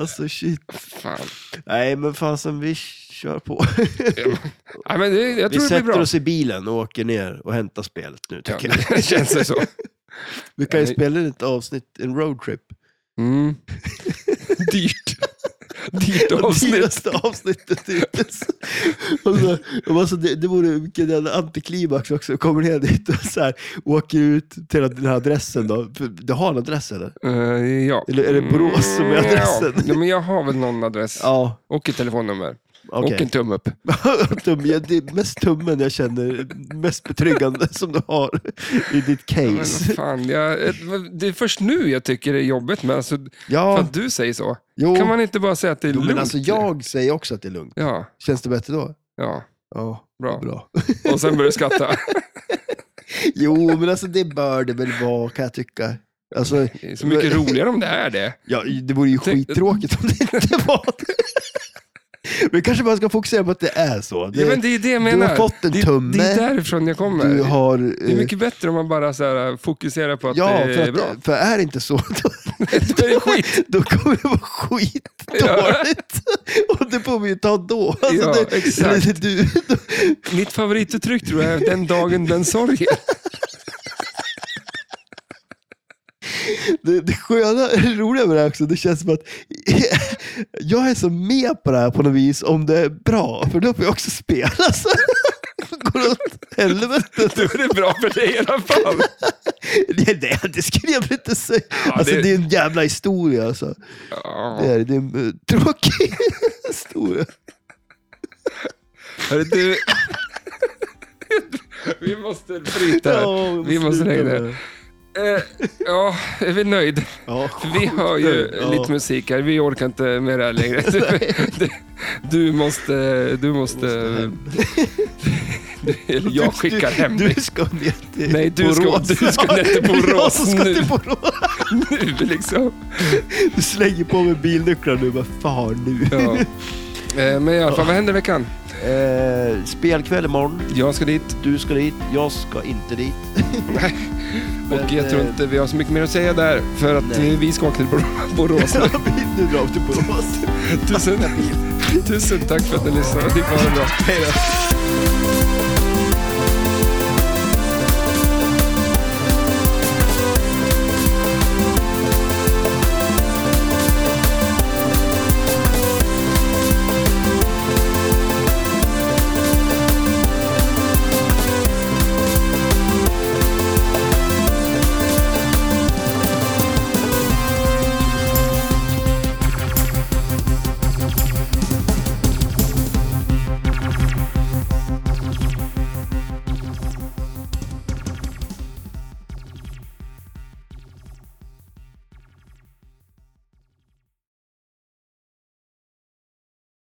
Speaker 2: alltså shit.
Speaker 1: Fan.
Speaker 2: Nej, men fasen vi kör på.
Speaker 1: Ja, men det, jag
Speaker 2: Vi
Speaker 1: tror det blir
Speaker 2: sätter
Speaker 1: bra.
Speaker 2: oss i bilen och åker ner och hämtar spelet nu
Speaker 1: Ja,
Speaker 2: tycker jag.
Speaker 1: det känns det så.
Speaker 2: Vi kan ju
Speaker 1: Nej.
Speaker 2: spela in ett avsnitt, en roadtrip.
Speaker 1: Mm. Dyrt. Dyrt avsnitt.
Speaker 2: Dyraste avsnittet hittills. *laughs* Och så, och alltså, det, det vore vilken jävla antiklimax också. Kommer ner dit och så här, åker ut till den här adressen då. För Du har en adress eller?
Speaker 1: Eh, ja.
Speaker 2: Eller är det Borås som
Speaker 1: Mm,
Speaker 2: är adressen?
Speaker 1: Ja. ja, men jag har väl någon adress.
Speaker 2: Ja,
Speaker 1: Och ett telefonnummer. Och en
Speaker 2: *laughs* okej.
Speaker 1: tumme upp.
Speaker 2: Tum, ja, det är mest tummen jag känner mest betryggande som du har i ditt
Speaker 1: Men vad
Speaker 2: case.
Speaker 1: fan, jag, eh, det är först nu jag tycker det är jobbigt, men alltså, för
Speaker 2: Ja,
Speaker 1: att du säger så.
Speaker 2: jo.
Speaker 1: Kan man inte bara säga att det är
Speaker 2: jo,
Speaker 1: lugnt?
Speaker 2: men alltså jag säger också att det är lugnt.
Speaker 1: Ja,
Speaker 2: Känns det bättre då?
Speaker 1: ja,
Speaker 2: Ja,
Speaker 1: bra.
Speaker 2: bra. *laughs*
Speaker 1: Och sen börjar du skratta.
Speaker 2: Jo, men alltså det bör det väl vara kan jag tycka. Alltså,
Speaker 1: Det är så mycket roligare om det är det.
Speaker 2: Ja, det vore ju
Speaker 1: Tänk-
Speaker 2: skittråkigt om det inte var det. Men kanske man ska fokusera på att det är så. Det,
Speaker 1: Ja, men det är det jag
Speaker 2: du
Speaker 1: menar.
Speaker 2: har fått en
Speaker 1: det,
Speaker 2: tumme.
Speaker 1: Det är därifrån jag kommer.
Speaker 2: du har...
Speaker 1: Det är
Speaker 2: eh,
Speaker 1: mycket bättre om man bara så här, eh, fokuserar på att
Speaker 2: ja,
Speaker 1: det är
Speaker 2: för,
Speaker 1: bra.
Speaker 2: att, för är det inte så,
Speaker 1: *laughs*
Speaker 2: då,
Speaker 1: Det är skit.
Speaker 2: *laughs* då kommer det
Speaker 1: *laughs*
Speaker 2: vara skitdåligt. Och det får vi ju ta då. Alltså,
Speaker 1: Ja,
Speaker 2: det,
Speaker 1: exakt.
Speaker 2: eller Du, då,
Speaker 1: Mitt favorituttryck tror jag är den dagen, den
Speaker 2: *laughs*
Speaker 1: sorgen.
Speaker 2: det, det sköna, *laughs* det roliga med det här också, det känns som att *laughs* jag är så med på det här på något vis om det är bra, för då får jag också spela. Så. *laughs* Går åt helvete.
Speaker 1: Då är det bra för dig i alla
Speaker 2: *laughs*
Speaker 1: fall.
Speaker 2: Det, det, det skulle jag väl inte säga. alltså,
Speaker 1: det-
Speaker 2: det... är en jävla historia. Alltså.
Speaker 1: Ja.
Speaker 2: Det, är, det är en eh, tråkig *laughs* historia.
Speaker 1: Hörru, du... *laughs* Vi måste bryta här.
Speaker 2: Ja,
Speaker 1: vi måste
Speaker 2: sluta
Speaker 1: lägga
Speaker 2: med
Speaker 1: ner.
Speaker 2: det.
Speaker 1: Eh, ja, är vi nöjda?
Speaker 2: Ja,
Speaker 1: Vi hör ju
Speaker 2: Ja.
Speaker 1: lite musik här. Vi orkar inte med det här längre.
Speaker 2: *laughs*
Speaker 1: Du, du måste... Du måste... Eller eh, jag skickar hem
Speaker 2: Du,
Speaker 1: dig
Speaker 2: du ska ner till
Speaker 1: Nej, du ska-
Speaker 2: Borås.
Speaker 1: du ska ner till
Speaker 2: *laughs* Ja, det är jag
Speaker 1: Borås
Speaker 2: som ska
Speaker 1: nu.
Speaker 2: till Borås.
Speaker 1: nu liksom.
Speaker 2: Du slänger på mig bilnycklar nu. Vad fan nu?
Speaker 1: Ja. Eh, Men i alla fall, vad händer i veckan?
Speaker 2: *laughs* Eh, spelkväll imorgon.
Speaker 1: Jag ska dit
Speaker 2: Du ska dit. Jag ska inte
Speaker 1: *laughs*
Speaker 2: dit.
Speaker 1: och
Speaker 2: Men,
Speaker 1: jag tror
Speaker 2: eh,
Speaker 1: inte vi har så mycket mer att säga där. För att
Speaker 2: Nej.
Speaker 1: eh, vi ska åka till Bor-
Speaker 2: *laughs*
Speaker 1: Borås.
Speaker 2: Nu drar vi till Borås.
Speaker 1: Tusen, tusen tack för att ni lyssnade. Ni får ha det bra.
Speaker 2: Hej då.